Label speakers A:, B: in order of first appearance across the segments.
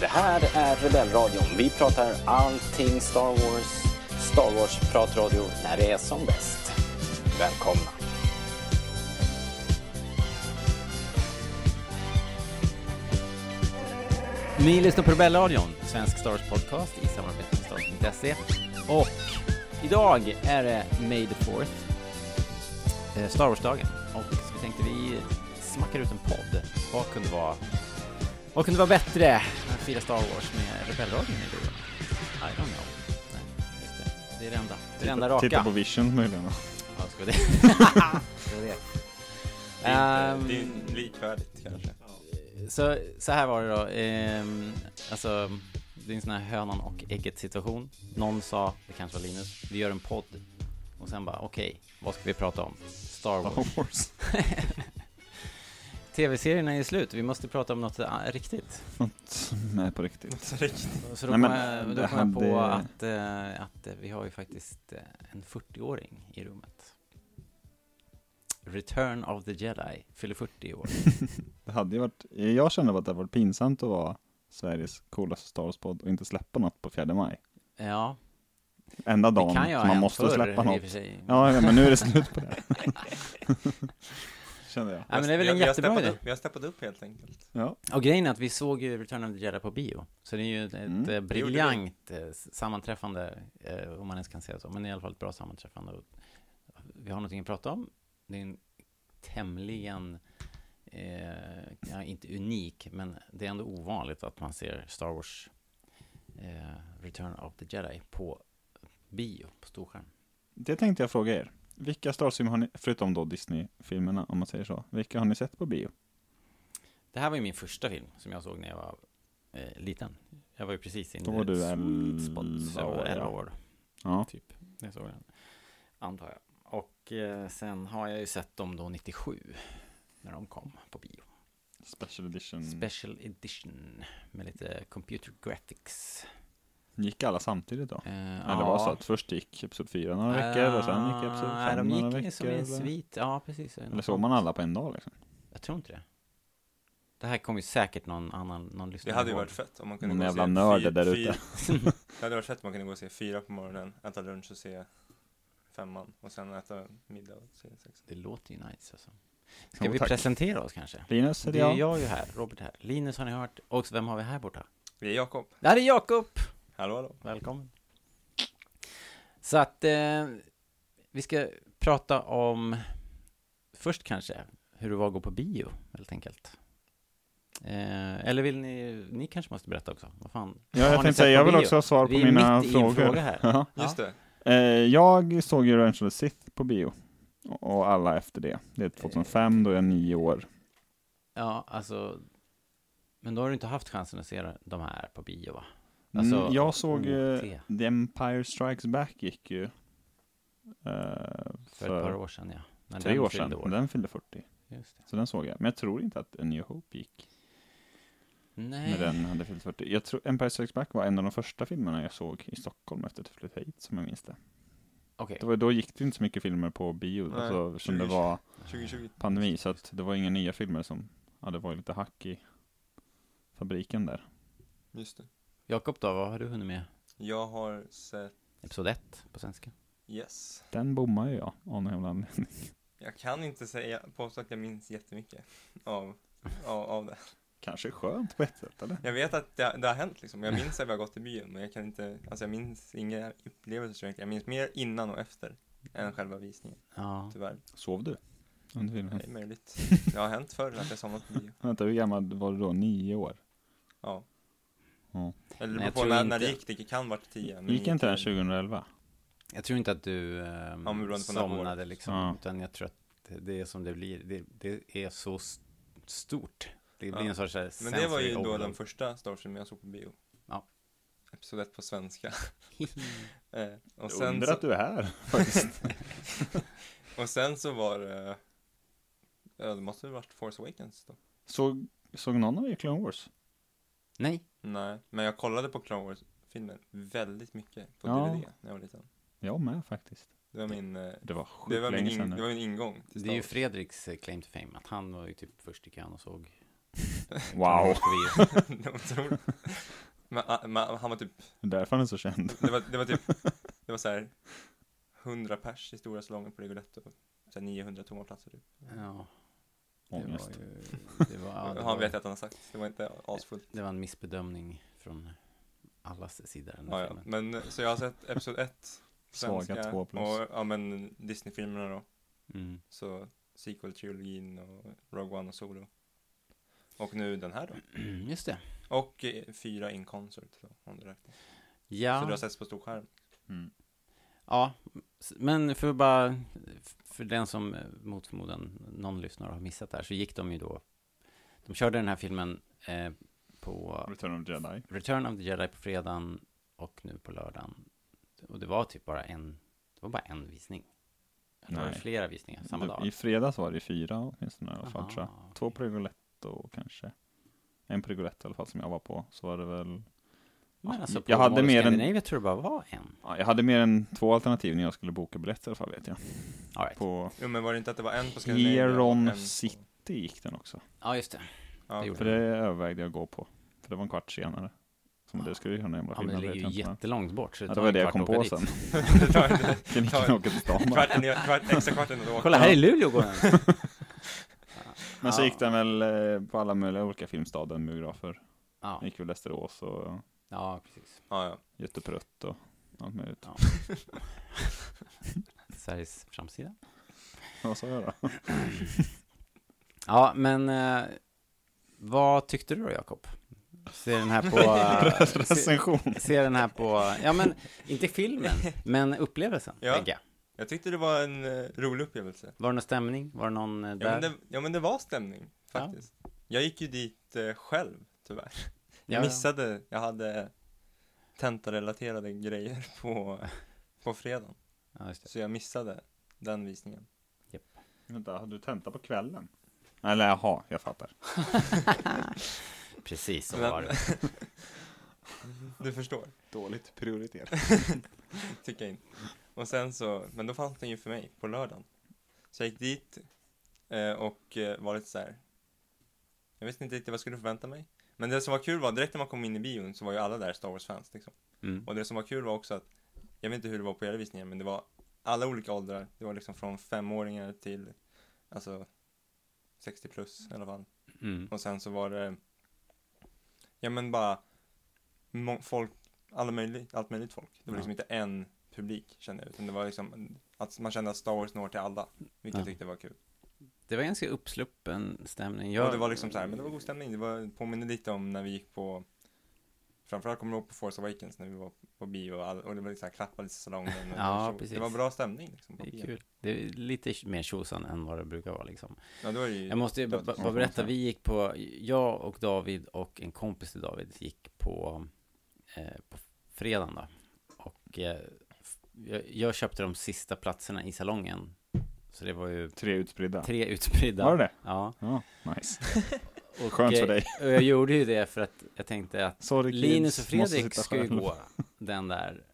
A: Det här är Rebellradion. Vi pratar allting Star Wars. Star Wars-pratradio när det är som bäst. Välkomna!
B: Ni lyssnar på Rebellradion, svensk Star Wars podcast i samarbete med Stars.se. Och idag är det May the 4th, eh, Star Wars-dagen. Och så vi tänkte vi smackar ut en podd. Vad kunde vara, vad kunde vara bättre än att fira Star Wars med Rebellradion i luren? I don't know. Nej, just det. Det är det enda, det är det enda raka.
C: Titta på Vision möjligen.
B: Ja, ska det. ska det. Ehm,
C: det är likvärdigt kanske.
B: så, så här var det då. Ehm, alltså, det är en sån här hönan och ägget situation. Någon sa, det kanske var Linus, vi gör en podd. Och sen bara, okej, vad ska vi prata om? Star Wars.
C: Star Wars.
B: Tv-serien är ju slut, vi måste prata om något ah, riktigt.
C: Något som är på riktigt.
B: Och Så då kom
C: Nej, men,
B: jag, då
C: det
B: kom jag på
C: hade-
B: att, eh, att eh, vi har ju faktiskt eh, en 40-åring i rummet. Return of the Jedi fyller 40 i år.
C: Det hade ju varit, jag känner att det hade varit pinsamt att vara Sveriges coolaste Star Wars-podd och inte släppa något på 4 maj.
B: Ja,
C: Enda
B: det
C: dagen
B: kan ju ha
C: man
B: hänt
C: måste
B: förr,
C: släppa
B: i och
C: något.
B: för sig.
C: Ja, ja, men nu är det slut på det. Känner jag.
B: Ja, men det är väl
D: Vi har-
B: en
D: vi har
B: jättebra
D: steppat
B: idé.
D: upp- Vi har steppat upp helt enkelt.
C: Ja.
B: Och grejen är att vi såg ju Return of the Jedi på bio. Så det är ju ett
C: Mm.
B: eh,
D: Det gjorde vi.
B: briljant eh, s- sammanträffande, eh, om man ens kan säga så. Men i alla fall ett bra sammanträffande. Och Vi har någonting att prata om. Det är en tämligen, eh, ja, inte unik, men det är ändå ovanligt att man ser Star Wars eh, Return of the Jedi på bio, på storskärm.
C: Det tänkte jag fråga er. Vilka Star Wars-filmer har ni, förutom då Disney-filmerna om man säger så, vilka har ni sett på bio?
B: Det här var ju min första film som jag såg när jag var eh, liten. Jag var ju precis inne
C: Då var du
B: sweet spot, så jag
C: 11
B: var
C: år,
B: 11
C: ja.
B: år.
C: Ja,
B: Typ, jag såg den. Antar jag. Och eh, sen har jag ju sett dem då 97. När de kom på bio.
C: Special Edition.
B: Special edition. Med lite computer graphics.
C: Gick alla samtidigt då?
B: Eh,
C: Eller var det så att först gick Episod 4 några veckor och sen gick Episod 5
B: Nej, Ah, de
C: några
B: gick
C: veckor?
B: ju som i en
C: eller?
B: svit. Ja, precis.
C: Eller såg man alla på en dag liksom?
B: Jag tror inte det. Det här kommer ju säkert någon annan, någon
D: Det
B: lyssnare
D: hade ju
B: ihåg.
D: varit fett om man kunde
C: Någon
D: gå och se
C: jävla nörd
D: fyra-
C: där
D: fyra-
C: ute.
D: Det hade varit fett om man kunde gå och se fyra på morgonen, äta lunch och se femman och sen äta middag och se sexan.
B: Det låter ju nice alltså. Ska
C: Jo,
B: vi
C: tack.
B: presentera oss kanske?
C: Linus
B: Det
C: heter
B: är
C: jag.
B: jag ju här, Robert här. Linus har ni hört. Och vem har vi här borta?
D: Vi är Jakob.
B: Det här är Jakob!
D: Hallå hallå.
B: Välkommen. Så att eh, vi ska prata om först kanske hur det var att gå på bio helt enkelt. Eh, eller vill ni, ni kanske måste berätta också. Vad fan?
C: Ja,
B: har
C: jag
B: ni
C: tänkte
B: sett
C: säga,
B: på
C: jag vill
B: bio?
C: också ha svar på
B: Vi är
C: mina
B: mitt i en
C: frågor.
B: fråga här.
C: Ja.
D: Just det.
C: Eh, jag såg ju Revenge of the Sith på bio. Och och alla efter det. Det är
B: Eh.
C: 2005, då är jag nio år.
B: Ja, alltså. Men då har du inte haft chansen att se de här på bio va?
C: Mm,
B: Alltså,
C: jag såg eh,
B: OT.
C: The Empire Strikes Back gick ju. eh,
B: För ett par
C: för
B: år sedan ja. När
C: tre
B: den
C: år
B: fyllde
C: sedan. Den fyllde 40.
B: Just det.
C: Så den såg jag. Men jag tror inte att A New Hope gick
B: Nej. Eh.
C: när den hade fyllt 40. Jag tror Empire Strikes Back var en av de första filmerna jag såg i Stockholm efter att jag flyttade hit, som jag minns det.
B: Okej.
C: det var, då gick det inte så mycket filmer på bio,
D: Nej,
C: alltså, som det
D: 20.
C: var
D: 2020.
C: pandemi, så att det var inga nya filmer som, ja det var ju lite hack i fabriken där.
D: Just det.
B: Jakob då, vad har du hunnit med?
D: Jag har sett
B: Episod 1 på svenska.
D: Yes.
C: Den bommar ju jag av någon jävla anledning.
D: Jag kan inte säga, påstå att jag minns jättemycket av, av, av det.
C: Kanske skönt på ett sätt eller?
D: Jag vet att det, det har hänt liksom. Jag minns att vi har gått till bion, men jag kan inte, alltså jag minns inga upplevelser så egentligen. Jag minns mer innan och efter än själva visningen,
B: Ja.
D: tyvärr.
C: Sov du? Under filmen?
D: Det är möjligt. Det har hänt förr att jag somnat på bio.
C: Vänta, hur gammal var du då? Nio år?
D: Ja.
C: Ja.
D: Eller
B: Nej,
D: det beror
B: jag
D: på
B: tror
D: när,
B: inte-
D: när det gick, det kan varit tio. men
C: Gick inte den
D: tio.
C: 2011?
B: Jag tror inte att du ehm,
D: men beroende på när på
B: somnade
D: året.
B: liksom,
C: Ja.
B: utan jag tror att det, det är som det blir. Det, det är så st- stort. Det blir
D: Ja.
B: en sorts så här
D: Men det var
B: sensory
D: ju då
B: overload.
D: den första Star Wars-filmen jag såg på bio.
B: Ja.
D: Episod 1 på svenska. Eh, och,
C: Jag
D: sen
C: undrar
D: så,
C: att du är här faktiskt.
D: och sen så var det, ja det måste ha varit Force Awakens då.
C: såg, såg någon av er Clone Wars?
B: Nej,
D: Nej, men jag kollade på Clone Wars-filmen väldigt mycket på
C: Ja.
D: DVD när jag var liten.
C: Jag med faktiskt.
D: Det var min, eh,
C: Det var sjukt
D: det var min,
C: länge sedan
D: in,
C: nu.
D: det var min ingång till
B: det är ju
D: Star Wars.
B: Fredriks eh, claim to fame, att han var ju typ först i kön och såg
C: Wow!
B: på bio.
D: Det var otroligt. men, ah, men han var typ,
C: Det är därför han är så känd.
D: det var, det var typ, det var så här 100 pers i stora salongen på Rigoletto. Så här 900 tomma platser typ.
B: Ja, det
C: Ångest.
B: var ju, det var, ja,
D: Ja,
B: det
D: han
B: var,
D: vet jag att han har sagt, det var inte asfullt.
B: det var en missbedömning från allas sida den här
D: Ja, ja.
B: filmen.
D: Men så jag har sett Episod 1
C: Svaga två plus.
D: och ja men Disney-filmerna då.
B: Mm.
D: Så sequel-trilogin och Rogue One och Solo. Och nu den här då.
B: Mm. Just det.
D: Och eh, fyra in concert då, om du räknar. Så
B: Ja,
D: du har sett på stor skärm.
C: Mm.
B: ja, s- men för bara, för den som eh, mot förmodan någon lyssnare har missat det här, så gick de ju då, de körde den här filmen eh, på
C: Return of the Jedi.
B: Return of the Jedi på fredagen och nu på lördagen. Och det var typ bara en, det var bara en visning. Det var
C: Nej.
B: flera visningar samma
C: Det-
B: dag.
C: I fredags var det fyra åtminstone i alla fall tror jag.
B: Aha,
C: Två på Rigoletto kanske. En på Rigoletto i alla fall som jag var på. Så var det väl.
B: Men
C: Ja,
B: alltså på
C: jag hade
B: Mall of
C: mer än-
B: Scandinavia tror jag bara var en.
C: Ja, jag hade mer än två alternativ när jag skulle boka biljetter i alla fall vet jag.
B: All right.
C: På
D: Jo men var det inte att det var en på Scandinavia? och en
C: Heron
D: på-
C: City gick den också.
B: Ja, just det.
D: Ja,
B: Det
D: okej.
C: För det övervägde jag att gå på. För det var en kvart senare. Som det skulle göra den jävla
B: Ja, men det
C: filmen
B: ligger
C: vet
B: ju
C: jag inte. men-
B: jättelångt bort. Så
C: Ja, det
B: tar
C: var
B: en
C: det jag
B: kvart
C: kom
B: att åka
C: på
B: dit.
C: sen.
D: Det tar inte-
C: Kliniken åker till stan bara.
D: Kvarten, kvart, extra kvarten att åka.
B: Kolla, här i Luleå går den.
C: Men så gick den väl eh, på alla möjliga olika filmstaden, biografer.
B: Ja,
C: Den gick väl Västerås och
B: ja precis.
D: Ja, ja.
C: Göteprutt och allt möjligt.
B: Sveriges framsida.
C: Vad sa jag då?
B: Ja, men eh, vad tyckte du då, Jakob? Ser den här på... eh, se,
C: Recension.
B: ser den här på... Ja, men inte filmen, men upplevelsen,
D: Ja.
B: tänker jag.
D: Jag tyckte det var en eh, rolig upplevelse.
B: Var det någon stämning? Var det någon eh,
D: Ja men,
B: där?
D: det, ja men det var stämning,
B: Ja.
D: faktiskt. Jag gick ju dit eh, själv, tyvärr.
B: Ja,
D: Jag missade, jag hade tentarelaterade grejer på, på fredagen.
B: Ja, just det.
D: Så jag missade den visningen.
C: Vänta, hade du tenta på kvällen? Eller jaha, jag fattar.
B: Precis så
D: Men-
B: var det.
D: Du förstår,
C: Dåligt prioriterat.
D: tycker jag inte. Och sen så, men då fanns den ju för mig på lördagen. Så jag gick dit eh, och eh, var lite så här. Jag visste inte riktigt vad jag skulle förvänta mig. Men det som var kul var, direkt när man kom in i bion så var ju alla där Star Wars-fans liksom.
B: Mm.
D: Och det som var kul var också att, jag vet inte hur det var på era visningar, men det var alla olika åldrar. Det var liksom från femåringar till, alltså, 60 plus i alla fall.
B: Mm.
D: Och sen så var det, ja men bara, må- folk, alla möjligt, allt möjligt folk. Det var
B: Ja.
D: liksom inte en publik kände jag, utan det var liksom att man kände att Star Wars når till alla, vilket
B: Ja.
D: jag tyckte var kul.
B: Det var ganska uppsluppen stämning.
D: Och det var liksom så här, men det var god stämning, det var, påminner lite om när vi gick på, framförallt kommer jag ihåg på Force Awakens när vi var på bio och, all, och det var liksom klappades i salongen. Och
B: Ja,
D: det, var så,
B: precis.
D: det var bra stämning liksom. På
B: Det är
D: bio.
B: kul. Det är lite mer tjosan än vad det brukar vara liksom.
D: Ja, det var ju,
B: Jag måste ju bara-
D: Ja,
B: bara berätta, vi gick på, jag och David och en kompis till David gick på, eh, på fredagen då. Och eh, f- jag, jag köpte de sista platserna i salongen. Så det var ju
C: Tre utspridda.
B: tre utspridda.
C: Var det det?
B: Ja.
C: Ja, nice.
B: Och,
C: Skönt för
B: eh,
C: dig.
B: Och jag gjorde ju det för att jag tänkte att
C: Sorry kids,
B: Linus och
C: måste
B: Fredrik
C: sitta
B: ska ju
C: själv.
B: gå den där,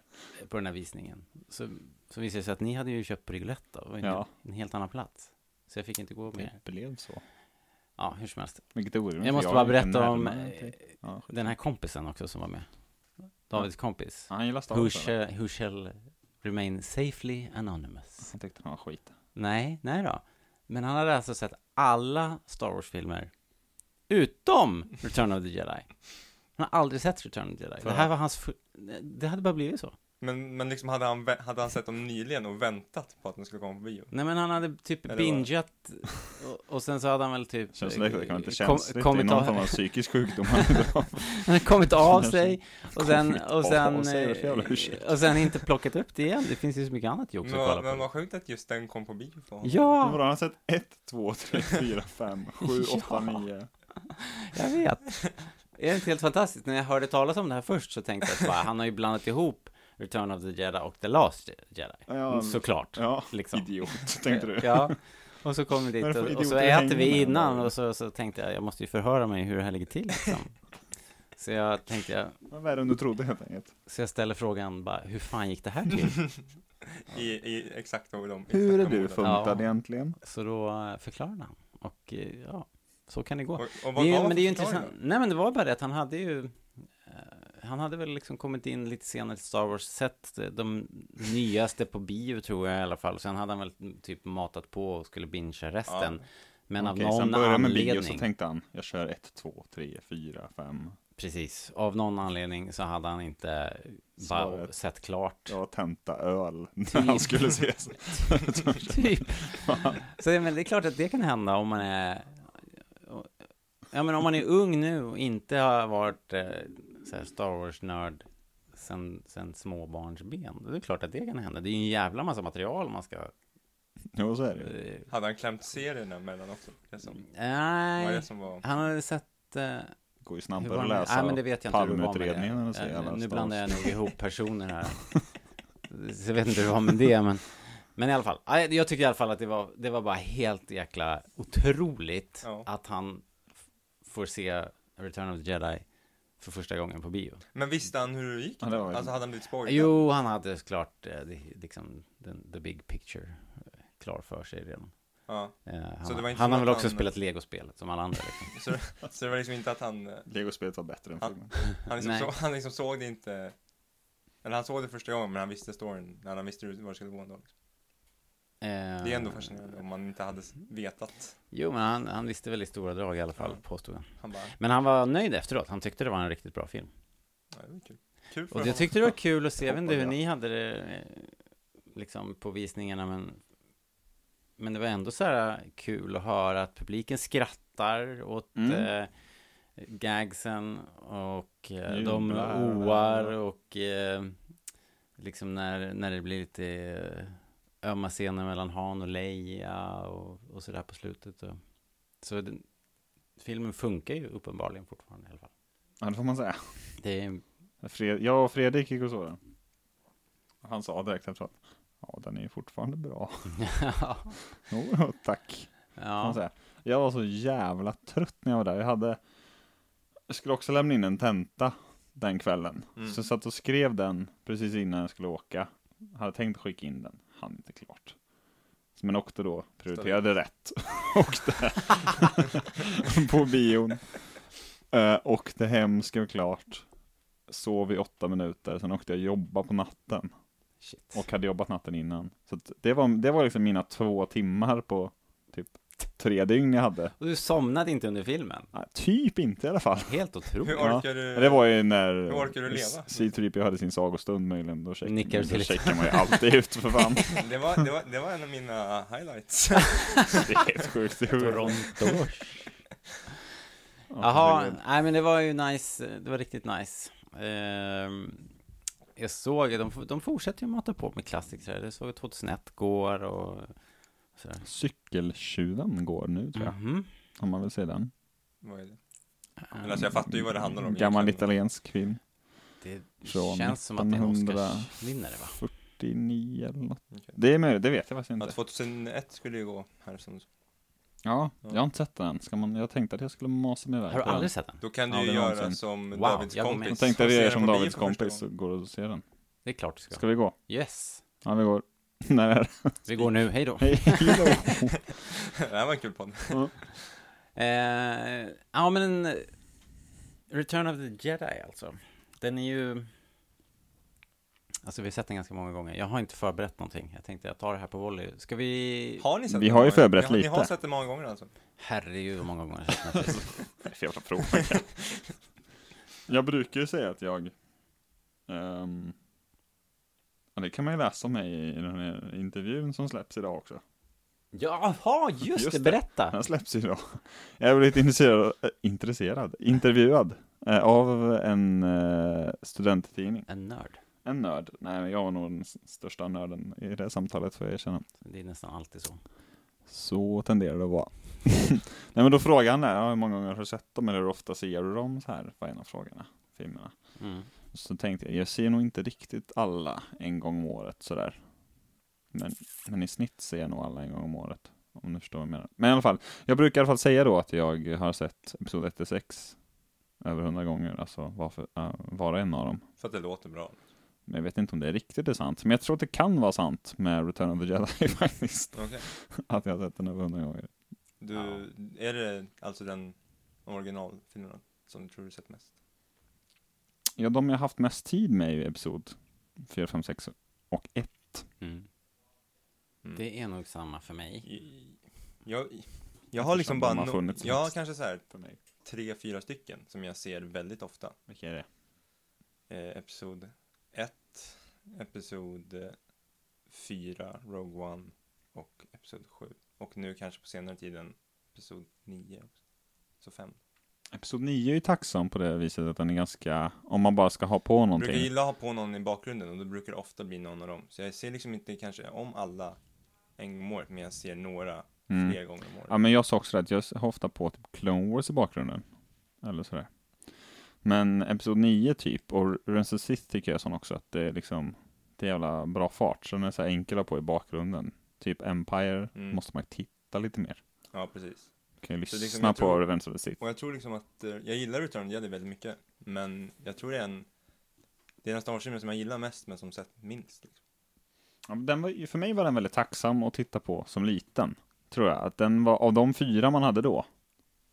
B: på den här visningen. Så, så visade det sig att ni hade ju köpt på Rigoletto, och en,
C: Ja.
B: en helt annan plats. Så jag fick inte gå med.
C: Det blev så.
B: Ja, hur som helst.
C: Vilket orimligt.
B: Jag måste
C: för
B: bara
C: är inte
B: berätta om
C: närmare
B: eh,
C: till- Ja, skit.
B: den här kompisen också som var med. Davids kompis.
C: Han gillar Star
B: Who
C: Wars. eller?
B: shall, who shall remain safely anonymous.
C: Han tyckte han var skit.
B: Nej, nej då. Men han hade alltså sett alla Star Wars-filmer utom Return of the Jedi. Han har aldrig sett Return of the Jedi. Det här var hans... fu- Det hade bara blivit så.
D: Men, men liksom hade han, vä- hade han sett dem nyligen och väntat på att de skulle komma på bio?
B: Nej men han hade typ
D: Eller vad?
B: bingeat och, och sen så hade han väl typ...
C: Känns som det kan vara
B: eh,
C: lite
B: kom-
C: känsligt. det är
B: kommit
C: någon
B: av-
C: form av psykisk sjukdom. han
B: Han har kommit av
C: Kanske.
B: sig och sen,
C: Kommit
B: och
C: av
B: sen,
C: sig, vad för jävla
B: eh,
C: ursäkt.
B: och sen inte plockat upp det igen. Det finns ju så mycket annat jobb
D: Men,
B: att kolla
D: vad- men
B: på.
D: vad sjukt att just den kom på bio för honom.
B: Ja,
C: har sett 1, 2, 3, 4, 5, 7, 8, 9.
B: jag vet. Det är inte helt fantastiskt. När jag hörde talas om det här först så tänkte jag att bara, han har ju blandat ihop Return of the Jedi och The Last Jedi.
C: Ja,
B: Såklart.
C: Ja,
B: Mm, Liksom.
C: idiot, tänkte du.
B: Ja. Och så kom vi dit
C: Vad är det
B: och,
C: för
B: och så
C: idioter du hänger
B: äter vi
C: med
B: innan
C: bara?
B: och så, så tänkte jag, jag måste ju förhöra mig hur det här ligger till liksom. Så jag tänkte, jag,
C: Vad värre än du trodde helt enkelt.
B: så jag ställer frågan bara, hur fan gick det här till?
D: I, i exakt vad de
C: Hur är
D: exakta
C: du
D: orden.
C: funtad egentligen?
B: Så då eh, förklarade han. Och eh, ja, så kan det gå.
D: Och, och
B: Det är
D: vad
B: ju,
D: gav
B: men
D: han
B: det är ju
D: för
B: intressant.
D: förklaring
B: Nej men det var bara det att han hade ju eh, han hade väl liksom kommit in lite senare till Star Wars, sett eh, de nyaste på bio tror jag i alla fall. Sen hade han väl typ matat på och skulle bingea resten. Men
C: Okej,
B: av
C: sen
B: någon
C: började med
B: anledning.
C: bio så tänkte han, jag kör 1, 2, 3, 4, 5.
B: Precis, av någon anledning så hade han inte bara
C: Svaret.
B: sett klart.
C: Jag tenta öl när han skulle ses.
B: Typ. Så det- men det är klart att det kan hända om man är... Ja, men om man är ung nu och inte har varit eh, så här Star Wars-nörd sen, sen småbarnsben. Det är klart att det kan hända. Det är ju en jävla massa material man ska...
C: Jo, så är det ju.
B: Eh, liksom.
D: då? Hade han klämt serierna mellan också? Det som, vad var det
B: nej,
D: som var...
B: han hade sett... Eh,
C: går ju
B: hur
C: snabbare
B: var
C: att
B: det? nej,
C: läsa
B: men det vet jag inte hur det var med
C: Palmeutredningen eller så
B: det.
C: jävla
B: Eh, Nu
C: Star
B: blandar jag
C: Wars.
B: nog ihop personer här. Så jag vet inte hur det var med det, men... Men i alla fall, nej, jag tycker i alla fall att det var, det var bara helt jäkla otroligt
D: Ja.
B: att han f- får se Return of the Jedi för första gången på bio.
D: Men visste han hur det gick?
C: Ja, det var ju-
D: Alltså hade han blivit spoilad?
B: Jo, han hade såklart eh, det- liksom den, the big picture eh, klar för sig redan.
D: Ja.
B: Eh, han
D: Så det var inte
B: han
D: som
B: har
D: att
B: väl också
D: han-
B: spelat legospelet som alla andra. Liksom.
D: Så, så det var liksom inte att han... eh,
C: Legospelet var bättre än
D: Ja.
C: filmen.
D: Han liksom,
B: Nej.
D: så, han liksom såg det inte... Eller han såg det första gången men han visste storyn när han visste hur- var det skulle gå ändå. Liksom.
B: Eh,
D: Det är ändå fascinerande om man inte hade s-
B: Mm.
D: vetat.
B: Jo, men han, han visste väl i stora drag i alla fall,
D: Ja.
B: påstod han.
D: Han bara,
B: Men han var nöjd efteråt, han tyckte det var en riktigt bra film.
D: ja, det var kul. Kul för
B: Och
D: honom.
B: jag tyckte det var kul att se, jag vet inte hur
C: Hoppas jag.
B: ni hade det eh, liksom på visningarna men Men det var ändå så här kul att höra att publiken skrattar åt
C: Mm.
B: eh, gagsen och eh, de
C: Jublar.
B: oar och eh, liksom när, när det blir lite eh, ömma scener mellan Han och Leia och, och sådär på slutet. Och, så den, filmen funkar ju uppenbarligen fortfarande i alla fall.
C: Ja, det får man säga.
B: Det är
C: Fred jag och Fredrik gick och såg den. Han sa direkt efteråt. Ja, den är ju fortfarande bra.
B: ja.
C: Jo, jo, tack. Får man säga. Jag var så jävla trött när jag var där. Jag hade, jag skulle också lämna in en tenta den kvällen.
D: Mm.
C: Så jag satt och skrev den precis innan jag skulle åka. Hade tänkt skicka in den, hann inte klart. Men åkte då, prioriterade rätt. åkte på bion. Eh, åkte hem, skrev klart. Sov i åtta minuter, sen åkte jag jobba på natten.
B: Shit.
C: Och hade jobbat natten innan. Så att det, var, det var liksom mina två timmar på typ tre dygn jag hade.
B: Och du somnade inte under filmen?
C: Nej, typ inte i alla fall.
B: Helt
D: Hur
B: otroligt.
D: orkar du?
C: Det var ju när
D: Eh, Hur orkar du leva?
C: C-3PO hade sin sagostund möjligen. Då checkade,
B: Nickar
C: då
B: till lite.
C: checkar man ju alltid ut för fan.
D: Det var, det, var, det var en av mina highlights.
C: Det är helt sjukt. Det är sjukt.
B: Toronto.
C: Ja,
B: Jaha,
C: det är-
B: nej men det var ju nice, det var riktigt nice. Ehm, jag såg, de, de fortsätter ju mata på med klassiker. Jag såg att 2001 går och sådär.
C: Cykeltjuven går nu tror jag.
B: Mhm.
C: Om man vill se den. Mm.
D: Vad är det?
B: Ehm,
D: Men alltså jag fattar ju vad det handlar om
C: Gammal
D: egentligen.
C: italiensk film.
B: Det
C: Från
B: känns som att det är en
C: 1900.
B: Oscarsvinnare va?
C: 49 eller något.
D: Okej.
C: Det är möjligt, det vet jag faktiskt
D: Ja,
C: inte.
D: 2001 skulle ju gå här som
C: Ja,
D: Ja.
C: jag har inte sett den än. Ska man, jag tänkte att jag skulle masa mig iväg
B: Har du
C: på den.
B: aldrig sett den?
D: Då kan du
C: Aldrig
D: ju göra
C: någonsin.
D: som
B: Wow,
D: Davids
B: jag går med.
D: kompis.
C: Jag tänkte att vi
D: och
C: är
D: ser
C: som
D: på bio
C: Davids
D: för första
C: kompis så
D: gången.
C: går och ser den.
B: Det är klart du ska.
C: Ska vi gå?
B: Yes.
C: Ja, vi går. När är det?
B: Vi går nu, hej då.
C: Hej då!
D: det här var en kul podd.
B: Eh, ja, men eh, Return of the Jedi alltså. Den är ju... Alltså vi har sett den ganska många gånger. Jag har inte förberett någonting. Jag tänkte jag tar det här på volley. Ska vi...
D: Har ni sett
C: Vi
D: den
C: har ju
D: många-
C: förberett
D: ni har, Ni har
C: lite.
D: sett det många gånger alltså?
B: Herregud vad många gånger jag har sett den här filmen.
C: Det är för jävla fråga. jag brukar ju säga att jag... ehm, ja, det kan man ju läsa om mig i den här intervjun som släpps idag också.
B: Jaha, just,
C: Just
B: det,
C: det.
B: berätta!
C: Den släpps idag. Jag blev lite intresserad, eh, intresserad intervjuad eh, av en eh, studenttidning.
B: En nörd.
C: En nörd. Nej, men jag var nog den s- största nörden i det samtalet får jag erkänna.
B: Det är nästan alltid så.
C: Så tenderar det att vara. Nej men då frågar han där, ja, hur många gånger har du sett dem eller hur ofta ser du dem? Så här var en av frågorna, filmerna.
B: Mm.
C: Så tänkte jag, jag ser nog inte riktigt alla en gång om året sådär. Men, men i snitt ser jag nog alla en gång om året. Om du förstår vad jag menar. Men i alla fall, jag brukar i alla fall säga då att jag har sett episod 1 till 6 över 100 gånger, alltså var, för, äh, var och en av dem.
D: För att det låter bra.
C: Men jag vet inte om det är riktigt är sant, men jag tror att det kan vara sant med Return of the Jedi faktiskt.
D: Okej.
C: Att jag har sett den över 100 gånger.
D: Du, är det alltså den originalfilmen som du tror du sett mest?
C: Ja, de jag haft mest tid med i episod 4, 5, 6 och 1.
B: Mm.
D: Mm.
B: Det är nog samma för mig.
D: Jag, jag har liksom
C: Eftersom
D: bara,
C: de har
D: no-
C: funnits
D: jag har
C: mest.
D: kanske så här
C: För mig.
D: tre, fyra stycken som jag ser väldigt ofta.
C: Vilka är det?
D: Eh, episod 1, Episod 4, Rogue One och Episod 7. Och nu kanske på senare tiden Episod 9 också. Så 5.
C: Episod 9 är ju tacksam på det viset att den är ganska, om man bara ska ha på
D: Brukar
C: någonting.
D: gilla att ha på någon i bakgrunden och då brukar det ofta bli någon av dem. Så jag ser liksom inte kanske om alla en gång om året, men jag ser några
C: Mm.
D: fler gånger om året.
C: Ja, men jag sa också det att jag har ofta på typ Clone Wars i bakgrunden. Eller sådär. Men Episod 9 typ, och Revenge of the Sith tycker jag sån också, att det är liksom, det är jävla bra fart. Så den är så här enkel att ha på i bakgrunden. Typ Empire
D: Mm.
C: måste man titta lite mer.
D: Ja, precis.
C: Du kan ju
D: Så
C: lyssna
D: liksom,
C: på
D: jag tror-
C: Revenge of the Sith.
D: Och jag tror liksom att, eh, jag gillar Return of the Jedi väldigt mycket, men jag tror det är en, det är den Star Wars-filmen som jag gillar mest, men som sett minst. Liksom.
C: Ja, men Den var, ju- för mig var den väldigt tacksam att titta på som liten. Tror jag. Att den var, av de fyra man hade då,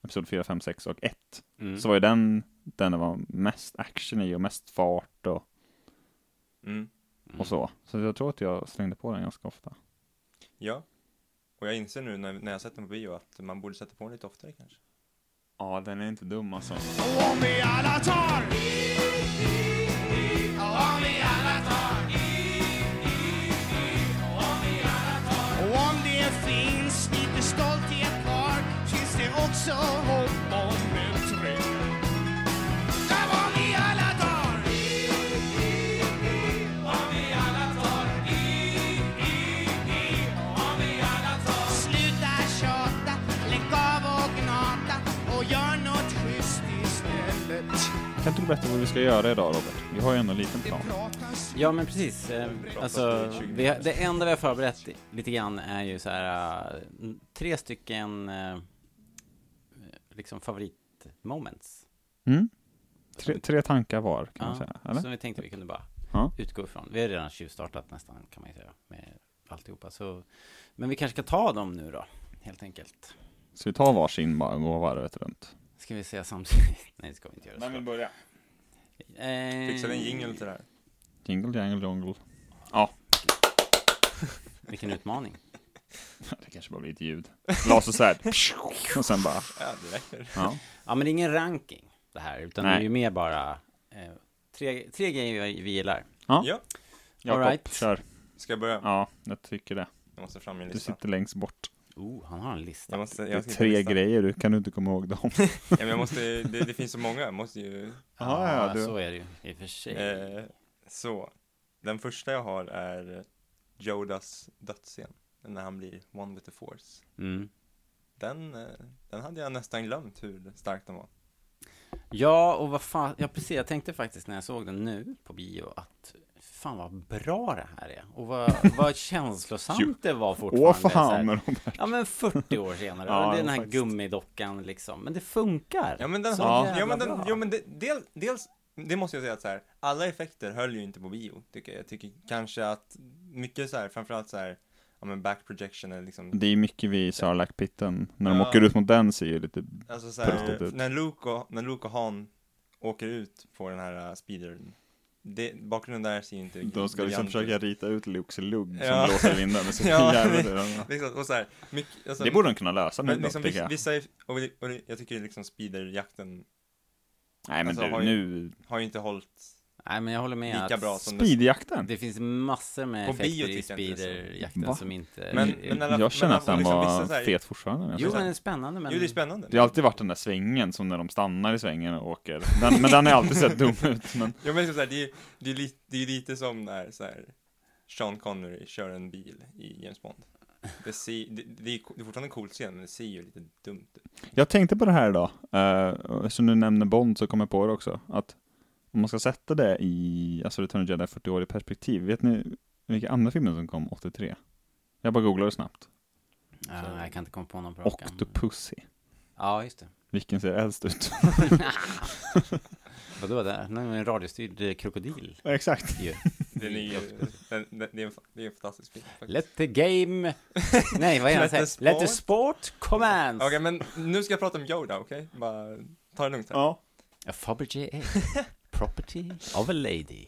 C: Episod 4, 5, 6 och 1,
B: Mm.
C: så var ju den den det var mest action i och mest fart och,
D: Mm.
C: och så. Så jag tror att jag slängde på den ganska ofta.
D: Ja. Och jag inser nu när, när jag sett den på bio att man borde sätta på den lite oftare kanske.
C: Ja, den är inte dum alltså.
E: Och om det finns lite stolthet kvar finns det också hopp om en tröst. Där var vi alla dagar. Sluta tjata, lägg av och gnata och gör något schysst istället.
C: Kan inte du berätta vad vi ska göra idag Robert? Vi har ju ändå en liten plan.
B: Ja, men precis. Eh, Alltså, vi har, det enda vi har förberett i- lite grann är ju så här eh, n- tre stycken eh, liksom favoritmoments.
C: Mm? Tre, tre tankar var kan man
B: Ja,
C: säga, eller?
B: Som vi tänkte vi kunde bara
C: Ja.
B: utgå ifrån. Vi har redan tjuvstartat nästan kan man ju säga med alltihopa. Så, men vi kanske ska ta dem nu då, helt enkelt.
C: Ska vi ta varsin bara och gå varvet runt?
B: Ska vi säga samtidigt? Nej, det ska vi inte göra. såklart.
C: börja?
B: Eh,
D: Fixar vi en jingle till det här?
C: Jingle, jangle, jongle.
B: Vilken utmaning.
C: Det kanske bara blir ett ljud. Lasersvärd. och sen bara,
D: Ja, det räcker.
C: ja.
B: Ja, men det är ingen ranking det här, utan
C: Nej.
B: det är ju mer bara eh, tre, tre grejer vi, vi gillar.
D: Ja,
C: Jakob,
B: All right.
C: kör.
D: ska jag börja?
C: Ja, jag tycker det.
D: Jag måste fram min
C: Du
D: lista.
C: sitter längst bort.
B: Oh, han har en lista.
D: Jag måste,
C: Det
D: jag
C: är
D: ska hitta
C: tre
D: listan.
C: grejer, du kan du inte komma ihåg dem.
D: Ja, men jag måste, det, det finns så många, jag måste ju...
C: Jaha, ja, du-
B: så är det ju i och för sig.
D: Eh, så, den första jag har är Jodas dödsscen, när han blir one with the force.
B: Mm.
D: Den, eh, den hade jag nästan glömt hur stark den var.
B: Ja, och vad fan, ja precis, jag tänkte faktiskt när jag såg den nu på bio att fan vad bra det här är och vad, vad känslosamt det var fortfarande.
C: Åh
B: så här.
C: fan Robert.
B: Ja men 40 år senare,
C: Ja,
B: och det är den här
C: faktiskt.
B: gummidockan liksom, men det funkar.
D: Ja men den
B: Så
D: har,
B: jävla
D: ja men den,
B: bra.
D: jo men det, del, dels, det måste jag säga att så här, alla effekter höll ju inte på bio, tycker jag. Jag tycker kanske att mycket så här, framförallt så här, ja men back projection eller liksom,
C: Det är mycket vid Sarlacc-pitten. När de
D: Ja.
C: åker ut mot den ser ju lite...
D: alltså så här,
C: Prototyp.
D: när Luke och, när Luke och Han åker ut på den här uh, speedern eh, det, bakgrunden där ser ju inte
C: De ska liksom
D: briljant
C: försöka
D: ut.
C: rita ut Lukes lugg som
D: Ja.
C: blåser i vinden. Det är så
D: Ja,
C: jävla
D: det-
C: dumt.
D: Liksom, och så här, mycket, alltså,
C: Det borde de kunna lösa nu
D: men,
C: dock,
D: liksom,
C: tycker jag.
D: vissa, och, det- och det- jag tycker liksom speederjakten
C: Nej men
D: alltså,
C: du,
D: har ju-
C: nu...
D: har ju inte hållit
B: Nej, men jag håller med
D: lika
B: att
D: bra som den-
C: Speedjakten?
B: det finns massor med
D: På
B: effekter
D: bio
B: i
D: tycker jag inte det är så.
B: speederjakten
C: Va?
B: som inte...
D: Men-
B: är-
D: men- alla-
C: jag känner att
D: alltså,
C: den
D: liksom
C: var
D: vissa så här-
C: fet fortfarande.
B: jo,
C: alltså.
B: men den är spännande, men...
D: Jo, det är spännande.
C: Det har alltid varit den där svängen som när de stannar i svängen och åker. Den, men den har alltid sett dum ut. Men
D: Ja, men liksom så här, det, är, det, är lite, det är lite som när så här, Sean Connery kör en bil i James Bond. Det, ser, det, det, är, det är fortfarande en cool scen, men det ser ju lite dumt ut.
C: jag tänkte på det här idag. eh, Eftersom du nämner Bond så kom jag på det också. Att om man ska sätta det i, alltså Return of the Jedi 40 år i perspektiv. Vet ni vilka andra filmer som kom 83? Jag bara googlade snabbt.
B: Ja, jag kan inte komma på någon på rak arm.
C: Octopussy.
B: Ja, just det.
C: Vilken ser äldst ut?
B: Vadå, det är en radiostyrd eh, krokodil.
C: Exakt.
B: ju.
D: Den är ju, den, den, det, är en, fa- det är en fantastisk film. faktiskt.
B: Let the game... Nej, vad är det
D: Let
B: han
D: the
B: säger? Let the sport commence!
D: Okej, men nu ska jag prata om Yoda, okej? Bara ta det lugnt här.
C: Ja.
B: A Fabergé egg. Property of a lady.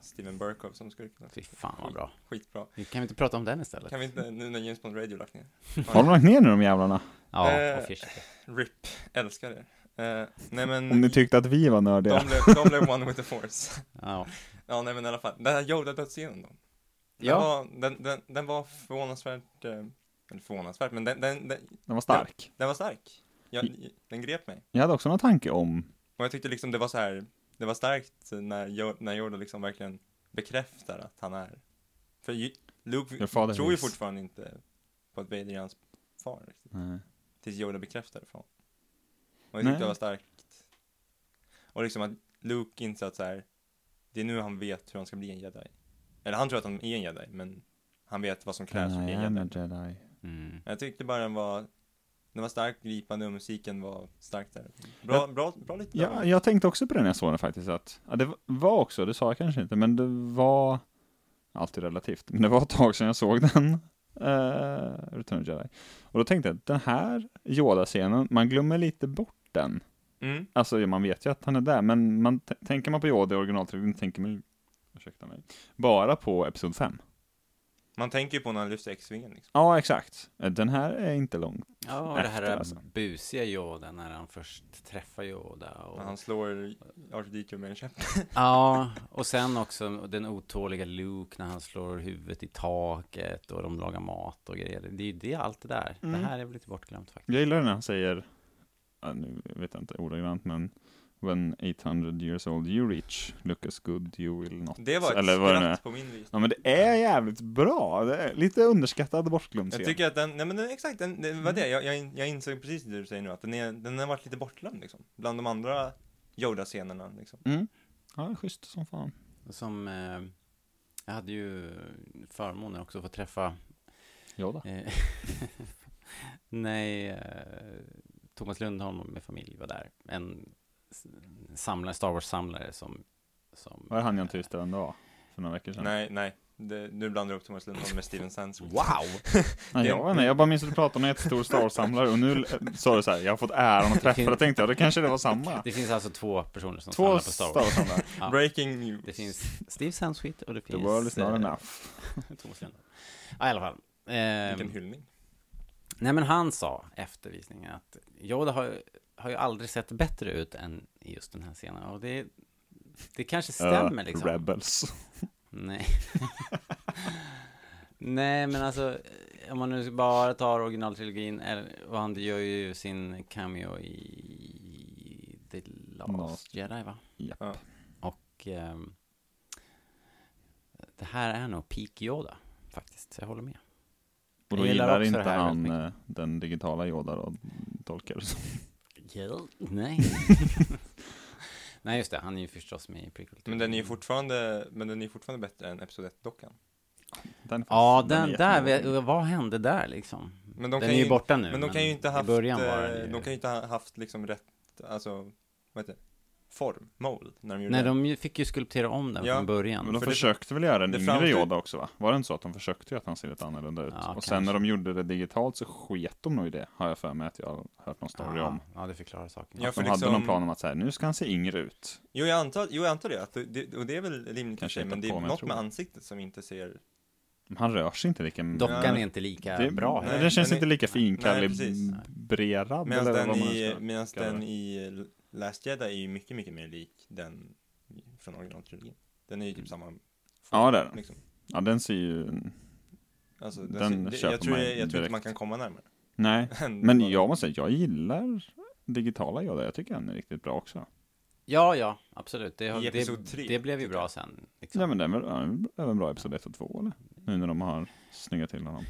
D: Steven Burkow som skulle kunna...
B: Fy fan vad bra.
D: Skitbra.
B: Nu Kan vi inte prata om den istället?
D: Kan vi inte, nu när James Bond Radio lagt ner.
C: Har de lagt ner nu de jävlarna?
B: Ja,
D: Eh,
B: och fisk.
D: RIP, älskar er. Eh, nej men,
C: Om ni tyckte att vi var nördiga.
D: de, blev, de blev one with the force.
B: Ja.
D: ja, nej men i alla fall. Den här Yoda-dödsscenen då. Den,
B: Ja.
D: var, den, den, den var förvånansvärt, eh, eller förvånansvärt, men den, den, den,
C: Den var stark.
D: den var stark.
C: Mm.
D: Jag, den grep mig.
C: Jag hade också någon tanke om
D: Och jag tyckte liksom det var så här, det var starkt när, Yo- när Yoda liksom verkligen bekräftar att han är. För ju- Luke
C: Your father
D: tror ju
C: is-
D: fortfarande inte på att Vader är hans far riktigt.
C: Nej.
D: Tills Yoda bekräftar det för honom. Och jag tyckte
C: Nej.
D: det var starkt. Och liksom att Luke inser att så här, det är nu han vet hur han ska bli en jedi. Eller han tror att han är en jedi, men han vet vad som krävs för att bli en jedi.
C: Jedi.
B: Mm.
D: Jag tyckte bara den var, den var starkt gripande och musiken var stark där. Bra, bra, bra lite
C: Ja, jag tänkte också på det när jag såg den faktiskt, att ja, det var också, det sa jag kanske inte, men det var alltid relativt, men det var ett tag sedan jag såg den, eh, Return of the Jedi. Och då tänkte jag, den här Yoda-scenen, man glömmer lite bort den.
D: Mm.
C: Alltså, ja, man vet ju att han är där, men man t- tänker man på Yoda i originaltrilogin, tänker man ju, ursäkta mig, bara på Episod 5.
D: Man tänker ju på när han lyfter X-vingen liksom.
C: Ja, exakt. Eh, Den här är inte lång.
B: Ja, och det här
C: Efter, alltså.
B: busiga Yoda när han först träffar Yoda.
D: När
B: Och...
D: han slår R2D2 med en käpp.
B: Ja, och sen också den otåliga Luke när han slår huvudet i taket och de lagar mat och grejer. Det är ju det, allt det där.
C: Mm.
B: Det här är väl lite bortglömt faktiskt.
C: Jag gillar när han säger, ja, nu vet jag inte ordagrant, men When 800 years old you reach, look as good you will not.
D: Det var ett
C: Eller vad det nu är.
D: skratt på min vis.
C: Ja men det är jävligt bra, det är lite underskattad bortglömd
D: Jag
C: scen.
D: tycker att den, nej men den, exakt, den, det var
B: Mm.
D: det. Jag, jag, in- jag insåg precis det du säger nu, att den, är, den har varit lite bortglömd liksom. Bland de andra Yoda-scenerna liksom.
C: Mm. Ja, det är schysst som fan.
B: Som, eh, jag hade ju förmånen också att få träffa
C: Yoda.
B: Eh, Nej, eh, Thomas Lundholm med familj var där. En s- samlare, Star Wars-samlare som... som
C: Var det han jag inte visste vem det var? För några veckor sedan.
D: Nej, nej. Det, nu blandar du upp Thomas Lundholm med Steven Sandsworth.
B: Wow!
C: Nej, jag, var nej, jag bara minns att du pratade om en jättestor Star Wars-samlare och nu eh, sa du så här, jag har fått äran att träffa dig, tänkte jag, det kanske det var samma.
B: Det finns alltså två personer som samlar
C: Två
B: på Star Wars.
C: Wars-samlare.
B: Ja.
D: Breaking news.
B: Det finns Steve Sansweet och det
C: The
B: finns...
C: world is not
B: eh,
C: enough.
B: Thomas Lundholm. Ja, i alla fall.
D: Vilken
B: Ehm,
D: hyllning.
B: Nej men han sa efter visningen att Yoda har, har ju aldrig sett bättre ut än i just den här scenen och det, det kanske stämmer
C: Eh,
B: liksom.
C: Rebels.
B: Nej. Nej, men alltså om man nu bara tar originaltrilogin eller- och han gör ju sin cameo i The Last
C: Last.
B: Jedi va?
C: Japp.
D: Ja.
B: Och ehm, det här är nog peak Yoda faktiskt, jag håller med.
C: Och då
B: Jag gillar
C: gillar
B: också
C: inte
B: det här
C: han
B: väldigt
C: eh, den digitala Yoda då, tolkar det som.
B: Nej. Nej just det, han är ju förstås med i prequel.
D: Men den är ju fortfarande, men den är ju fortfarande bättre än Episod 1-dockan.
C: Den är
B: Ja,
C: faktiskt-
B: den,
C: är
B: där,
C: jättebra.
B: vi- vad hände där liksom?
D: Men
B: den är ju borta nu.
D: Men de kan ju inte
B: i
D: haft,
B: början var
D: eh,
B: den ju...
D: de kan ju inte ha haft liksom rätt, alltså, vad heter det? form, mold, när de gjorde
B: Nej,
D: det.
B: de ju- fick ju skulptera om den
D: Ja.
B: från
C: Men
B: början.
C: de
D: för det-
C: försökte väl göra en
D: det
C: yngre
D: framtid-
C: Yoda också va? Var det inte så att de försökte ju att han ser lite annorlunda ut?
B: Ja,
C: och
B: kanske.
C: sen när de gjorde det digitalt så sket de nog i det, har jag för mig att jag har hört någon story om.
F: Ja,
C: Att
F: ja, det förklarar saken.
D: Ja,
C: de
D: för
C: hade
D: liksom-
C: någon plan om att så här, nu ska han se yngre ut.
D: Jo, jag antar, jo, jag antar det, att det- det. Och det är väl rimligt i
C: Kanske
D: sig, men det
C: hittat
D: är
C: på, men jag
D: något
C: tror
D: med
C: det.
D: ansiktet som inte ser...
C: Men Han rör sig inte lika
B: Dockan
D: Ja.
B: är inte lika
C: det,
B: bra.
C: Nej,
D: heller.
C: den känns
D: Nej,
C: inte lika
D: precis.
C: finkalibbrerad.
D: Medan
C: eller vad
D: den,
C: man nu
D: i,
C: ska
D: medan
C: kalla
D: den
C: det.
D: i Last Jedi är ju mycket, mycket mer lik den från originaltrilogin. Den är ju typ samma form,
C: Ja, det är den.
D: liksom.
C: Ja, den ser ju...
D: Alltså,
C: Den
D: den, den,
C: köper
D: jag, tror,
C: man
D: jag, jag tror
C: direkt.
D: inte man kan komma närmare.
C: Nej,
D: än
C: men
D: vad-
C: jag måste säga, jag gillar digitala Yoda. Jag tycker den är riktigt bra också.
B: Ja, ja, absolut. Det, har-
D: I episod
B: det,
D: tre, typ.
B: det blev ju
D: tycker
B: bra
D: jag.
B: sen. Liksom.
C: Ja, men den är väl- ja, den är även bra i episod 1 och 2 eller? Nu när de har snyggat till honom.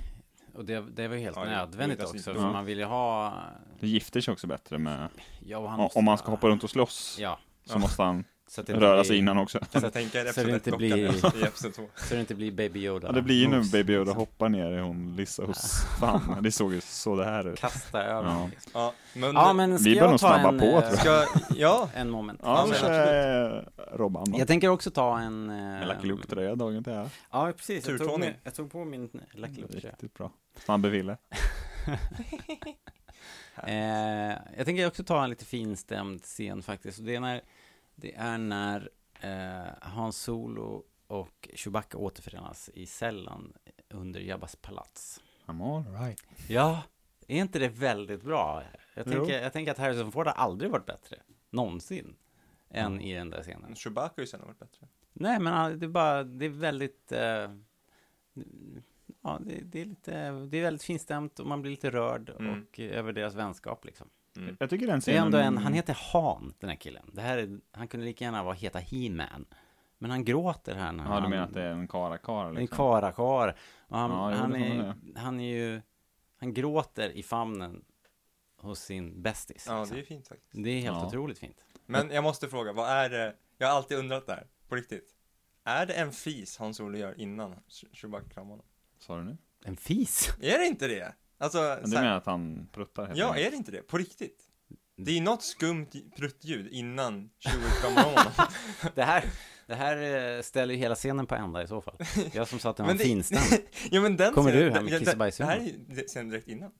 B: Och det, det var ju helt
D: Ja, det-
B: nödvändigt
D: det är
B: också,
D: dessutom-
B: för
C: Ja.
B: man vill ju ha...
C: Det gifter sig också bättre med...
B: Ja, och han
C: Om
B: måste-
C: om man ska hoppa runt och slåss
B: Ja,
C: så måste han
B: så att det inte
C: röra
B: blir-
C: sig innan också.
D: Kan du tänka er
B: Så det
D: episod 1
B: inte
D: dockan
B: blir-
D: i episod 2?
B: Så det inte blir Baby Yoda.
C: Ja, det blir ju nu
B: moves,
C: Baby Yoda
B: liksom.
C: hoppar ner i hon Lissos famn. Det såg ju så det här ut.
B: Kasta över.
C: Ja.
B: Ja.
D: Ja, men...
B: men ska
C: Vi bör
B: jag
C: nog
B: ta
C: snabba
B: en,
C: på,
B: eh,
C: tror
D: Ska, ja,
B: En moment. Alltså,
C: Ja,
D: men
C: kanske Robban då.
B: Jag tänker också ta en... eh,
C: Med Lucky Luke-tröja dagen till ära.
B: Ja, precis. Jag tog,
D: Turtåning.
B: med, jag tog på min Lucky Luke-tröja.
C: Riktigt bra. Snabbe Ville. Mm.
B: Eh, jag tänker också ta en lite finstämd scen faktiskt. Och Det är när, det är när eh, Hans Solo och Chewbacca återförenas i cellen under Jabbas palats.
C: I'm all right.
B: Ja, är inte det väldigt bra? Jag
C: Jo.
B: tänker, jag tänker att Harrison Ford har aldrig varit bättre, någonsin, än i den där scenen.
D: Chewbacca har ju sällan varit bättre.
B: Nej, men ah, det är bara, det är väldigt, eh, ja, det, det är lite, det är väldigt finstämt och man blir lite rörd
D: Mm.
B: och eh, över deras vänskap liksom.
C: Jag tycker den
B: Det är
C: scenen...
B: ändå en, han heter Han, den här killen. Det här är, han kunde lika gärna vara heta He-Man. Men han gråter här när
C: Ja,
B: han...
C: du menar att det är en karakar
B: En
C: liksom?
B: karakar. Och han,
C: Ja, jo,
B: han,
C: det får man
B: är, han är ju... Han gråter i famnen hos sin bästis.
D: Ja, det
B: liksom.
D: är ju fint faktiskt.
B: det är helt
C: Ja.
B: otroligt fint.
D: Men jag måste fråga, vad är det? Jag har alltid undrat det här, på riktigt. Är det en fis Hans Olo gör innan Che- Chewbacca kramar honom?
C: Sa du nu?
B: En fis?
D: Är det inte det? Alltså,
C: Men Du
D: så här-
C: menar att han pruttar helt
D: ja,
C: enkelt?
D: är det inte det? På riktigt?
B: Mm.
D: Det är ju något skumt pruttljud innan Chewbacca kramar om honom.
B: Det här, det här eh, ställer ju hela scenen på ända i så fall. Jag som sa att den var
D: Men det-
B: finstämd.
D: ja, men den
B: Kommer
D: scenen-
B: du här med
D: den-
B: kiss och
D: den-
B: bajsjumbo?
D: Det här är ju det- scenen direkt innan.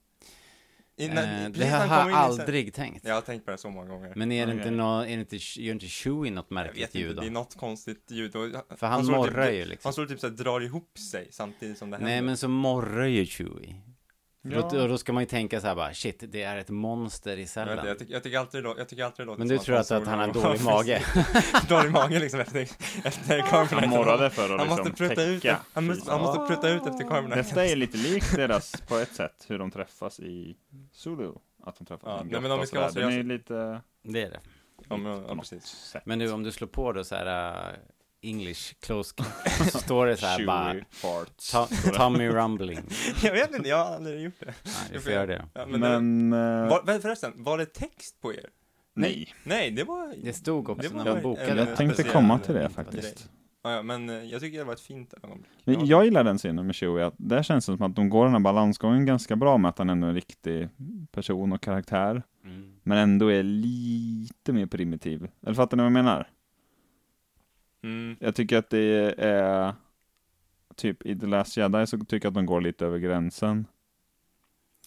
D: Innan-
B: Eh,
D: precis
B: Det här
D: när han
B: har
D: kommer
B: jag
D: in i scenen.
B: aldrig tänkt.
D: Jag har tänkt på det så många gånger.
B: Men är det
C: Okej.
B: inte, nå, är det inte, gör inte Chewie något
D: Jag vet
B: märkligt
D: inte,
B: ljud då?
D: det är något konstigt ljud. Och,
B: För han
D: står
B: morrar
D: typ,
B: ju liksom.
D: Han står typ såhär, drar ihop sig samtidigt som det händer.
B: Nej men så morrar ju Chewie.
C: Ja.
B: Då, och då ska man ju tänka så här bara, shit, det är ett monster i
D: jag, vet
B: cellen.
D: inte, jag, tycker, jag tycker alltid det lå- jag tycker alltid det låter
B: men du
D: som
B: tror
D: Hans
B: alltså att
D: Olo
B: han har en
D: var-
B: dålig mage?
D: dålig mage liksom efter, efter Carbonite.
C: Han morrade för att
D: Han måste
C: liksom
D: prutta ut,
C: täcka.
D: han måste, han måste prutta ut efter Carbonite.
C: Detta är lite likt deras, på ett sätt, hur de träffas i Zulu. Att de träffas
D: Ja,
C: i en
D: nej,
C: grotta
D: men om vi
C: och
D: ska vara
C: sådär. Den är ju
D: seriösa-
C: lite...
B: det är det.
D: Ja, men,
C: på
D: ja,
C: något
D: precis.
C: sätt.
B: Men du, om du slår på då så här eh, English close caption, så står det så här bara,
C: Chewy farts.
B: "Tu- Tummy rumbling.
D: Jag vet inte, jag har aldrig gjort det.
B: Nej, vi får göra det.
D: Ja, men
C: Men...
D: det
C: eh,
D: var, men förresten, var det text på er?
C: nej.
D: Nej, det var...
B: Det stod också
D: Det var
B: när man
D: väl-
B: bokade.
D: eller-
C: Jag tänkte
D: speciell-
C: komma till det faktiskt.
D: grej. Ja, ja, men eh, jag tycker det var ett fint ögonblick.
C: Men
D: Ja,
C: jag gillar den scenen med Chewie, att där känns det som att de går den här balansgången ganska bra med att han ändå är en riktig person och karaktär,
B: Mm.
C: men ändå är lite mer primitiv. Eller fattar ni vad jag menar?
D: Mm,
C: Jag tycker att det är, typ i The Last Jedi så tycker jag att de går lite över gränsen.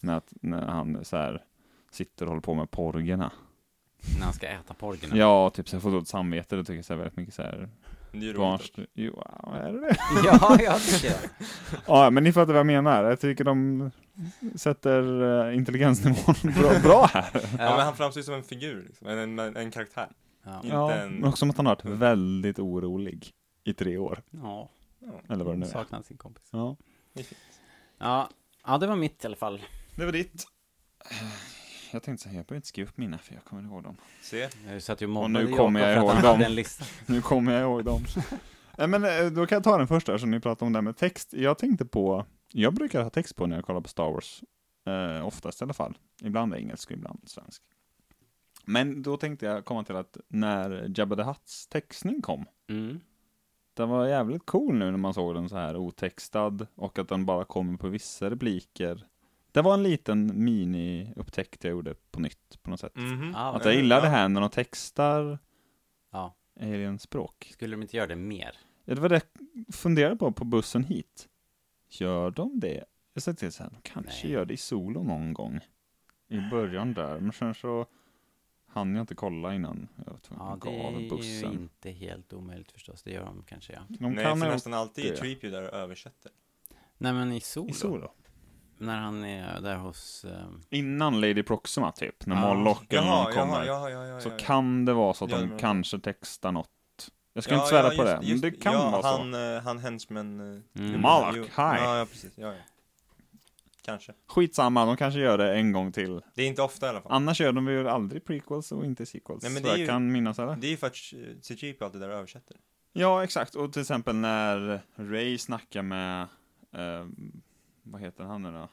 C: När, att, när han så här sitter och håller på med porgerna.
B: När han ska äta porgen.
C: Ja, typ så jag får dåligt samvete, då tycker jag så här väldigt mycket så här
D: det är ju roligt.
C: barns... Jo, ja, är det det?
B: ja, jag tycker det.
C: Ja, men ni fattar vad jag menar. Jag tycker de sätter eh, intelligensnivån bra, bra här.
D: Ja, men han framstår ju som en figur, liksom. en, en, en, en karaktär.
B: Ja.
D: Inte en...
C: men också som att han har varit väldigt orolig i tre år,
B: Ja,
C: eller vad det nu är.
B: saknar sin kompis.
C: Ja.
B: Ja, ja, det var mitt i alla fall.
C: Det var ditt. Jag tänkte säga, jag behöver inte skriva upp mina, för jag kommer ihåg dem.
D: Se.
B: Jag satt ju och
C: Och nu
B: mobbade Jakob
C: kommer jag
B: för att
C: ihåg
B: han
C: dem.
B: hade en lista.
C: Nu kommer jag ihåg dem. Nej, men eh, då kan jag ta den första, som ni pratade om det här med text. Jag tänkte på, jag brukar ha text på när jag kollar på Star Wars. Eh, oftast i alla fall. Ibland är det engelsk, ibland svensk. Men då tänkte jag komma till att när Jabba the Hutts textning kom,
B: Mm.
C: Den var jävligt cool nu när man såg den så här otextad och att den bara kommer på vissa repliker. Det var en liten mini-upptäckt jag gjorde på nytt på något sätt.
D: Mhm.
B: Mm. Ja,
C: Att jag
D: eh,
C: gillar
D: ja.
C: det här när de textar alienspråk.
B: Skulle de inte göra det mer?
C: Ja, det var det jag funderade på på bussen hit. Gör de det? Jag sa till så här, de kanske
B: Nej.
C: gör det i solo någon gång. I början där, men sen så hann jag inte kolla innan jag var tvungen
B: Ja,
C: att
B: det
C: gå av
B: är ju
C: bussen.
B: inte helt omöjligt förstås. Det gör de kanske, ja.
C: De
D: Nej,
C: kan
D: för
C: ha
D: nästan alltid är
C: det.
D: Treepy där och översätter.
B: Nej, men i solo.
C: i solo.
B: När han är där hos... eh,
C: Innan Lady Proxima typ, när
B: Ja.
C: Molochen
D: Jaha,
C: kommer.
D: jaha, jaha, jaha, jaha.
C: Så kan det vara så att
D: Ja,
C: de
D: men-
C: kanske textar något. Jag ska inte svära på det, men det kan
D: ja,
C: vara
D: han,
C: så.
D: eh, Han hemsmen... eh,
B: Mm.
D: jo,
C: Malak,
D: jo.
C: hi.
D: Ja, ja, precis. Ja, ja. Kanske.
C: Skitsamma, de kanske gör det en gång till.
D: Det är inte ofta i alla fall.
C: Annars gör de väl aldrig prequels och inte sequels.
D: Nej, men
C: så
D: det är
C: jag
D: ju-
C: kan minnas eller?
D: Det är ju för att eh, CGP alltid där och översätter.
C: Ja, exakt. Och till exempel när Ray snackar med, eh, vad heter han nu då?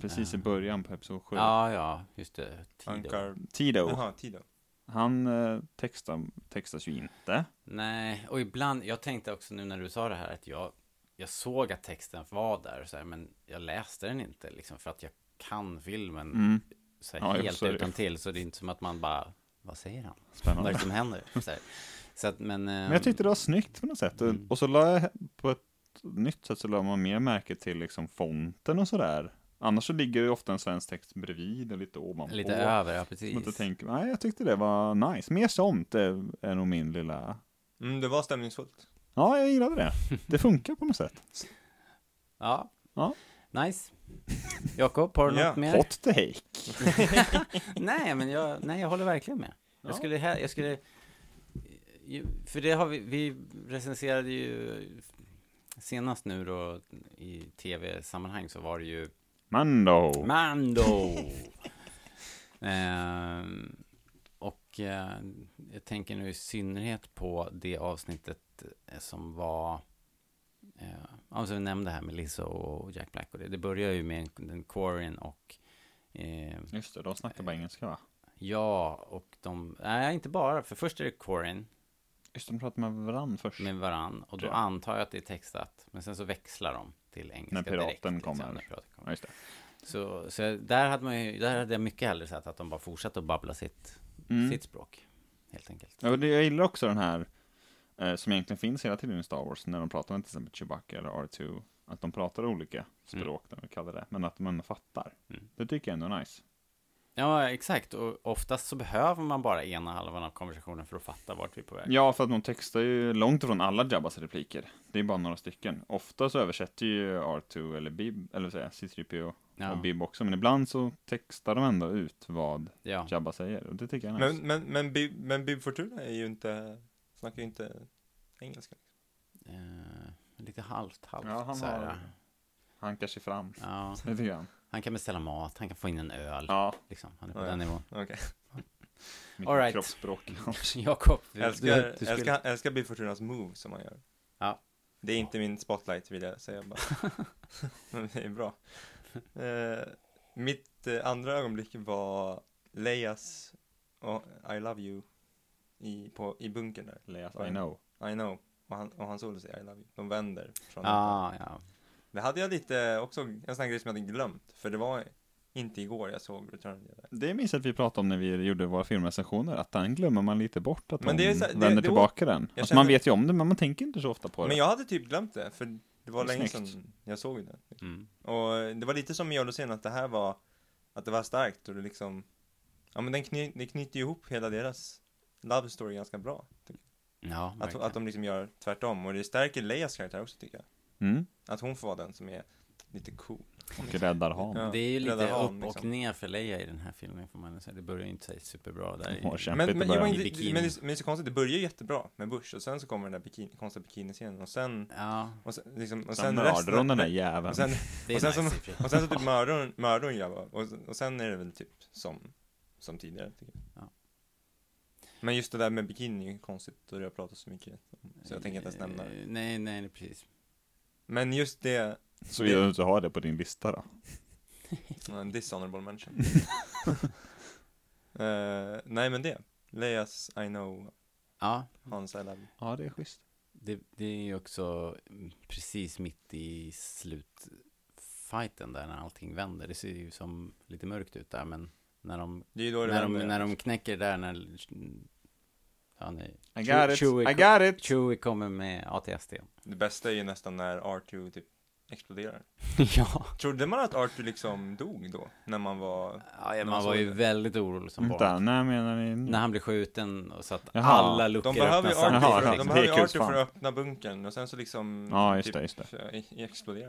C: Precis i
B: Eh.
C: början på Episod 7.
B: Ja, ja, just det. Tido.
D: Ankar...
C: Tido.
D: Jaha, Tido.
C: Han eh, textar, textas ju inte.
B: Nej, och ibland... Jag tänkte också nu när du sa det här att jag... Jag såg att texten var där, så här, men jag läste den inte liksom för att jag kan filmen
C: Mm.
B: så
C: Ja,
B: här,
C: jo,
B: helt
C: så är det.
B: utan till. Så det är inte som att man bara, vad säger han? Vad är
C: Spännande.
B: det som händer? Så, här. så att, men... ehm,
C: Men jag tyckte det var snyggt på något sätt. Och-
B: Mm.
C: Och så la jag på ett nytt sätt så la man mer märke till liksom fonten och sådär. Annars så ligger det ofta en svensk text bredvid och lite ovanpå.
B: Lite över, ja
C: Som inte
B: precis.
C: tänker, nej jag tyckte det var nice. Mer sånt är, är nog min lilla...
D: Mm, det var stämningsfullt.
C: Ja, jag gillade det. Det funkar på något sätt.
B: Ja.
C: Ja.
B: Nice. Jakob, har du
D: Ja.
B: något mer?
C: Hot take.
B: nej, men jag, nej, jag håller verkligen med.
C: Ja.
B: Jag skulle, här- jag skulle, ju- för det har vi, vi recenserade ju senast nu då i tv-sammanhang så var det ju
C: Mando.
B: Mando! Ehm, och eh, jag tänker nu i synnerhet på det avsnittet eh, som var eh, ja, som vi nämnde här med Lizzo och Jack Black och det. Det börjar ju med en, den Quarren och eh,
C: Just det, de snackar bara engelska va?
B: ja, och de, nej inte bara, för först är det Quarren
C: Just det, de pratar med varandra först.
B: med varann och då
C: Ja.
B: antar jag att det är textat, men sen så växlar de till engelska
C: När piraten
B: direkt, liksom,
C: kommer.
B: när piraten kommer.
C: Ja, just det.
B: Så, så jag- där, hade man ju, där hade jag mycket hellre sett att de bara fortsatte att babbla sitt,
C: Mm.
B: sitt språk. Helt enkelt.
C: Ja, och det- jag gillar också den här, eh, som egentligen finns hela tiden i Star Wars, när de pratar med till exempel Chewbacca eller R2, att de pratar olika språk, när vi kallar det, men att de ändå fattar.
B: Mm.
C: Det tycker jag ändå är nice.
B: Ja, exakt. Och oftast så behöver man bara ena halvan av konversationen för att fatta vart vi är på väg.
C: Ja, för att de textar ju långt ifrån alla Jabbas repliker. Det är bara några stycken. Ofta så översätter ju R2 eller Bib, eller vad säger jag, C3PO och Bib också, men ibland så textar de ändå ut vad
B: ja.
C: Jabba säger, och det tycker jag är nice.
D: Men, men, men, Bib, men Bib Fortuna är ju inte... Snackar ju inte engelska.
B: Eh, lite halvt, halvt.
C: Ja, han
B: så här.
C: har- Hankar sig fram,
B: ja.
C: lite grann.
B: Han kan beställa mat, han kan få in en öl.
C: Ja,
B: Liksom. Han är på
D: Ja, ja.
B: den nivån.
D: Okej.
C: mycket
B: All right.
C: kroppsspråk.
B: Jakob, du,
D: Älskar,
B: du, du skulle...
D: älskar, älskar Bill Fortunas move som han gör.
B: Ja.
D: Det är inte min spotlight vill jag säga bara. Men det är bra. Eh, mitt eh, andra ögonblick var Leias och I love you i, på, i bunkern där.
C: Leas, I know.
D: I know. Och han, och han solo säger I love you. De vänder. Från
B: Ja, ja.
D: Det hade jag lite också, en sån här grej som jag hade glömt. För det var inte igår jag såg Return of the Jedi.
C: Det minns jag att vi pratade om när vi gjorde våra filmrecensioner, att den glömmer man lite bort, att
D: Men
C: de
D: det är så- det-
C: vänder
D: det-
C: tillbaka den.
D: jag
C: Alltså
D: känner-
C: man vet ju om det, men man tänker inte så ofta på det.
D: Men jag hade typ glömt det, för det var
C: Det är
D: länge
C: snyggt.
D: sedan jag såg den.
B: Mm.
D: Och det var lite som med sen att det här var, att det var starkt och det liksom, ja men den kny, det knyter ju ihop hela deras love story ganska bra. tycker
B: Ja,
D: jag. Att,
B: verkligen.
D: att de liksom gör tvärtom och det stärker Leias karaktär också tycker jag.
C: Mm.
D: Att hon får vara den som är lite cool.
C: Och räddar Han.
D: Ja,
B: Det är ju lite
D: räddar Han,
B: upp
D: liksom.
B: och ner för Leia i den här filmen får man säga. Det börjar ju inte säga superbra där.
C: Hon har
B: i-
C: kämpat
D: Men,
C: i
D: men,
C: början.
D: men,
B: I
D: det-
B: bikini.
D: men, det, men det är så konstigt, det börjar jättebra med Bush och sen så kommer den där bikini, konstiga bikiniscenen och sen,
B: Ja,
D: och sen, liksom, och
C: Sen,
D: sen
C: mördar hon den där
D: och
C: jäveln.
D: sen,
B: det är
D: Och sen
B: nice
D: som-
B: i och för sig.
D: Och sen så typ mördar hon- mördar hon Jabba och, och sen är det väl typ som, som tidigare tycker jag.
B: Ja.
D: Men just det där med bikini är ju konstigt och det har pratat så mycket om, så jag tänker inte ens nämna det.
B: Eh, Nej, nej, nej, precis.
D: Men just det,
C: Såvida du inte har det på din lista då.
D: ja, en dishonorable mention. Eh, nej men det, Leias I know,
B: Ja,
D: Hans I love you.
C: Ja, det är schysst.
B: det, det är ju också mm, precis mitt i slutfighten där när allting vänder. Det ser ju som lite mörkt ut där, men när de,
D: Det är ju då det
B: när de,
D: vänder.
B: när de knäcker där när... Ja, nej.
C: I
B: Chewie-
C: got it,
B: Chewie
C: I
B: kom-
C: got it!
B: Chewie kommer med ATSD.
D: Det bästa är ju nästan när R2 typ exploderar.
B: ja.
D: Trodde man att R2 liksom dog då? När man var...
B: ja,
D: alltså,
B: man var ju väldigt orolig som barn.
C: Vänta, när menar ni nu?
B: När han blev skjuten och så att
C: Jaha.
B: alla luckor
D: De behöver ju
B: öppnas
D: R2
C: Jaha,
D: för,
C: ja.
D: de
B: samtidigt. liksom.
C: Det är kul
D: behöver ju R2 för
C: fan.
D: att öppna bunkern och sen så liksom...
C: Ja, just det, just det.
D: det. Explodera.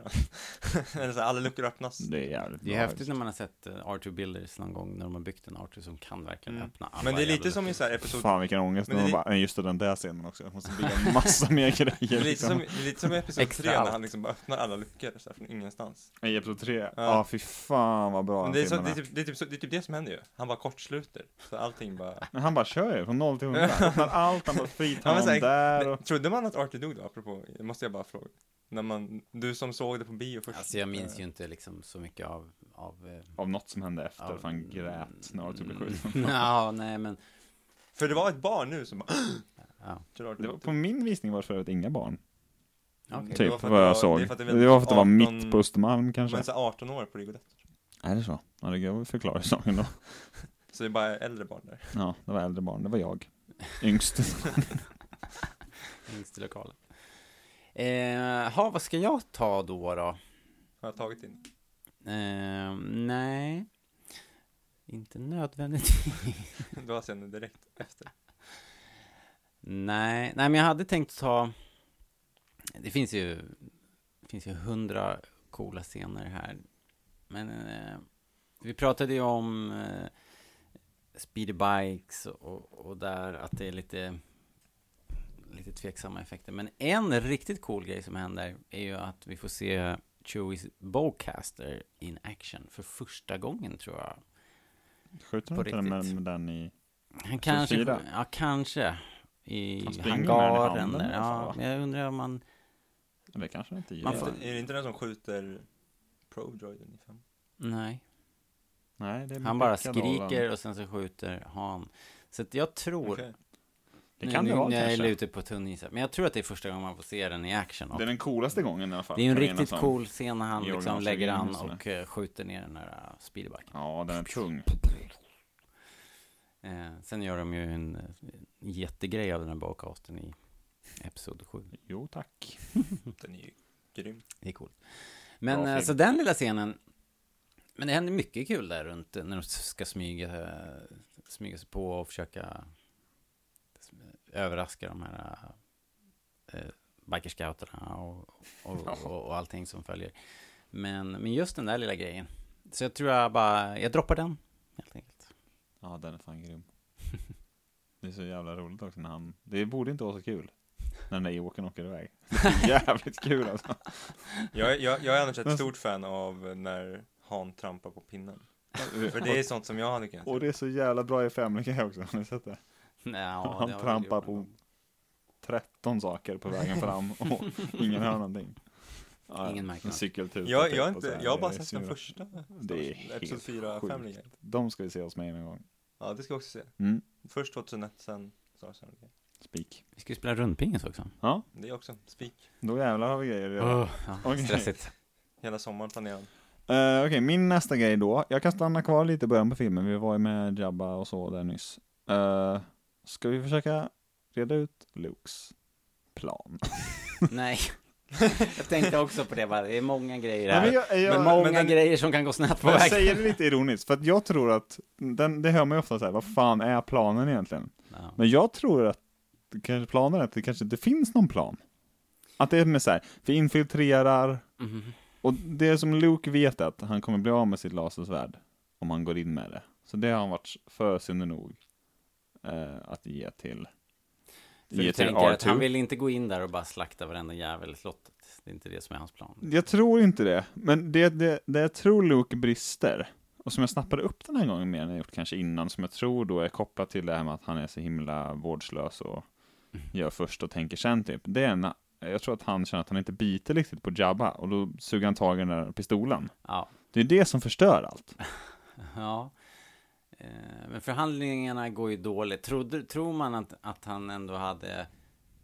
D: Eller så här, alla luckor öppnas.
C: Det är jävligt
B: Det är
C: bra.
B: häftigt när man har sett eh, R2 Builders någon gång när de har byggt en R2 som kan verkligen
D: Mm.
B: öppna alla
D: Men det är
B: jävla
D: lite som i
B: luckor.
D: så här episod
C: Fan vilken ångest
D: Men
C: när man
D: det-
C: bara, "Nej, just det, den där scenen också, jag måste bygga massa mer
D: Det
C: grejer
D: är lite som,
C: liksom.
D: det är lite som i episod
B: Extra
D: 3 när han
B: allt.
D: liksom bara öppnar alla luckor så här, från ingenstans.
C: I episod 3, ja
D: Ja.
C: ah, fy fan vad bra
D: Men
C: den
D: det, är så,
C: filmen är.
D: det, är typ, det, är typ, så- det är typ det som händer ju. Han bara kortsluter. Så allting bara...
C: Men han bara kör ju, från 0 till 100, öppnar allt, han bara fritar
D: typ- Ja, men så
C: honom
D: här,
C: där och...
D: Trodde man att Arthur dog då, apropå? Måste jag bara fråga. När man, du som såg det på bio först.
B: Alltså jag minns ju inte liksom så mycket av, av eh,
C: Av något som hände efter,
B: Ja.
C: för han grät när Arthur blev
D: Mm.
C: skjuten.
B: Ja, nej men
D: För det var ett barn nu som bara...
B: ja.
D: Till Arthur
C: Det var,
D: dog.
C: på min visning var det förut inga barn,
B: Okej.
D: Det var
C: typ,
D: för att
C: vad
D: det var-
C: jag såg.
D: det är
C: Det
D: för att det är väl
C: var för att det var
D: 18
C: mitt på Östermalm kanske.
D: Men så 18 år på Rigoletto.
C: Är det så? Ja, det förklarar ju saken då.
D: Så det är bara äldre barn där.
C: Ja, det var äldre barn, det var jag. Yngst.
B: Minst i lokalen. Eh, ha, vad ska jag ta då då?
D: Har jag tagit in.
B: Eh, nej, inte nödvändigtvis.
D: Du har sen direkt efter.
B: nej, nej men jag hade tänkt ta, det finns ju, det finns ju hundra coola scener här. Men eh, vi pratade ju om eh, speedy bikes och, och där att det är lite, lite tveksamma effekter. Men en riktigt cool grej som händer är ju att vi får se Chewies Bowcaster in action för första gången tror jag.
C: Skjuter
B: På
C: de inte den med,
B: riktigt.
C: med den i...
B: Han kanske,
C: fyra.
B: ja kanske. I
C: Han springer med den i
B: hangaren
C: handen
B: där.
C: i alla fall,
B: Ja,
C: va?
B: men jag undrar om man...
C: Eller kanske inte i...
B: Man
D: är,
B: får-
D: det, är det inte den som skjuter Prodroiden i fem?
B: Nej.
C: Nej, det är
B: Han bara
C: Rebecca Nolan.
B: skriker och sen så skjuter han. Så att jag tror...
D: Okej.
C: Det kan det
B: nu,
C: vara
B: nu är
C: kanske.
B: jag ute på tunn is här, Men jag tror att det är första gången man får se den i action. Och
C: Det är den coolaste gången i alla fall.
B: det är ju en
C: kan jag
B: riktigt
C: enas om.
B: cool scen när han
C: Jorgen
B: liksom
C: och
B: lägger
C: Sergej
B: an
C: Nilsson.
B: och eh, skjuter ner den där eh, speedbacken.
C: Ja, den är tung.
B: Eh, sen gör de ju en eh, jättegrej av den här bowcasten i Episod 7.
C: Jo tack.
D: Den är ju grym.
B: Det är coolt. Men
C: Bra
B: eh,
C: film.
B: så den lilla scenen. Men det händer mycket kul där runt eh, när de ska smyga, eh, smyga sig på och försöka eh, överraska de här eh, biker-scouterna och, och, och, och allting som följer. Men, men just den där lilla grejen. Så jag tror jag bara, jag droppar den helt enkelt.
C: Ja, den är fan grym. Det är så jävla roligt också när han... Det borde inte vara så kul. När den där Ewokern åker iväg. Det är jävligt kul alltså.
D: Jag, jag, jag är annars ett stort fan av när Han trampar på pinnen. För det är sånt som jag hade kunnat
C: Och det är så jävla bra i Family Guy också, har ni sett det?
B: Ja, det har jag
C: han
B: väl
C: trampar
B: gjort någon
C: på
B: gång.
C: 13 saker på vägen fram och ingen hör någonting. Ja,
B: Ingen märker
C: en
B: något.
C: cykeltuta
D: Jag,
C: typ
D: jag, har
C: och så
D: inte,
C: här,
D: jag har bara
C: det är
D: sett den
C: sura.
D: första.
C: Det är helt
D: Episod 4,
C: sjukt.
D: Family Guy.
C: De ska vi se oss med en gång.
D: Ja, det ska jag också se.
C: Mm,
D: Först 2001, sen Star Wars Family Guy.
C: spik.
B: Vi ska ju spela rundpingis också.
C: Ja,
D: Det är också spik.
C: då jävlar har vi grejer redan.
B: Åh, ja,
C: Okej.
B: Stressigt.
D: Hela sommaren planerad.
C: Eh, Okej, min nästa grej då. Jag kan stanna kvar lite i början på filmen. Vi var ju med Jabba och så där nyss. Eh, ska vi försöka reda ut Lukes plan?
B: Nej. jag tänkte också på det bara. Det är många grejer här.
C: Nej, men jag, jag,
B: Men många
D: men den-
B: grejer som kan gå snett på
C: jag
B: vägen.
C: säger det lite ironiskt, för att jag tror att, den, det hör man ju ofta så här, vad fan är planen egentligen?
B: Ja.
C: Men jag tror att kanske planen är att det kanske inte finns någon plan. Att det är med så här, vi infiltrerar,
B: Mhm.
C: och det som Luke vet är att han kommer bli av med sitt lasersvärd om han går in med det. Så det har han varit förutseende nog eh, att ge till,
B: För
C: ge
B: du
C: till
B: tänker
C: R2.
B: att han vill inte gå in där och bara slakta varenda jävel i slottet. Det är inte det som är hans plan.
C: Jag tror inte det, men det, det, det jag tror Luke brister, och som jag snappade upp den här gången mer än jag gjort kanske innan, som jag tror då är kopplat till det här med att han är så himla vårdslös och
B: Mm.
C: gör först och tänker sen typ. Det är en, jag tror att han känner att han inte biter riktigt på Jabba, och då suger han tag i den där pistolen.
B: Ja.
C: Det är det som förstör allt.
B: ja. Eh, Men förhandlingarna går ju dåligt. Trodde, tror man att, att han ändå hade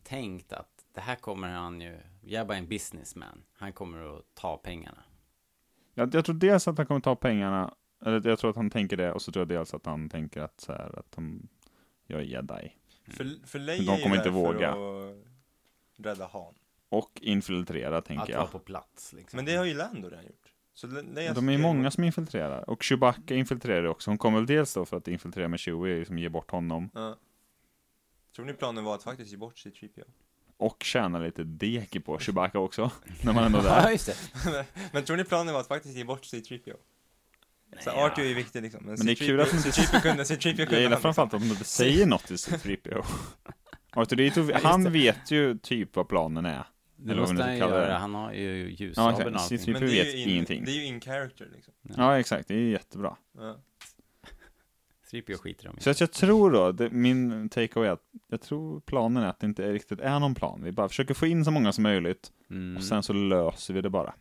B: tänkt att det här kommer han ju... Jabba är en businessman. Han kommer att ta pengarna.
C: Jag, jag tror dels att han kommer ta pengarna, eller jag tror att han tänker det, och så tror jag dels att han tänker att så här, att han, jag är jedi.
D: För, för Leia
C: Mm. Men de
D: är ju
C: kommer inte
D: där
C: våga.
D: för att rädda Han.
C: Och infiltrera, tänker
B: Att
C: jag.
B: vara på plats liksom.
D: Men det har ju Lando redan gjort. Så Le- Leias
C: De är ju
D: grej-
C: många som infiltrerar. Och Chewbacca infiltrerar också. Hon kommer väl dels då för att infiltrera med Chewie, liksom ge bort honom.
D: Ja. Tror ni planen var att faktiskt ge bort sitt 3PO?
C: Och tjäna lite deki på Chewbacca också. när man ändå är där.
B: Ja, just det.
D: Men tror ni planen var att faktiskt ge bort sitt 3PO? Så Arthur är ju viktig liksom. Men,
C: Men det är
D: C-3PO
C: kul att-
D: C-3PO kunde, C-3PO kunde
C: Jag gillar
D: han.
C: framförallt om de inte säger något till C-3PO. Arthur Dito,
B: det.
C: han vet ju typ vad planen är.
B: Det
C: Eller vad man
B: måste
C: nu
B: han
C: kallar det.
B: göra. Han har ju
C: Ja,
B: ljussabeln
C: exakt.
B: och allting.
C: C-3PO
D: Men det är
C: vet
D: ju in,
C: ingenting.
D: Det är ju in character liksom.
C: Ja, exakt. Det är jättebra.
D: Ja.
B: C-3PO skiter de i.
C: Så att jag tror då, det, min takeaway är att jag tror planen är att det inte riktigt är någon plan. Vi bara försöker få in så många som möjligt
B: Mm.
C: och sen så löser vi det bara.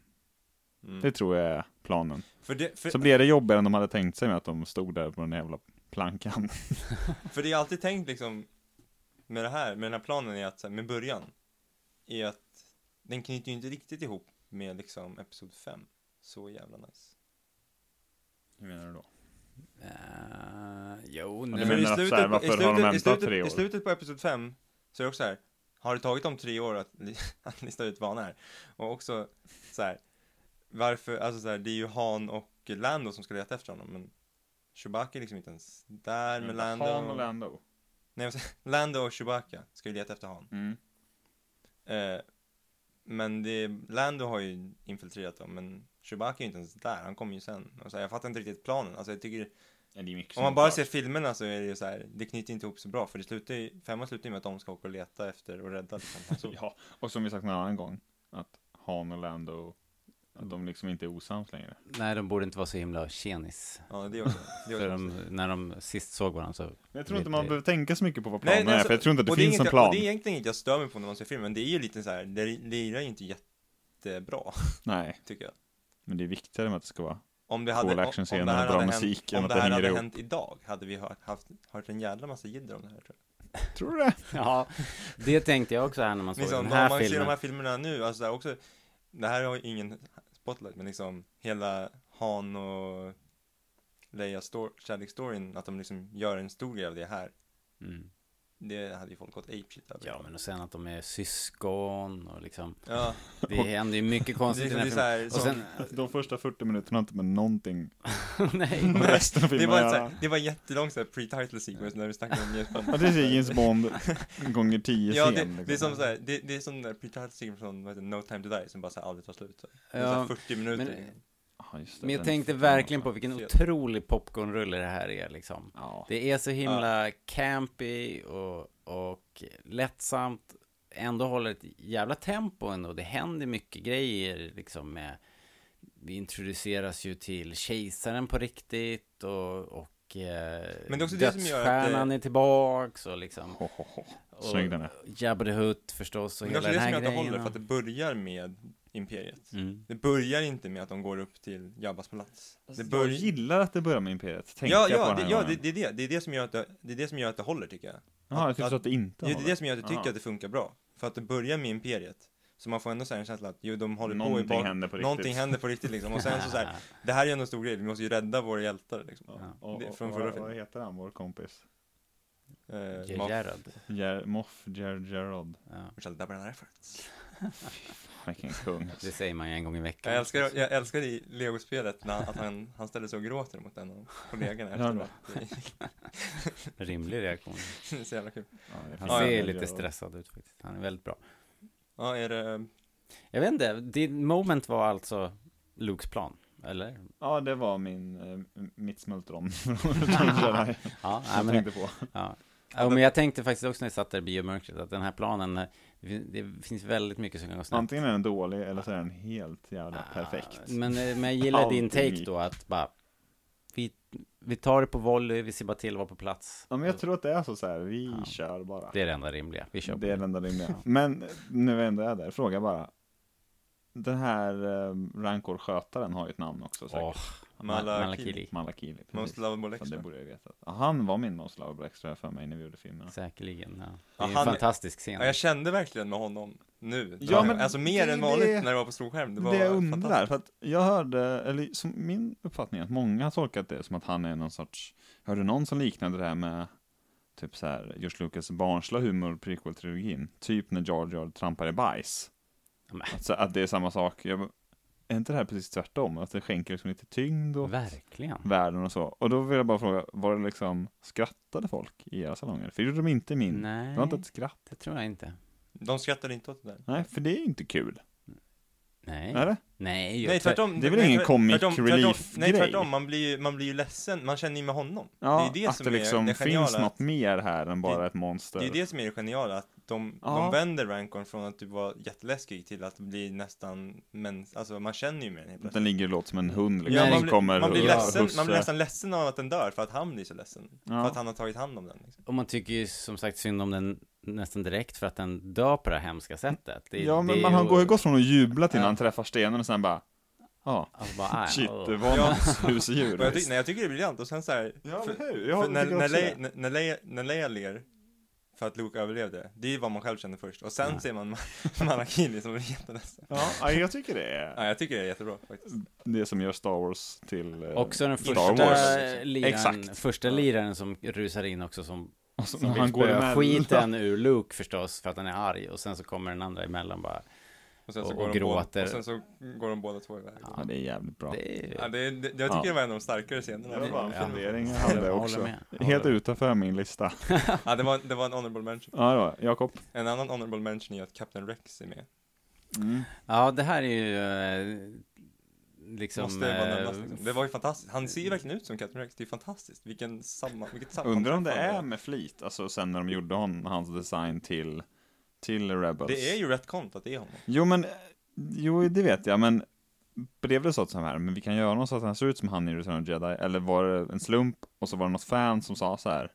D: Mm.
C: Det tror jag är planen.
D: För, det, för,
C: Så blir det jobbigare än de hade tänkt sig med att de stod där på den jävla plankan.
D: för det jag alltid tänkt liksom med det här, med den här planen är att så här, med början är att den knyter ju inte riktigt ihop med liksom Episod 5. Så jävla nice.
C: Hur menar du då?
B: Eh, jo,
C: Du
B: nej,
D: För
C: menar
D: i
C: att
D: slutet,
C: så här, varför
D: i
C: har
D: slutet,
C: de
D: i
C: väntat
D: slutet,
C: tre år?
D: I slutet på Episod 5 så är det också så här, har det tagit dem tre år att, li- att lista ut vad han är? Och också så här, varför, alltså så här, det är ju Han och Lando som ska leta efter honom, men Chewbacca är liksom inte ens där med Lando.
C: Han och Lando.
D: Nej, vad säger jag? Lando och Chewbacca ska ju leta efter Han.
C: Mm.
D: Eh, men det, Lando har ju infiltrerat dem, men Chewbacca är ju inte ens där, han kommer ju sen. Och så här, jag fattar inte riktigt planen, alltså jag tycker
C: Ja, det är mycket
D: om man bara ser filmerna så är det ju så här, det knyter inte ihop så bra för det slutar ju, femman slutar ju med att de ska åka och leta efter och rädda liksom. Alltså,
C: Ja, och som vi sagt någon annan gång, att Han och Lando, att de liksom inte är osams längre.
B: nej, de borde inte vara så himla tjenis.
D: ja, det är också. Det är
B: För
D: också.
B: de, när de sist såg varandra så...
C: Men jag tror inte
B: Lite-
C: man behöver tänka så mycket på vad planen är, för jag tror inte att det
D: alltså- och
C: finns
D: är
C: någon
D: inget-
C: plan.
D: Och det är egentligen inte jag stör mig på när man ser filmen, det är ju lite så här, det lirar ju inte jättebra,
C: Nej,
D: tycker jag.
C: men det är viktigare med att det ska vara
D: Om det hade,
C: Cool
D: om,
C: actionscener
D: om det här
C: och bra
D: hade
C: musik
D: hänt,
C: än
D: om
C: att
D: det
C: det
D: här
C: hänger
D: hade
C: ihop.
D: hänt idag, hade vi hört, haft, hört en jävla massa jidder om det här tror jag.
C: Tror du det?
B: Ja, det tänkte jag också här när man såg
D: Liksom,
B: Alltså, den
D: om
B: här
D: man ser
B: filmen.
D: de här filmerna nu, alltså det här också, det här har ju ingen spotlight, men liksom hela Han och Leia stor- kärleksstoryn, att de liksom gör en stor grej av det här,
B: Mm.
D: det hade ju folk gått apeshit över.
B: Ja, men och sen att de är syskon och liksom...
D: ja
B: Det händer ju mycket
D: det är
B: konstigt i
D: liksom,
B: den
D: det
B: här
D: är så
B: filmen.
D: här,
B: Och
D: som-
B: sen...
C: De första 40 minuterna har inte med någonting
B: nej.
C: med resten av
D: det
C: filmen
D: var,
C: att
D: en så
C: göra.
D: här, det var en jättelång så här pre-title sequence när vi snackade om James
C: Ja,
D: Bond.
C: det är James Bond gånger 10
D: Ja,
C: scen.
D: det,
C: liksom.
D: det är som så här, det, det är som den där pre-title sequence från vad heter, det, No Time To Die som bara så här aldrig tar slut. Så. Det är så här
B: Ja,
D: 40 minuter.
B: men-
D: liksom.
C: Ja, just det,
B: Men jag
C: den
B: tänkte
C: filmen
B: verkligen
C: också.
B: på vilken
D: Fel.
B: otrolig popcornrulle det här är liksom.
C: Ja.
B: Det är så himla campy och, och lättsamt. Ändå håller ett jävla tempo ändå. Det händer mycket grejer liksom med... Vi introduceras ju till kejsaren på riktigt och, och eh,
D: Men det är också det som gör att eh, det-
B: dödsstjärnan är tillbaks och liksom...
C: Ho, ho, ho.
B: Och
C: Snygg den är.
B: Jabba the Hutt förstås och
D: Men det är
B: hela
D: också
B: den
D: det som
B: här
D: jag inte
B: grejen.
D: håller för
B: och-
D: att det börjar med Imperiet.
B: Mm.
D: Det börjar inte med att de går upp till Jabbas palats. Det
C: Jag
D: börjar...
C: gillar att det börjar med Imperiet. Tänkte
D: Ja,
C: jag på
D: ja,
C: den
D: det,
C: här
D: ja
C: gången.
D: det, det, är det. Det, är det, som gör att det, det är det som gör att det håller tycker jag.
C: Jaha, jag tyckte
D: att-
C: så att det inte
D: Det är
C: har
D: det, det som gör att jag
C: Jaha.
D: tycker att det funkar bra. För att det börjar med Imperiet. Så man får ändå så här en känsla att jo, de håller på i
C: Någonting
D: bak-
C: händer på riktigt.
D: Någonting händer på riktigt liksom. Och sen så, så här, det här är ju ändå en stor grej, vi måste ju rädda våra hjältar liksom.
C: Ja.
D: Ja.
C: Och,
D: Det-
C: och,
D: från
C: och,
D: förra
C: vad-
D: filmen.
C: vad heter han, vår kompis?
D: Eh,
B: Ja,
D: Moff-
B: Gerard.
C: Ger, Moff Ger, Gerard.
B: Ja.
D: Michelle Dabberna Reference.
C: Vilken kung.
B: Det säger man ju en gång i veckan.
D: Jag älskar, jag älskar i Lego-spelet när han, att han, han ställer sig och gråter mot en av kollegorna
C: Ja,
D: efteråt.
C: bra.
B: Rimlig reaktion.
D: Det är så jävla kul.
B: Han
D: Ja,
B: ser
D: ja,
B: lite stressad ut faktiskt. Han är väldigt bra.
D: Ja, är det...
B: Jag vet inte, din moment var alltså Lukes plan, eller?
C: Ja, det var min, eh, mitt smultron. från Return of Jedi,
B: Ja, nej,
C: jag
B: men,
C: tänkte på.
B: ja. ja, men jag tänkte faktiskt också när jag satt där i biomörkret att den här planen, eh, det fin- det finns väldigt mycket som kan gå snett.
C: Antingen är den dålig eller så är den helt jävla
B: Ah,
C: perfekt.
B: Men, eh, men jag gillar din
C: Allting.
B: take då att bara, vi, vi tar det på volley, vi ser bara till att vara på plats.
C: Ja, men jag tror att det är så, så här. vi
B: Ja.
C: kör bara.
B: Det är det enda rimliga, vi kör på
C: Det är
B: det.
C: den enda rimliga.
B: Ja.
C: Men nu ändå är jag där, fråga bara. Den här eh, rankorskötaren har ju ett namn också säkert.
B: Åh,
D: Malakili.
B: Malakili.
C: Malakili. precis.
D: Most lovable
C: Så det
D: extra.
C: borde jag ju veta. Ja, han var min Most Lovable Extra för mig när vi gjorde filmerna.
B: Säkerligen, ja. Det
D: Ja,
B: är en
D: han-
B: fantastisk scen.
D: Ja, jag kände verkligen med honom nu.
C: Ja,
D: Ja,
C: men
D: alltså mer
C: det-
D: än vanligt
C: det-
D: när det var på storskärm. Det
C: Det,
D: var
C: jag undrar,
D: fantastiskt.
C: för att jag hörde, eller som min uppfattning är att många har tolkat det som att han är någon sorts, hörde någon som liknade det här med typ så här, George Lucas barnsliga humor, prequel-trilogin. Typ när Jar Jar trampar i bajs.
B: Men.
C: Att, så, att det är samma sak. Jag, bara, är inte det här precis tvärtom? Att det skänker liksom lite tyngd och
B: Verkligen.
C: världen och så. Och då vill jag bara fråga, var det liksom, skrattade folk i era salonger? För det gjorde de inte i min.
B: Nej,
C: Det var Mm. inte ett skratt.
B: det tror jag inte.
D: De skrattade inte åt det där.
C: Nej, för det är ju inte kul.
B: Nej.
C: Är det?
B: Nej,
D: Nej, tvärtom.
C: det är väl
D: Nej,
C: ingen
D: tvär-
C: comic
D: tvärtom-
C: relief
D: Nej,
C: grej.
D: tvärtom. Man blir ju, man blir ju ledsen. Man känner ju med honom.
C: Ja,
D: det är det
C: att
D: som
C: det liksom
D: är det geniala.
C: finns något mer här än bara ett monster.
D: Det är det som är det geniala, att de,
C: Ja.
D: de vänder Rancorn från att typ vara jätteläskig till att bli nästan, men, alltså man känner ju med den helt
C: Den
D: plötsligt.
C: ligger och låter som en hund liksom.
D: Ja,
C: som
D: man, blir,
C: kommer
D: man, blir
C: och
D: ledsen, man
C: hussar.
D: blir nästan ledsen av att den dör för att han blir så ledsen.
C: Ja.
D: För att han har tagit hand om den. Liksom.
B: Och man tycker ju som sagt synd om den nästan direkt för att den dör på det här hemska sättet. Det,
C: Ja, men
B: det
C: man,
B: är
C: han går ju gått från att jubla till när
B: Ja.
C: han träffar stenen och sen bara, ja,
B: Alltså bara, aj,
C: shit,
B: åh.
C: det var
D: Ja.
C: något husdjur.
D: Och jag, tyck, nej, jag tycker det är briljant och sen så här,
C: Ja,
D: för-
C: eller hur? Ja,
D: för
C: jag
D: när,
C: tycker
D: när,
C: också
D: Leia,
C: det.
D: när, Leia, när Leia ler för att Luke överlevde, det är ju vad man själv känner först. Och
C: Mm.
D: sen
B: Ja.
D: ser man Manakini som blir jätteledsen.
C: Ja, ja, jag tycker det är
D: Ja, jag tycker det är jättebra faktiskt.
C: det som gör Star Wars till eh,
B: Också den
C: Star
B: första
C: Wars.
B: liraren,
C: Exakt.
B: första liraren som rusar in också som,
C: Och så,
B: som
C: när han
B: vill
C: går
B: spöa
C: emellan.
B: skiten ur Luke förstås för att han är arg och sen så kommer den andra emellan bara.
D: Och sen
B: Och-
D: så,
B: och
D: går, de
B: gråter.
D: Båda, och sen så går de båda två iväg.
C: Ja, det är jävligt bra.
B: Det är...
D: Ja, det, det, jag tycker
C: Ja.
D: det var en av de starkare scenerna.
C: Det var bara en
B: Ja.
C: fundering jag
B: Jag
C: hade
B: håller
C: också.
B: med. Jag
C: Helt
B: håller
C: utanför min lista.
D: Ja, det var, det var en honorable mention.
C: Ja, det var det. Jakob.
D: En annan honorable mention är att Captain Rex är med.
C: Mm.
B: Ja, det här är ju eh, liksom...
D: Måste bara
B: eh,
D: nämnas, liksom. Det var ju fantastiskt. Han ser ju verkligen ut som Captain Rex. Det är fantastiskt. Vilken samma, vilket
C: Undrar om det
D: sammanträffande.
C: är med flit, alltså sen när de gjorde hon, hans design till, till Rebels.
D: Det är ju rätt kont att det är honom.
C: Jo men, eh, jo det vet jag, men blev det så att så här, men vi kan göra något så att han ser ut som han i Return of the Jedi, eller var det en slump och så var det något fan som sa så här,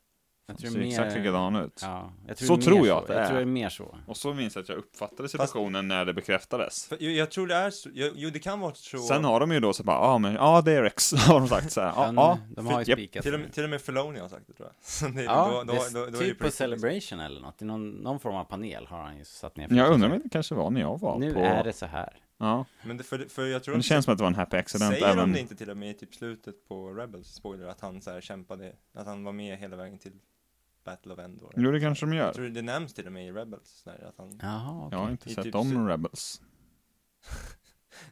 B: jag
C: ser
B: tror mer-
C: exakt likadan ut.
B: Ja, jag tror
C: Så
B: det är
C: tror
B: mer
C: jag
B: så.
C: att det
B: Jag
C: är.
B: tror det är mer så.
C: Och så minns jag att jag uppfattade situationen när det bekräftades.
D: För, jag, jag tror det är så. Jag, jo, det kan vara så.
C: Sen har de ju då så bara, ja ah, men, ja ah, det är Rex, har de sagt så här, ja,
B: Men,
C: ja.
B: de har ju
C: japp.
B: spikat.
D: till, och med, till och med Filoni har sagt det tror jag. Så det,
B: Ja,
D: då-
B: det
D: då-
B: s-
D: då- då är det
B: typ på
D: riktigt,
B: Celebration eller något. I någon, någon form av panel har han ju satt ner.
C: Jag undrar om det kanske var när jag var
B: Nu
C: på...
B: är det så här.
C: Ja,
D: liksom. Men det, för, för jag tror
C: men det känns som att det var en happy accident
D: Säger
C: även...
D: de det inte till och med i typ slutet på Rebels spoiler att han så här kämpade, att han var med hela vägen till Battle of Endor?
C: Jo det kanske de
D: Jag
C: gör.
D: tror det nämns till och med i Rebels, så här, att han...
B: Jaha, okej.
C: Jag har inte
D: I
C: sett
D: typ
C: om
D: sy-
C: Rebels.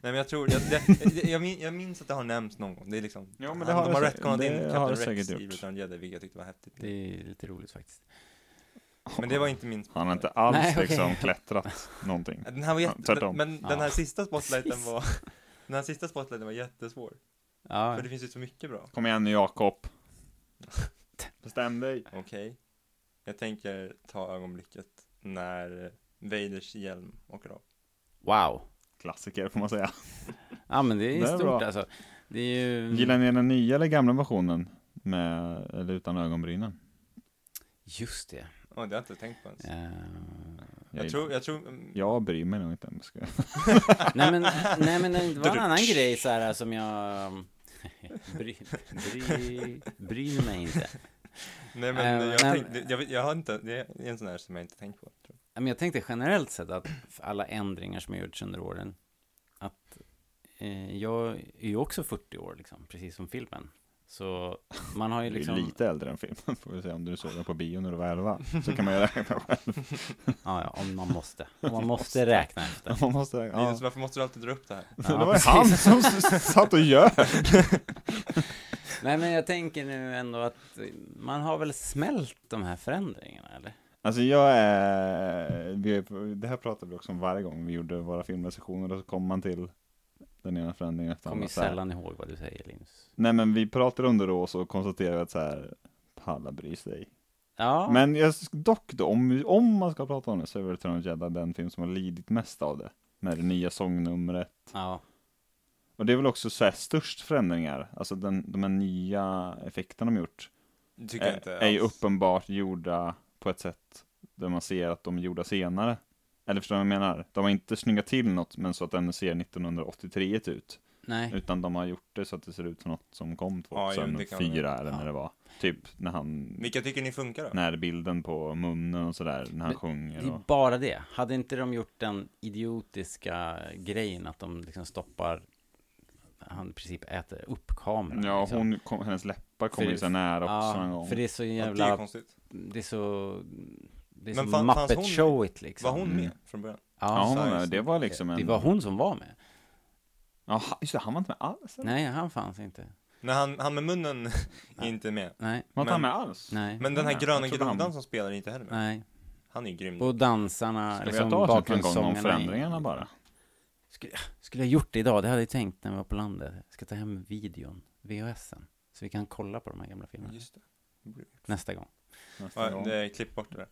D: Nej men jag tror, jag, det, jag, min, jag minns att det har nämnts någon gång, det är liksom
C: Ja, men det
D: han-
C: har det
D: De har
C: säkert-
D: retconat in
C: det har det
D: Captain Rex
C: säkert
D: i
C: gjort.
D: Return of the Jedi, vilket jag tyckte var häftigt
B: Det är lite roligt faktiskt.
D: Men det var inte min
C: Han har inte alls
B: Nej, okej.
C: liksom klättrat någonting.
D: Den här var
C: Ja,
D: jätte...
C: tvärtom.
D: men
B: Ja.
D: den här sista spotlighten var Den här sista spotlighten var jättesvår,
B: Ja,
D: för det finns ju så mycket bra
C: Kom igen nu Jakob. Bestäm dig.
D: Okej Jag tänker ta ögonblicket när Vaders hjälm åker av
B: wow.
C: Klassiker får man säga.
B: Ja, men det är,
C: Det är
B: stort
C: bra.
B: alltså. Det är ju...
C: Gillar ni den nya eller gamla versionen? Med, eller utan ögonbrynen?
B: Just det.
D: Åh, det har jag inte tänkt på ens
B: Eh,
D: Jag, tror, jag tror mm,
C: jag bryr mig nog inte. om jag Ska...
B: nej, men, nej, men det var en annan grej så här som jag... bry, bry, bryr mig inte.
D: Nej men
B: Eh,
D: jag,
B: men-
D: tänkte, jag, vet- jag har inte, det är en sån här som jag inte tänkt på tror
B: Ja, Men jag tänkte generellt sett att för alla ändringar som har gjorts under åren, att eh, jag är ju också 40 år liksom, precis som filmen. Så man har ju
C: Du är
B: liksom...
C: lite äldre än filmen, får vi se om du såg den på bio när du var 11. Så kan man ju räkna själv.
B: Ja, ja, om man måste. Om man måste räkna efter.
C: Man måste,
D: jag
C: ja.
D: Linus, varför måste du alltid dra upp det här?
C: det var ju
B: precis.
C: han som s- satt och gör.
B: Nej, men jag tänker nu ändå att man har väl smält de här förändringarna, eller?
C: Alltså jag är, vi, är- det här pratar vi också om varje gång vi gjorde våra filmrecensioner och så kom man till den ena förändringen efter
B: Kommer ju
C: så här.
B: sällan ihåg vad du säger, Linus.
C: Nej men vi pratade om det då och så konstaterade vi att så här, palla bry sig.
B: Ja,
C: Men jag, dock då, om, vi- om man ska prata om det så är väl Return of the Jedi den film som har lidit mest av det. Med det nya sångnumret.
B: ja,
C: Och det är väl också så här störst förändringar, alltså den, de här nya effekterna de gjort.
D: Det tycker jag
C: är-
D: inte
C: Är ju
D: alls.
C: uppenbart gjorda på ett sätt där man ser att de är gjorda senare. Eller förstår du vad jag menar? De har inte snyggat till något men så att den ser 1983 ut.
B: nej.
C: Utan de har gjort det så att det ser ut som något som kom
D: Ja, jo, det kan
C: 2004
D: vara.
C: eller när
B: Ja.
C: det var. Typ när han,
D: Vilka tycker ni funkar då?
C: när bilden på munnen och sådär, när han
B: Men Det
C: sjunger
B: är
C: och...
B: bara det. Hade inte de gjort den idiotiska grejen att de liksom stoppar han i princip äter upp kameran.
C: Ja,
B: liksom.
C: hon kom, hennes läppar kommer
B: För-
C: ju så här nära
B: Ja,
C: också en gång.
B: för det är så
D: Ja, Det är
B: jävla,
D: konstigt.
B: det är så, det är
D: Men
B: så
D: fan- fanns
B: Muppet
D: hon-
B: Showigt liksom.
D: Var hon med från början?
C: Ja, hon
D: så
C: var
D: är det
C: med.
D: så.
C: Det var liksom en...
B: alltså, det var hon som var med.
C: Ja, ha- just det, han var inte med alls. eller?
B: Nej, han fanns inte.
D: Nej, han, han med munnen är inte med.
B: Nej,
C: Var inte han
D: Men-
C: med alls?
B: nej,
D: Men den här
C: Nej,
D: gröna
C: jag trodde han-
D: grodan som spelar är inte heller med.
B: nej.
D: Han är ju grym.
B: Och dansarna,
C: Ska vi
B: liksom
C: göra ett avsnitt någon gång om
B: bakgrundssångarna.
C: förändringarna bara?
B: Skulle, skulle jag gjort det idag, det hade jag tänkt när vi var på landet. Jag ska ta hem videon, VHSen. Så vi kan kolla på de här gamla filmerna
D: Just det. det. borde vi.
B: nästa gång.
C: Nästa
D: Ja,
C: gång.
D: det- klipp bort det där.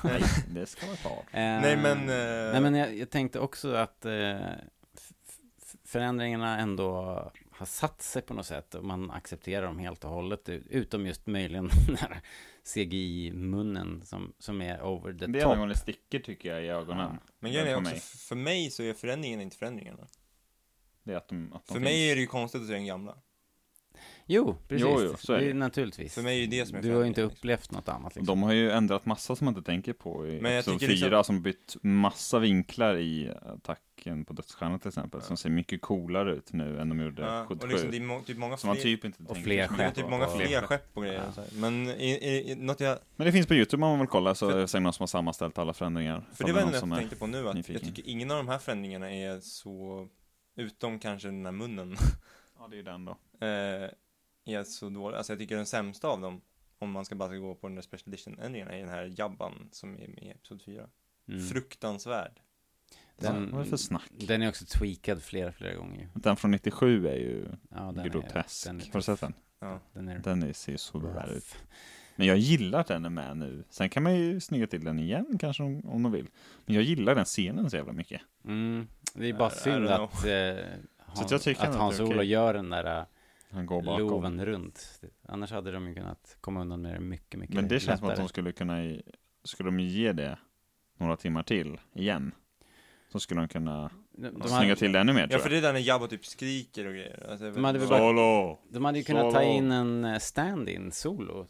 C: Nej, det ska vara kvar.
B: Eh,
D: Nej men... eh,
B: Nej men jag, jag tänkte också att eh, f- f- förändringarna ändå har satt sig på något sätt och man accepterar dem helt och hållet ut- utom just möjligen den här CGI-munnen som, som är over the
C: Det är
B: top.
C: någon det sticker tycker jag i ögonen.
D: Men grejen är
C: för
D: också,
C: mig.
D: för mig så är förändringen inte förändringarna.
C: Det är att de, att de
D: För mig är det ju konstigt att se den gamla.
B: Jo, precis.
C: Jo, jo, så är
B: det
C: det.
B: naturligtvis.
D: För mig är ju det som är
B: du har ju inte
D: förändringen, liksom.
B: upplevt något annat liksom.
C: De har ju ändrat massa som man inte tänker på i
D: Men jag
C: episod
D: tycker liksom-
C: fyra som bytt massa vinklar i attacken på dödsstjärnan till exempel som ser mycket coolare ut nu än de gjorde
D: Ja, och
C: 77.
D: liksom det är må- typ många
C: Som man
D: fler,
C: typ inte
B: Och
C: tänker
B: fler
C: så
D: det är
C: mycket
D: typ
C: på.
D: många
B: och-
D: fler skepp och grejer.
B: Ja.
D: Så här. Men i, i, i, något jag,
C: Men det finns på Youtube om man vill kolla så är det säkert någon som har sammanställt alla förändringar.
D: för
C: Ifall
D: det
C: är
D: var
C: någon
D: ändå
C: som
D: jag
C: är-
D: tänkte på nu, att
C: nyfiken.
D: jag tycker ingen av de här förändringarna är så, utom kanske den här munnen,
C: Ja, det är den då.
D: eh, är så dålig. Alltså jag tycker den sämsta av dem, om man ska bara gå på den där special edition-ändringarna, är den här jabban som är med i episod 4.
B: Mm.
D: Fruktansvärd.
B: Den-
C: Vad är det för snack?
B: Den är också tweakad flera, flera gånger ju.
C: Den från 97 är ju
B: Ja, den
C: grotesk.
B: Är, den
C: har du
B: är,
C: sett den?
D: Ja.
B: den är
C: Den är- ser ju så bra
B: rough.
C: ut. Men jag gillar att den är med nu. Sen kan man ju snygga till den igen kanske om, om de vill. Men jag gillar den scenen så jävla mycket.
B: Mm. Det är bara
D: I- I
B: synd
D: don't
B: att, eh,
C: Så
B: Hans,
C: att jag tycker
B: att
C: ändå att det är
B: Hans-Olof
C: okej.
B: gör den där
C: Han går
B: uh,
C: bakom.
B: loven runt. Annars hade de ju kunnat komma undan med det mycket, mycket
C: Men det känns som att
B: lättare.
C: de skulle kunna, i- skulle de ge det några timmar till igen. Så skulle de kunna
B: de,
C: snygga
B: de, hade,
C: till det ännu mer
D: Ja
C: tror
D: för
C: jag.
D: det är där när Jabba typ skriker och grejer. Alltså, jag vet
B: De hade
D: inte.
B: väl bara-
C: Solo!
B: de hade ju kunnat ta
C: Solo.
B: in en eh, stand-in solo.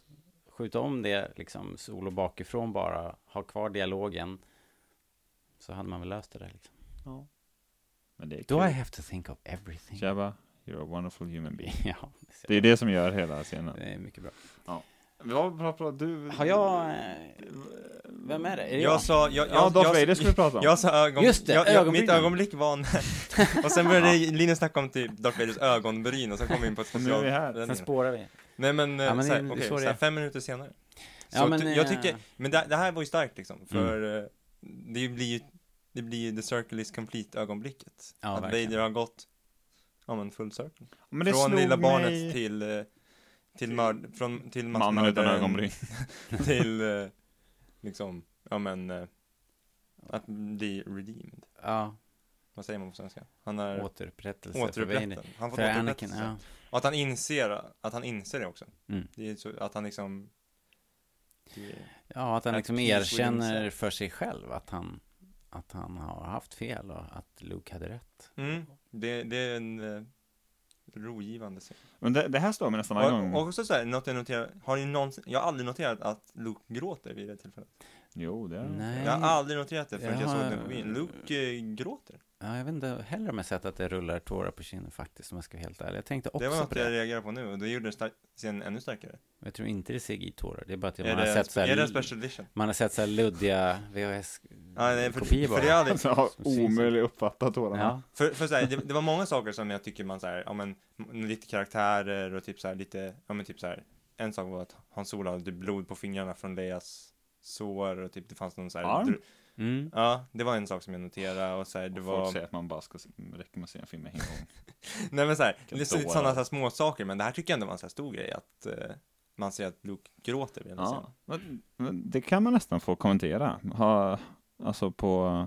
B: Skjuta om det liksom solo bakifrån bara, ha kvar dialogen. Så hade man väl löst det där liksom.
C: Men det är
B: Do I
C: kul.
B: have to think of everything?
C: Jabba, you're a wonderful human being.
B: ja,
C: Det är det som gör hela scenen.
B: det är mycket bra.
C: Ja, bra, bra, du...
B: Har jag... eh, Vem är det? Är det
D: Jag sa, jag, jag,
C: Ja, Darth
D: jag,
C: Vader skulle vi prata om.
D: Jag sa ögon...
B: Just det,
D: jag, jag,
B: ögonbrynen.
D: Mitt ögonblick var när... och sen började Linus snacka om typ Darth Vaders ögonbryn och sen kom vi in på ett
C: Och nu är
D: special...
C: vi här.
B: Sen spårar vi.
D: Nej men,
B: Ja, men det-
D: eh,
B: det
D: såhär,
B: är
D: okej,
B: så det
D: såhär
B: är.
D: fem minuter senare. Så
B: Ja, men,
D: ty-
B: eh, Mm.
D: jag tycker, men det, det här var ju starkt liksom, för eh, det blir ju, det blir ju the circle is complete ögonblicket.
B: Ja,
D: att
B: verkligen.
D: Vader har gått, ja men full circle.
C: Men det
D: Från
C: slog
D: lilla barnet
C: mig-
D: till, eh, till, mörd, från, till
C: Mannen utan
D: massmördaren
C: ögonbryn.
D: Till, eh, liksom, ja men, eh, att bli redeemed.
B: Ja,
D: Vad säger man på svenska? Han är
B: återupprättelse. för
D: återupprättad.
B: Vader.
D: Han får
B: För Anakin,
D: återupprättelse.
B: ja.
D: Och att han inser, att han inser det också.
B: Mm.
D: Det är så, att han liksom det är-
B: ja, att han
D: Att
B: liksom
D: peace will
B: erkänner
D: himself.
B: för sig själv att han, att han har haft fel och att Luke hade rätt.
D: mm, det, det är en eh, rogivande scen.
C: Men det, det här står mig nästan varje gång.
D: Och, och också såhär, något jag noterar, har ni någonsin, jag har aldrig noterat att Luke gråter vid det tillfället.
C: Jo, det är
B: Nej.
D: Jag har aldrig noterat det förrän
B: Jag
D: jag såg
B: har-
D: den på bio. Luke eh, gråter.
B: Ja, jag vet inte heller om jag sett att det rullar tårar på kinden faktiskt, om jag ska vara helt ärlig. Jag tänkte
D: det var
B: också
D: något
B: på det.
D: jag reagerade på nu och det gjorde den stark- scenen ännu starkare.
B: Jag tror inte det är CGI-tårar, det är bara att man
D: är,
B: har
D: det, en
B: sett
D: spe-
B: så
D: är det en
B: här...
D: special edition?
B: Man har sett så här luddiga
D: Ja, nej, för,
B: VHS-kopior
D: för, det
B: bara.
D: har aldrig,
C: Alltså, jag har
B: Som syns.
C: omöjligt uppfattat tårarna.
B: Ja,
D: För, för så här, det, det var många saker som jag tycker man så här, ja men, m- lite karaktärer och typ så här, lite, ja men typ så här, en sak var att Hans Ola hade typ blod på fingrarna från Leias sår och typ det fanns någon så här,
C: Arm?
D: dr-
B: mm.
D: ja, det var en sak som jag noterade och så här, det
C: Och
D: var,
C: Folk säger att man bara ska, räcker med att se en film en gång.
D: nej men så här,
C: Vilka
D: lite sådana
C: dårar.
D: så här små saker men det här tycker jag ändå var en så här stor grej att eh, man ser att Luke gråter vid den här
C: Ja.
D: scenen.
C: Men, men det kan man nästan få kommentera. Ha, alltså på,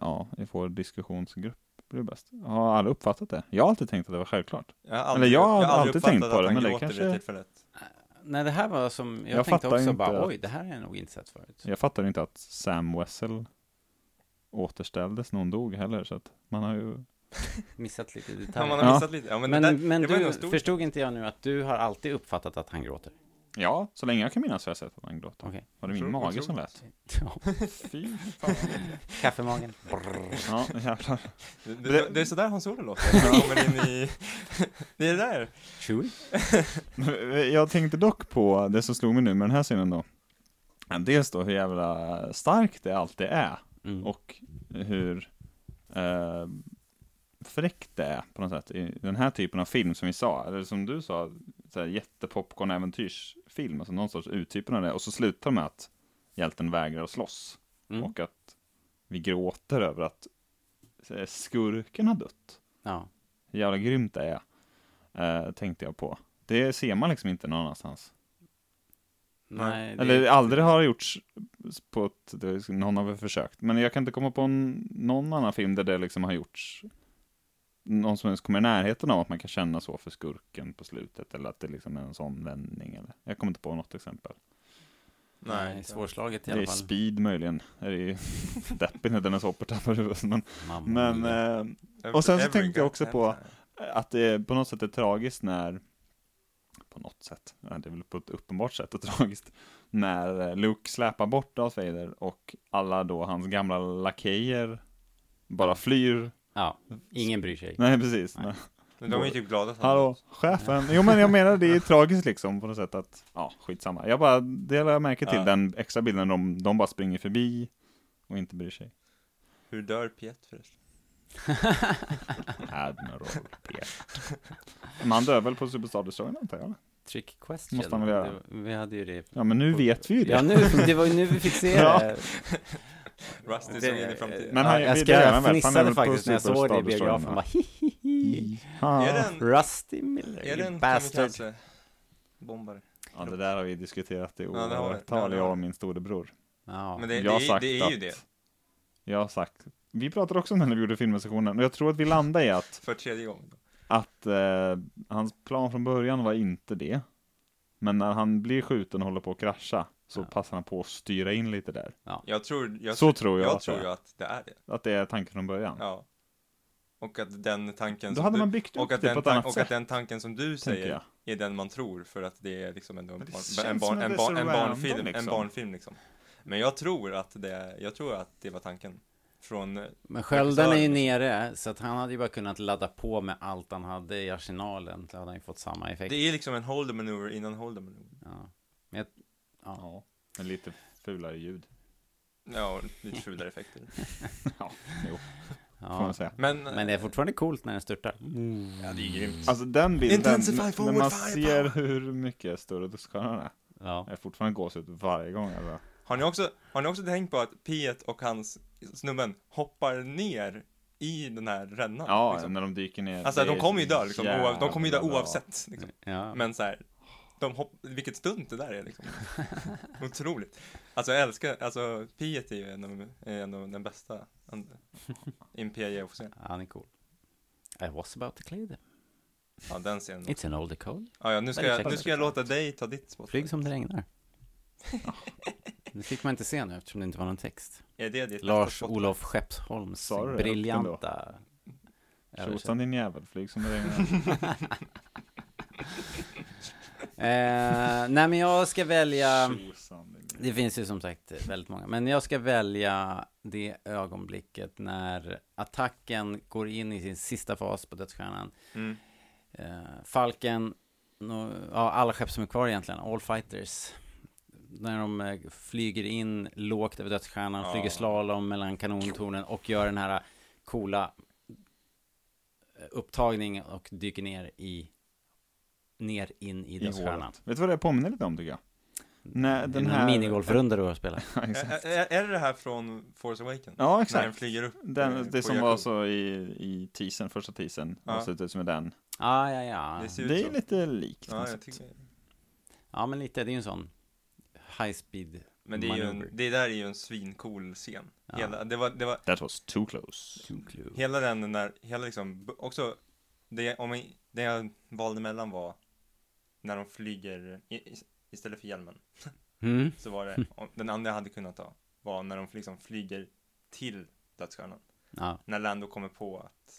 C: ja, i vår diskussionsgrupp blir bäst. Har alla uppfattat det? Jag har alltid tänkt att det var självklart.
D: Jag har
C: Eller jag har
D: har
C: alltid
D: uppfattat
C: tänkt på
D: att
C: det,
D: han
C: men det
D: gråter vid
C: kanske-
D: tillfället.
B: Nej, det här var som... Jag,
C: Jag
B: tänkte
C: fattar
B: också
C: inte
B: bara,
C: att-
B: oj, det här är jag nog inte sett förut.
C: Jag fattar inte att Sam Wessel återställdes när hon dog heller, så att man har ju...
B: Missat lite
D: Ja,
B: detaljer.
D: man har
C: Ja.
D: missat lite. Ja, men,
B: Men,
D: det,
B: men,
D: där, det var ändå
B: du,
D: stor.
B: förstod inte jag nu att du har alltid uppfattat att han gråter?
C: Ja, så länge jag kan minnas har jag sett att han gråter.
B: Okej.
C: Var det min
G: Otroligt,
C: mage som
G: otroligt.
C: lät? Fy fan.
B: Kaffemagen.
C: Ja, jävlar.
D: Det, det, det är sådär Hans Olo låter. Han kommer in i... Det är det där.
B: Chewy.
C: Jag tänkte dock på det som slog mig nu med den här scenen då. Dels då hur jävla starkt det alltid är.
B: Mm.
C: Och hur eh, fräckt det är på något sätt i den här typen av film som vi sa, eller som du sa, så här jättepopcorn-äventyrsfilm, alltså någon sorts uttypen av det, och så slutar det med att hjälten vägrar att slåss.
B: Mm.
C: Och att vi gråter över att eh, skurken har dött.
B: Ja.
C: Hur jävla grymt det är, eh, tänkte jag på. Det ser man liksom inte någon annanstans.
B: Nej, det,
C: Eller aldrig har det gjorts på ett, det- någon har väl försökt, men jag kan inte komma på en, någon annan film där det liksom har gjorts någon som ens kommer i närheten av att man kan känna så för skurken på slutet eller att det liksom är en sån vändning eller jag kommer inte på något exempel.
B: nej,
D: inte.
B: svårslaget i
C: Det är
B: alla fall.
C: Speed möjligen, det är ju deppig när Dennis Hopper tappar huvudet men,
B: Mamma
C: men
B: mia.
C: eh,
D: Every-
C: Och sen så
D: every
C: tänkte jag också
D: goddamn
C: på-
D: time.
C: att det på något sätt är tragiskt när på något sätt, ja, det är väl på ett uppenbart sätt och tragiskt när eh, Luke släpar bort Darth Vader och alla då hans gamla lakejer bara flyr.
B: Ja, ingen bryr sig.
C: Nej, precis.
B: Nej.
C: Nej.
D: Men de är ju typ glada att han
C: Hallå, chefen. Jo, men jag menar det är ju tragiskt liksom på något sätt att, ja, skitsamma. Jag bara, det lade jag märke till
D: Ja.
C: den extra bilden de, de bara springer förbi och inte bryr sig.
D: Hur dör Piet förresten?
C: Admiral P. Man dör väl på Superstar Destroyer antar jag? eller?
B: Trick question.
C: Måste han väl göra.
B: Det- Vi hade ju det.
C: Ja, men nu vet vi ju det.
B: Ja, nu, det var ju nu vi fick se
C: Ja.
B: det.
D: Rusty som
B: Det-
D: in i framtiden.
C: Men
B: ja,
C: han-
B: jag
C: vi-
B: ska,
C: det är han väl.
B: jag
C: Han är
B: fnissade
C: väl på
B: faktiskt när jag såg det
C: Superstar
B: i biografen.
C: Destroyer,
B: Bara,
C: va?
B: hihihi.
C: Ja.
D: Är den,
B: Rusty Miller,
D: är den
B: you bastard.
D: kamikaze-bombare?
C: Ja, det där har vi diskuterat i
D: det har vi. Ja,
C: åratal,
D: det har
C: jag och
D: vi.
C: min storebror.
B: Ja.
D: Men det, det,
C: jag har
D: är,
C: sagt
D: det är ju
C: att-
D: det,
C: Jag har sagt, vi pratade också om det när vi gjorde filmsessionen, och jag tror att vi landade i att,
D: för tredje gången.
C: att eh, hans plan från början var inte det. Men när han blir skjuten och håller på att krascha, så
B: Ja.
C: passar han på att styra in lite där.
D: Jag tror, jag,
C: så tror jag,
D: jag
C: att,
D: tror
C: det,
D: ju att det är det.
C: är. att det är tanken från början.
D: Ja. Och att den tanken
C: Då
D: som
C: hade
D: du-
C: man byggt upp
D: och att,
C: det Typ
D: den,
C: på ett
D: tan-
C: annat
D: och
C: sätt,
D: att den tanken som du
C: tänker
D: säger
C: jag.
D: är den man tror för att det är liksom ändå en,
C: Men det
D: barn,
C: känns
D: en, barn,
C: som
D: en,
C: att
D: barn,
C: det är
D: en
C: så random,
D: barnfilm, en
C: liksom.
D: barnfilm liksom. Men jag tror att det, jag tror att det var tanken från, eh,
B: Men skölden är ju
D: Regissören.
B: nere, så att han hade ju bara kunnat ladda på med allt han hade i arsenalen. Så hade han ju fått samma effekt.
D: det är liksom en hold the maneuver innan hold the maneuver.
B: Ja. Men jag, ja.
C: Ja, med lite fulare ljud.
D: Ja, och lite fulare effekter.
C: Får man
B: Ja.
C: säga.
D: Men,
B: Men det är fortfarande coolt när den störtar.
D: ja, det är grymt.
C: Alltså den bilden,
D: Intensify
C: när
D: forward
C: man ser
D: firepower.
C: hur mycket större duskstjärnan är.
B: Ja.
C: Jag är fortfarande gåshud varje gång. Alltså.
D: Har ni också, har ni också tänkt på att Piet och hans snubben hoppar ner i den här rännan?
C: Ja,
D: liksom?
C: när de dyker ner.
D: Alltså
C: det är
D: de kommer ju
C: så
D: dö liksom, oav, de kommer ju dö
C: jävla bra.
D: oavsett. Liksom.
B: ja.
D: Men så här, de hopp, vilket stunt det där är liksom. Otroligt. Alltså jag älskar, alltså Piet är ju en av, är en av den bästa en- Imperia-officeren.
B: Han är cool. I was about to clear them.
D: Ja, den scenen.
B: It's an old call.
D: Ja, ja, nu ska
B: Men
D: jag,
B: ursäkta.
D: nu ska jag låta dig ta ditt spot.
B: Flyg som det regnar. Det fick man inte se nu eftersom det inte var någon text.
D: Är det ditt spot?
B: Lars-Olof Skeppsholms
C: Sa du det
B: briljanta
C: Tjosan din jävel, flyg som det regnar.
B: Eh, nej men jag ska välja,
C: Tjosan din jävel.
B: det finns ju som sagt väldigt många, men jag ska välja det ögonblicket när attacken går in i sin sista fas på dödsstjärnan.
D: Mm.
B: Eh, Falken, nå- ja, alla skepp som är kvar egentligen, all fighters. När de eh, flyger in lågt över dödsstjärnan,
D: Ja.
B: flyger slalom mellan kanontornen och gör den här coola eh, upptagningen och dyker ner i, ner in i
C: I
B: dödsstjärnan.
C: håret. Vet du vad det påminner lite om tycker jag? När
B: Den
C: den
B: någon
C: här...
B: minigolfrunda du har spelat.
C: Ja, exakt.
D: Är, är, är det det här från Force Awakens?
C: Ja,
D: När den
C: exakt.
D: flyger upp? eh,
C: Den,
D: på
C: det som
D: Jakku.
C: var så i, i teasern, första teasern,
D: Ja.
C: avslutet med den.
B: Ja, ja, ja.
D: Det ser ut
C: Det är
D: så.
C: lite likt. på
D: Ja,
C: något
D: jag
C: sätt.
D: tycker
B: Ja, men lite. Det är ju en sån high speed
D: Men det, är ju en,
B: maneuver.
D: det där är ju en svincool scen.
B: Ja.
D: Hela, det var, det var
C: That was too close.
D: Hela den när, hela liksom, b- också, det, om jag, det jag valde mellan var när de flyger, i, i- istället för hjälmen,
B: Mm.
D: så var det, om, den andra jag hade kunnat ta, var när de liksom flyger till dödsstjärnan.
B: Ja,
D: När Lando kommer på att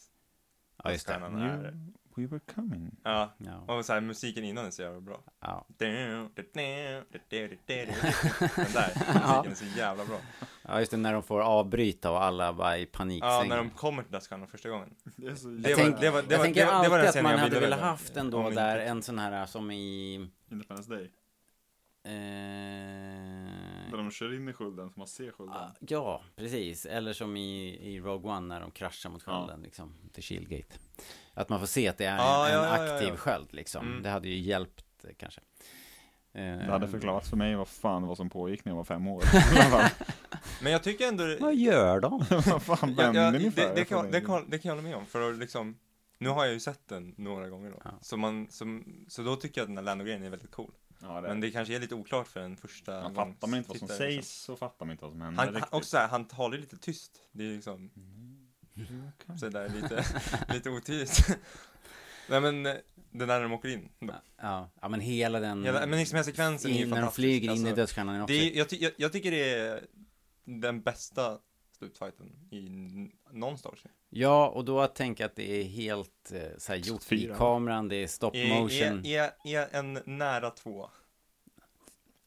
B: ja, just det. Mm.
D: dödsstjärnan är
C: We were coming.
D: Ja,
B: Ja.
D: och så här, musiken innan är så jävla bra.
B: ja.
D: Den där musiken är så jävla bra.
B: ja, just det, när de får avbryta och alla bara i panik.
D: Ja,
B: sänger.
D: när de kommer till Daskan första gången.
C: Det är så
D: Det
B: Jag,
D: var-
B: tänk,
D: det var- det
B: jag
D: var-
B: tänker
D: det var- det
B: alltid
D: var den
B: att
D: scenen
B: man
D: jag
B: hade
D: ville
B: velat
D: välja.
B: haft ändå
D: Om inte-
B: där en sån här som i...
C: Independence Day. Där
B: Eh,
C: de kör in i skölden så man ser skölden.
B: ah, ja, precis. Eller som i, i Rogue One när de kraschar mot skölden, liksom. Till Shieldgate. Att man får se att det är
D: Ja,
B: en,
D: ja,
B: en
D: ja, ja,
B: aktiv
D: ja.
B: sköld, liksom.
D: Mm.
B: Det hade ju hjälpt eh, kanske. Eh,
C: Det hade förklarat för mig vad fan vad som pågick när jag var fem år.
D: Men jag tycker ändå...
B: Vad gör de?
C: vad fan
D: Jag,
C: vände
D: jag,
C: ni
D: det,
C: för?
D: det, kan, det, kan, det kan jag hålla med om, för att liksom, nu har jag ju sett den några gånger då.
B: Ja.
D: Så, man, så, så då tycker jag att den här Lando-grejen är väldigt cool.
C: Ja, det
D: Men det kanske är lite oklart för en första
C: Man fattar man inte vad som
D: gångstittare, liksom.
C: sägs så fattar man inte vad som händer
D: Han, han,
C: riktigt.
D: också så här, han talar ju lite tyst. Det är liksom
C: Mm.
D: så där lite, lite otydligt. Nej men, eh, det där när de åker in. då.
B: Ja, ja men hela den...
D: Ja, men liksom den här sekvensen är ju
B: in, när de
D: fantastisk,
B: flyger in i
D: alltså.
B: dödsstjärnan är också
D: Det är, jag, ty, jag, jag tycker det är den bästa slutfighten i n- någon Star Wars.
B: Ja, och då att tänka att det är helt eh, så här, gjort
C: Fyra.
B: i kameran, det är stop
D: Är,
B: motion.
D: är, är, är en nära två.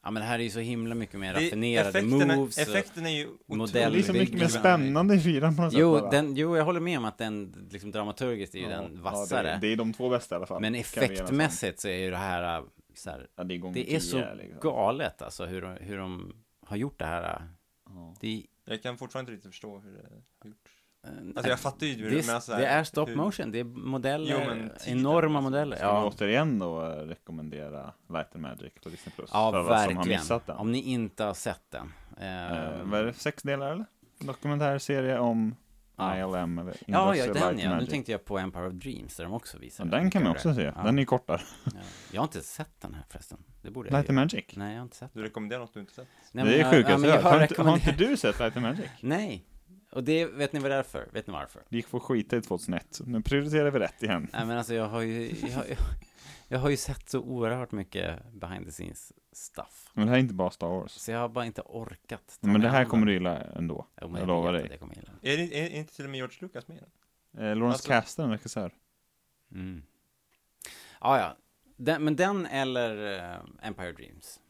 B: Ja, men det här är ju så himla mycket mer
D: Det-
B: raffinerade
D: effekterna,
B: moves. och-
D: effekten är ju
C: Det
B: Modell-
C: är
D: otroligt
C: liksom mycket mer
B: Elving-
C: spännande i fyran på något sätt
B: Jo,
C: bara.
B: den, jo, jag håller med om att den liksom, dramaturgiskt är ju
C: Ja,
B: den
C: Ja, det,
B: vassare.
C: är- det är de två bästa i alla fall.
B: men
C: Kan vi enas om.
B: effektmässigt så är ju det här eh, så här,
C: Ja, det är, gånger
B: det är
C: tio,
B: så
C: liksom.
B: galet alltså hur, de- hur de har gjort det här. eh.
C: Ja.
B: Det är,
D: Jag kan fortfarande inte riktigt förstå hur det har gjorts.
B: eh,
D: Alltså jag fattar ju hur
B: det,
D: men
B: är,
D: alltså så här,
B: det är stop
D: hur-
B: motion, det är modeller,
D: Jo, men tiden,
B: enorma
D: alltså.
B: modeller.
C: Ska vi
B: Ja,
C: återigen då eh, rekommendera Light and Magic på Disney Plus?
B: ja
C: för vad som har
B: verkligen.
C: missat den.
B: Om ni inte har sett den.
C: Eh,
B: eh,
C: vad är det, sex delar eller? En Dokumentärserie om
B: Ja.
C: ILM eller
B: Ja,
C: Industrial
B: ja,
C: Light
B: den
C: and
B: ja. Nu
C: Magic.
B: tänkte jag på Empire of Dreams där de också visar.
C: Ja, den kan man också se, den är ju kortare.
B: Ja. Jag har inte sett den här förresten. Det borde jag
C: Light and
B: ju.
C: Magic.
B: Nej, jag har inte sett
D: Du rekommenderar något du inte sett?
B: Nej,
C: det
B: men
C: är
B: jag-
C: sjukt.
B: ja, men jag
C: har,
B: har
C: inte- har inte
B: rekommenderat.
C: du sett Light and Magic?
B: Nej, och det vet ni vad det är för? Vet ni varför?
C: Det gick på skita i 2001. Nu prioriterar vi rätt igen.
B: Nej, men alltså jag har ju, jag har, jag, har ju sett så oerhört mycket behind the scenes stuff.
C: Men det här är inte bara Star Wars.
B: Så jag har bara inte orkat. ta
C: Men det
B: mig
C: här
B: an
C: kommer
B: den.
C: du gilla ändå.
B: Jo, men
C: Jag
B: vet
C: lovar
B: att
C: dig.
B: Jag kommer gilla. den.
D: Är, det, är inte till och med George Lucas med i den?
C: Eh, Lawrence
D: Alltså-
C: Kasdan, regissör.
B: Mm. Ja, ja. Den, men den eller eh, Empire Dreams.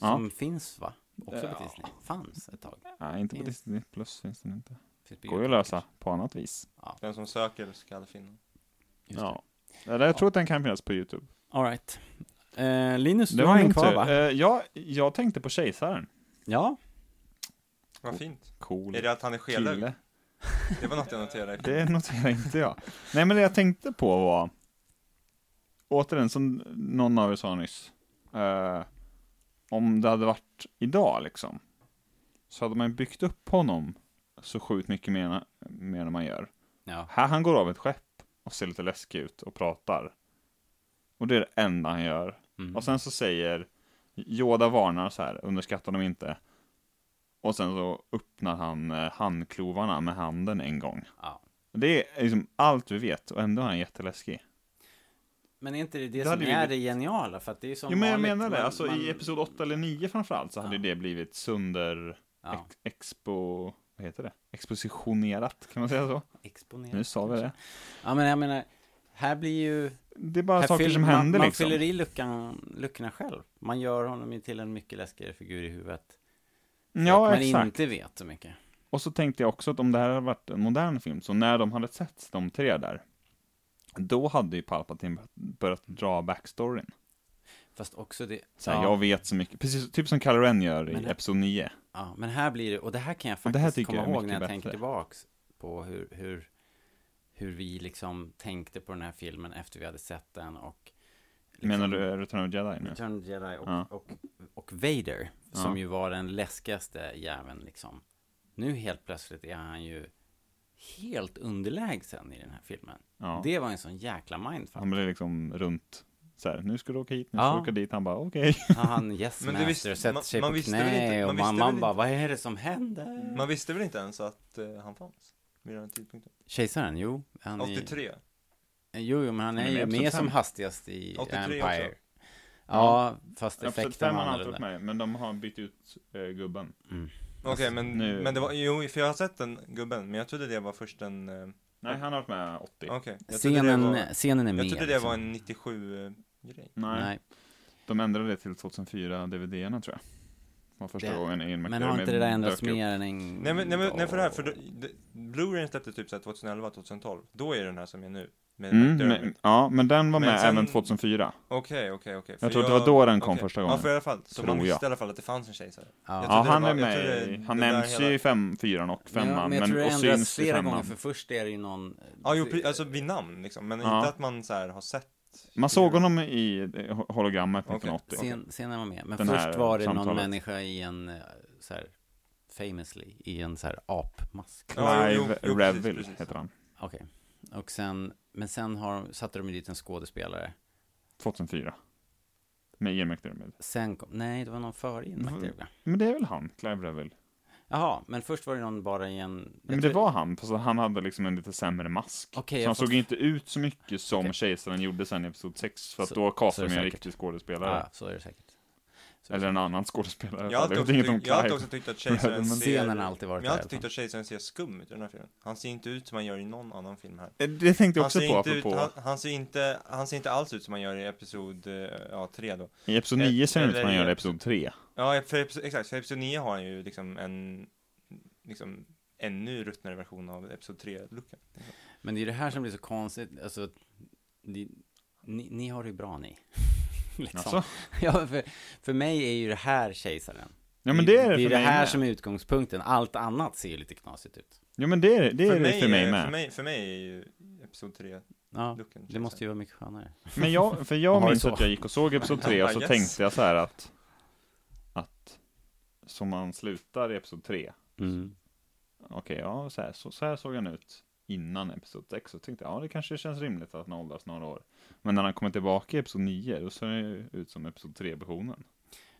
C: Ja.
B: Som finns va? Också på
C: Ja.
B: Disney. Fanns ett tag.
C: Nej, inte på
B: Finns.
C: Disney Plus finns den inte.
B: Finns på
C: Går ju att
B: YouTube
C: lösa på annat vis.
D: Den som söker ska finna.
B: Just det.
C: Ja. Eller jag tror att den kan finnas på YouTube.
B: All right. Eh, Linus,
C: Det
B: du
C: var
B: har en
C: inte.
B: kvar va?
C: Eh, ja, jag tänkte på Kejsaren.
B: Ja.
D: Vad fint.
C: Cool
D: Är det att han är skelögd?
C: kille.
D: Det var något jag noterade.
C: Det noterar inte jag. Nej, men det jag tänkte på var, återigen som någon av er sa nyss, eh, om det hade varit idag liksom, så hade man byggt upp honom så sjukt mycket mer, mer än man gör.
B: Ja.
C: Här han går av ett skepp och ser lite läskig ut och pratar. Och det är det enda han gör.
B: Mm.
C: Och sen så säger Yoda varnar så här, underskatta dem inte. Och sen så öppnar han eh, handklovarna med handen en gång.
B: ja.
C: Det är liksom allt vi vet och ändå är han jätteläskig.
B: Men är inte det det,
C: Det
B: som
C: hade ju
B: är
C: blivit-
B: det geniala? För att det är ju som
C: Jo men jag
B: vanligt,
C: menar det,
B: man-
C: alltså
B: man-
C: i episod 8 eller 9 framförallt så hade
B: Ja.
C: det blivit sönder
B: Ja.
C: ex- expo... Vad heter det? Expositionerat, kan man säga så? Nu
B: Exponerat.
C: sa vi det.
B: Ja, men jag menar, här blir ju...
C: Det är bara
B: här
C: saker
B: fyller-
C: som
B: man,
C: händer
B: man
C: liksom.
B: fyller i luckan, luckorna själv. Man gör honom ju till en mycket läskigare figur i huvudet. för att
C: Ja,
B: man
C: exakt.
B: inte vet så mycket.
C: Och så tänkte jag också att om det här hade varit en modern film, så när de hade sett de tre där, då hade ju Palpatine börjat dra backstoryn.
B: Fast också det...
C: Så här,
B: ja,
C: jag vet så mycket, precis typ som Kylo Ren gör
B: Men
C: i
B: det-
C: episod 9.
B: ja, men här blir det... Och det här kan jag
C: Och det här
B: faktiskt komma
C: tycker jag är
B: ihåg
C: mycket
B: när jag
C: bättre.
B: tänker tillbaks på hur, hur, hur vi liksom tänkte på den här filmen efter vi hade sett den och... liksom-
C: Menar du eh, Return of the Jedi nu?
B: Return of the Jedi och,
C: Ja.
B: och, och Vader, som
C: Ja.
B: ju var den läskigaste jäveln liksom. Nu helt plötsligt är han ju helt underlägsen i den här filmen.
C: Ja.
B: Det var en sån jäkla mindfuck.
C: Han blev liksom runt så här, nu ska du åka hit, nu ska
B: Ja.
C: du åka dit. Han bara, okej.
B: Han yes
D: Men du
B: master
D: visste-
B: sätter
D: man-
B: sig
D: man
B: på
D: visste väl
B: knä
D: inte-
B: och
D: man visste
B: mamman
D: väl
B: bara,
D: inte-
B: vad är det som händer?
D: Man visste väl inte ens att eh, han fanns? Vid den här tidpunkten.
B: Kejsaren, jo. Han är,
D: 83?
B: Eh, jo, jo, men han är
C: är
B: ju
C: med i
B: med
C: Episod
B: som
C: fem.
B: hastigast i
D: 83
B: Empire.
D: också.
B: Ja, fast
C: Episod
B: effekten
C: 5
B: var
C: har han tagit
B: annorlunda.
C: med, men de har bytt ut eh, gubben.
B: Mm.
D: Okej, men,
C: nu-
D: men det var, jo, för jag har sett den gubben, men jag trodde det var först en, eh,
C: Nej, han har varit med 80.
D: Okej. Jag trodde det
B: Scenen,
D: var-
B: scenen är med.
D: Jag trodde det var
B: liksom.
D: en eh, 97-grej.
C: Nej,
B: Nej,
C: de ändrade det till 2004 DVD-erna tror jag. Var första
B: Det-
C: gången Ian
B: men har inte det där ändrats mer än en
D: Nej men, nej, men nej, för det här, för
B: gång?
D: då- det- Blu-rayen släpptes typ såhär 2011, 2012. Då är det den här som är nu. Med
C: Mm,
D: McDermott.
C: men, ja, men den var
D: Men
C: med
D: sen-
C: även 2004.
D: Okej, okej, okej. För
C: tror att det var då den kom
D: okej.
C: första gången.
D: Ja, för i alla fall. Så
C: Tror
D: man visste
C: jag.
D: i alla fall att det fanns en kejsare. Jag
C: Ja,
D: trodde
C: han
D: det
C: är
D: var- jag
C: med
D: trodde
C: i- Han
D: det där
C: nämns ju
D: hela-
C: i fem, fyran och
B: Ja,
C: femman,
B: men jag
C: men,
B: tror det
C: och
B: ändras
C: syns i
B: flera gånger,
C: femman.
B: för först är det ju någon... eh,
D: Ja, jo, pre- alltså vid namn liksom. Men
C: Ja.
D: inte att man såhär har sett.
C: Man såg honom i eh, hologrammet
D: Okej.
C: 1980.
B: Sen, sen är man med. Men
C: Den här
B: först var det någon
C: samtalet.
B: människa i en, eh, så här, famously, i en så här apmask.
D: Ja, jo, jo,
C: Clive
D: jo, precis,
C: Reville
D: precis.
C: heter han.
B: Okej. Och sen, men sen har, satte de ju dit en skådespelare.
C: 2004. Med Ian McDermid.
B: Sen kom, nej det var någon före Ian
C: Mm.
D: Mhm.
B: McDermott.
C: Men det är väl han, Clive Reville?
B: Jaha, men först var det någon bara i en...
C: Men det var han, fast han hade liksom en lite sämre mask.
B: Okej,
C: så
B: jag
C: han
B: får-
C: såg inte ut så mycket som
B: Okej.
C: kejsaren gjorde sen i episod 6, för att
B: Så-
C: då
B: så
C: castade
B: är det
C: de en
B: säkert.
C: riktig skådespelare.
B: Ja, så är det säkert. Så
C: Eller en annan skådespelare.
D: Jag har alltid
C: vet
D: också,
C: inget om
D: tyckt- jag har alltid
C: Clive.
D: också tyckt att
C: Men
D: kejsaren ser...
B: scenen har alltid varit
D: Men jag har
B: där
D: alltid
B: i alla
D: tyckt
C: liksom.
D: att kejsaren ser skum ut i den här filmen. Han ser inte ut som han gör i någon annan film här.
C: Det tänkte jag
D: Han
C: också
D: ser,
C: på,
D: inte ut,
C: apropå.
D: han, han, ser inte, han ser inte alls ut som han gör i episod eh, ja, 3 då.
C: I episod
D: Eh,
C: 9 ser det ut som
D: eller
C: han
D: i
C: gör i
D: episod-
C: episod 3.
D: Ja, för, episod- exakt. För episod 9 har han ju liksom en liksom, ännu ruttnare version av episod 3-looken.
B: fall. Men det är ju det här som blir så konstigt, alltså, att ni, ni, ni har det ju bra ni. liksom.
C: Alltså?
B: Ja, för, för mig är ju det här kejsaren.
C: Ja men det är det
B: det,
C: för
B: det
C: mig
B: här
C: med.
B: som är utgångspunkten. Allt annat ser ju lite knasigt ut.
C: Ja men det är det- det är det för mig
D: För
C: med.
D: mig, för mig är ju episod 3-looken.
B: Ja, det måste ju vara mycket skönare.
C: Men jag, för
B: Har
C: jag
B: det
C: minns
B: så.
C: att jag gick och såg episod 3 och så
D: Yes.
C: tänkte jag så här att, att som man slutar i episod 3,
B: Mm.
C: okej ja så här, så, så här såg han ut innan episod 6 och tänkte jag, ja det kanske känns rimligt att han åldras några år. Men när han kommer tillbaka i episod 9 då ser han ju ut som episod 3 versionen.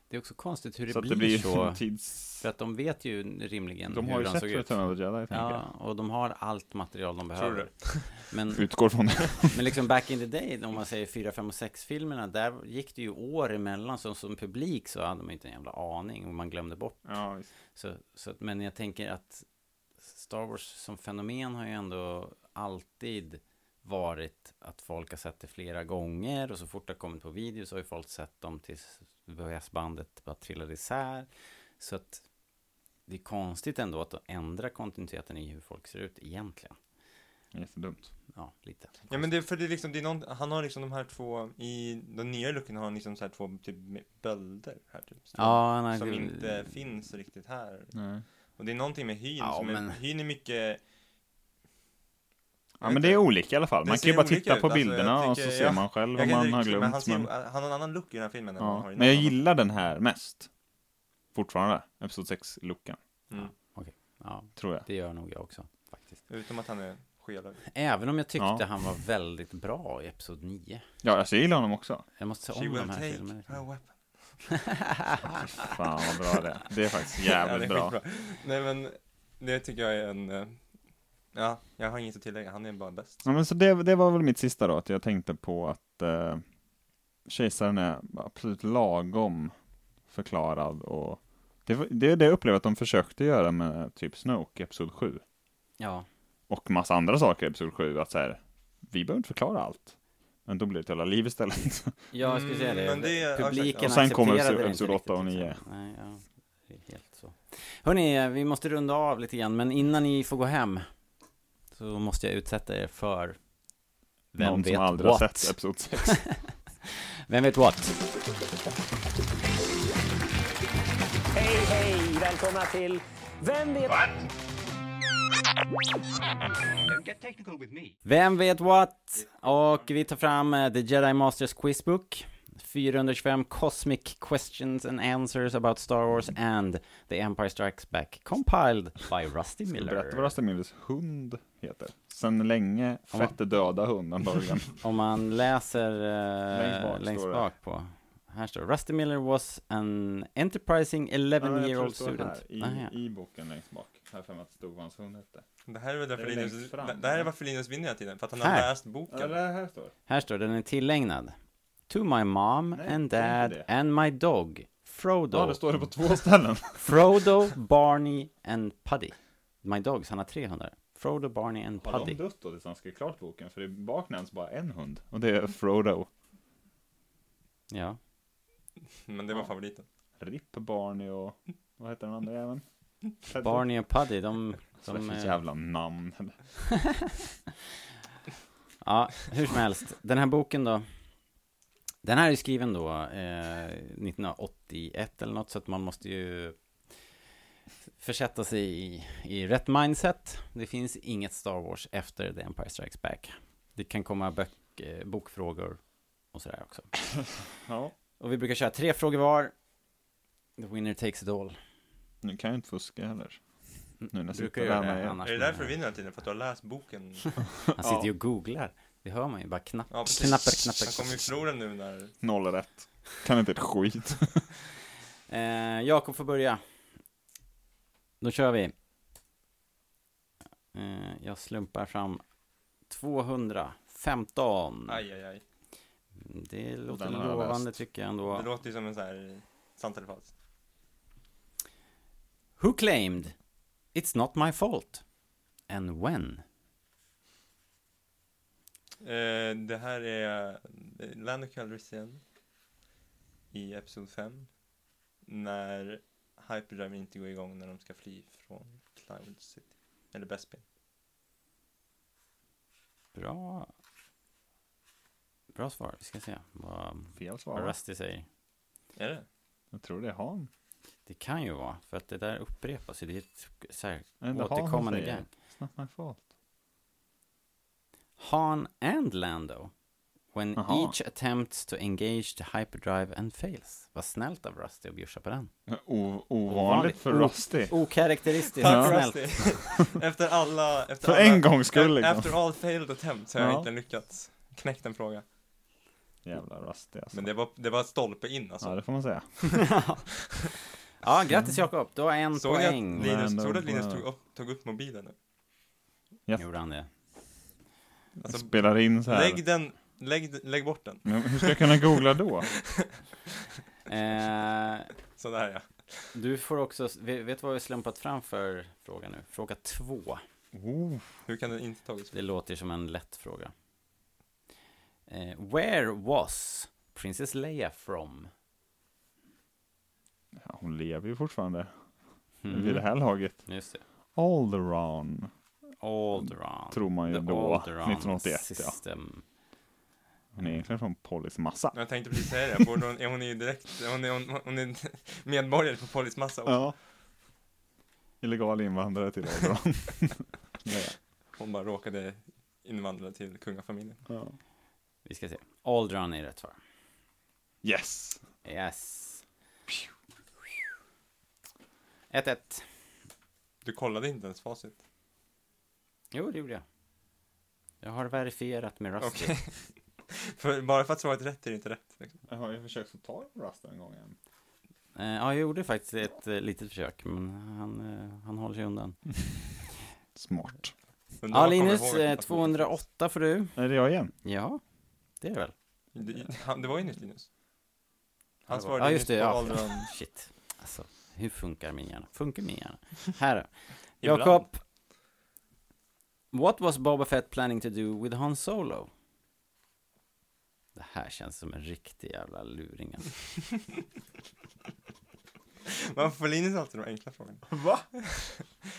B: Det är också konstigt hur det,
C: Så att
B: blir,
C: det blir
B: så.
C: ju tids...
B: För att de vet ju rimligen
C: De har
B: hur
C: ju
B: han
C: sett
B: såg ut.
C: Return of the Jedi tänker
B: Ja, och de har allt material de
D: Tror du
B: behöver.
D: det?
B: Men,
C: jag. Utgår från det.
B: men liksom back in the day, om man säger 4, 5 och 6-filmerna, där gick det ju år emellan. Så som publik så hade man ju inte en jävla aning och man glömde bort.
C: Ja, visst.
B: Så, så att, men jag tänker att Star Wars som fenomen har ju ändå alltid varit att folk har sett det flera gånger och så fort det har kommit på video så har ju folk sett dem tills VHS-bandet bara trillade isär. Så att det är konstigt ändå att ändra kontinuiteten i hur folk ser ut egentligen.
C: Jättedumt.
B: Ja, lite.
D: Ja men det, är- för det är liksom, det är någon, han har liksom de här två, i den nya looken har han liksom så här två typ bölder här typ.
B: Ja, nej,
D: som
B: det-
D: inte finns riktigt här.
C: Nej.
D: Och det är någonting med hyn
B: Ja,
D: som
B: men-
D: är, hyn är mycket
C: Ja men det är olika i alla fall.
D: Det
C: Man
D: ser
C: kan ju bara
D: olika
C: titta
D: ut,
C: på
D: alltså, jag
C: bilderna och
D: tycker-
C: så ser
D: ja,
C: man själv
D: jag
C: om
D: kan
C: man
D: inte
C: har
D: riktigt-
C: glömt.
D: men han, ser,
C: men...
D: han har en annan look i den här filmen än vad han
C: Ja.
D: har i
C: men jag
D: någon annan.
C: gillar den här mest. Fortfarande. Episod 6 luckan
B: Ja,
C: tror jag.
B: det gör nog jag också faktiskt.
D: Utom att han är skelögd.
B: Även om jag tyckte
C: Ja.
B: han var väldigt bra i Episod 9.
C: Ja, alltså, jag gillar honom också.
B: Jag måste se
D: She
B: om de
D: will
B: här
D: take
B: filmerna.
C: liksom.
D: her weapon.
C: Fan vad bra det är. Det är faktiskt
D: Ja, det
C: jävligt
D: är
C: bra.
D: skitbra. Nej men, det tycker jag är en, eh, ja, jag har inget att tillägga, han är bara bäst.
C: Ja, men så det, det var väl mitt sista då, att jag tänkte på att eh, kejsaren är absolut lagom förklarad och det var- det är det jag upplevde att de försökte göra med typ Snoke, i Episod 7.
B: Ja,
C: och massa andra saker i Episod 7, att så här, vi behöver inte förklara allt. Men då blir det ett jävla liv istället.
B: Ja, jag skulle säga det.
D: Mm, men det- ja,
B: Publiken
D: exakt.
C: Och sen kommer
B: accepterade
C: episod-
B: det inte
C: episod åtta och
B: riktigt,
C: nio.
B: liksom. Nej, ja. Det är helt så. Hörni, vi måste runda av lite grann, men innan ni får gå hem så måste jag utsätta er för Vem
C: Någon
B: vet
C: som aldrig har
B: what?
C: sett Episod 6.
B: Vem vet what?
A: Hej, hej! Välkomna till Vem vet
B: Vem vet what? Och vi tar fram eh, The Jedi Masters Quizbook 425 Cosmic Questions and Answers about Star Wars and The Empire Strikes Back Compiled by Rusty Miller
C: Berätta vad Rusty Millers hund heter. Sen länge fett döda hunden början.
B: Om man läser eh,
C: Längst bak
B: längst
C: står det.
B: bak på. Här står Rusty Miller was an enterprising 11 year old student. Ah,
C: I,
B: Aha.
C: I boken längst bak. Här för mig att det stod vad hans hund hette.
D: Det här är väl därför
C: Det är längst
D: Linus,
C: fram.
D: det det här är varför Linus vinner hela tiden, för att han har
B: Här.
D: läst
C: Ja,
D: boken.
C: det här står.
B: Här står den är tillägnad. To my mom
C: Nej,
B: and
C: det är
B: dad
C: inte det.
B: and my dog. Frodo.
C: Ja, det står det på två ställen.
B: Frodo, Barney and Puddy. My dogs, han har 300. Frodo, Barney and
C: Har de
B: Puddy.
C: dött då tills han skrev klart boken? För det bak nämns bara en hund. Och det är Frodo.
B: Ja.
D: Men det var
C: Ja.
D: favoriten.
C: Rip Barney och... Vad heter den andra jäveln?
B: Barney och Puddy, de...
C: Vad är
B: de
C: det
B: eh,
C: för jävla namn?
B: ja, hur som helst. Den här boken då. Den här är ju skriven då eh, 1981 eller något, så att man måste ju försätta sig i, i rätt mindset. Det finns inget Star Wars efter The Empire Strikes Back. Det kan komma böck, eh, bokfrågor och sådär också.
C: Ja.
B: Och vi brukar köra tre frågor var. The winner takes it all.
C: Nu kan jag inte fuska heller. Nu när jag
B: Brukar
C: sitter
B: göra
C: där
B: det
C: med
B: annars.
D: Är det därför du vinner hela tiden? För att du har läst boken?
B: Han sitter ju och googlar. Det hör man ju bara knapp,
D: Ja, precis.
B: knappar,
D: Han kommer ju
B: knappar.
D: förlora nu när...
C: noll rätt. Kan inte ett skit.
B: Eh, Jakob får börja. Då kör vi. Eh, jag slumpar fram 215.
D: Aj, aj, aj.
B: Det låter
C: Den har jag
B: lovande
C: läst.
B: tycker jag
D: Det
B: ändå.
D: låter ju som en så här... Sant eller falskt?
B: Who claimed it's not my fault? And when?
D: Eh, det här är eh, Lando Calrissian i Episod 5. När Hyperdrive inte går igång när de ska fly från Cloud City. Eller Bespin.
B: Bra. Bra svar. Vi ska se vad
C: Fel
B: vad
C: svar.
B: Rusty säger.
D: Är det?
C: Jag tror det är han.
B: Det kan ju vara, för att det där upprepas ju. Det är ett så här
C: Är det inte han som
B: återkommande
C: säger?
B: grej.
C: It's not my fault.
B: Han and Lando. When
C: Aha.
B: each attempts to engage the hyperdrive and fails. Vad snällt av Rusty att bjussa på den.
C: O-
B: Ovanligt.
C: ovanligt för
B: O-
C: Rusty.
B: Okaraktäristiskt
D: Tack
B: snällt.
D: Rusty! efter alla... Efter
C: För
D: alla,
C: en gångs skull,
D: e-
C: liksom.
D: After all failed attempts har jag
C: Ja.
D: inte lyckats knäcka en fråga.
C: Jävla Rusty alltså.
D: Men det var, det var stolpe in alltså.
C: Ja, det får man säga.
B: ja, grattis Jakob. Du har en
D: Såg ni att
B: poäng.
D: Linus,
C: Men
D: såg du att
C: de-
D: Linus tog upp, tog upp mobilen nu?
C: Ja.
B: Gjorde han det?
D: Alltså,
C: Spelar in så här.
D: lägg den, lägg, lägg bort den.
C: Men hur ska jag kunna googla då?
B: Eh,
D: Sådär ja.
B: du får också, vet vet du vad vi slumpat fram för fråga nu? Fråga två.
C: Oh,
D: Hur kan den inte tagits
B: Det låter som en lätt fråga. Eh, where was Princess Leia from?
C: ja, hon lever ju fortfarande vid det
B: Mm.
C: här laget.
B: Just det.
C: Alderon
B: Alderaan.
C: tror man ju
B: The
C: då,
B: Alderaan
C: 1981 ja.
B: system.
C: Hon är egentligen från Pollys massa.
D: Jag tänkte precis säga det, Borde hon, är hon är ju direkt, hon är, hon, hon är medborgare på Polis Massa också.
C: Ja. Illegal invandrare till Alderon.
D: Hon bara råkade invandra till kungafamiljen.
C: ja.
B: Vi ska se. Aldran är rätt svar.
C: Yes!
B: Yes. 1-1.
D: Du kollade inte ens facit.
B: Jo, det gjorde jag. Jag har verifierat med Rusty.
D: Okej. För, bara för att svaret är rätt är det inte rätt. Liksom.
C: Jag har ju försökt få tag på Rasta en gång än.
B: Eh, ja, jag gjorde faktiskt ett eh, litet försök, men han, eh, han håller sig undan.
C: Smart.
D: Undrar
B: Ja,
D: om han kommer
B: Linus,
D: ihåg
B: eh,
D: att-
B: 208 får du.
C: Är det jag igen?
B: Ja, det är det väl.
D: Det, han, det var ju nytt Linus. Han
B: Ja,
D: svarade
B: ja,
D: ja,
B: just
D: just
B: det,
D: nyss på
B: ja.
D: åldern.
B: Shit. Alltså, hur funkar min hjärna? Funkar min hjärna? Här då.
D: Ibland.
B: Jakob. What was Boba Fett planning to do with Han Solo? Det här känns som en riktig jävla luring alltså.
D: Varför får Linus alltid de enkla frågorna?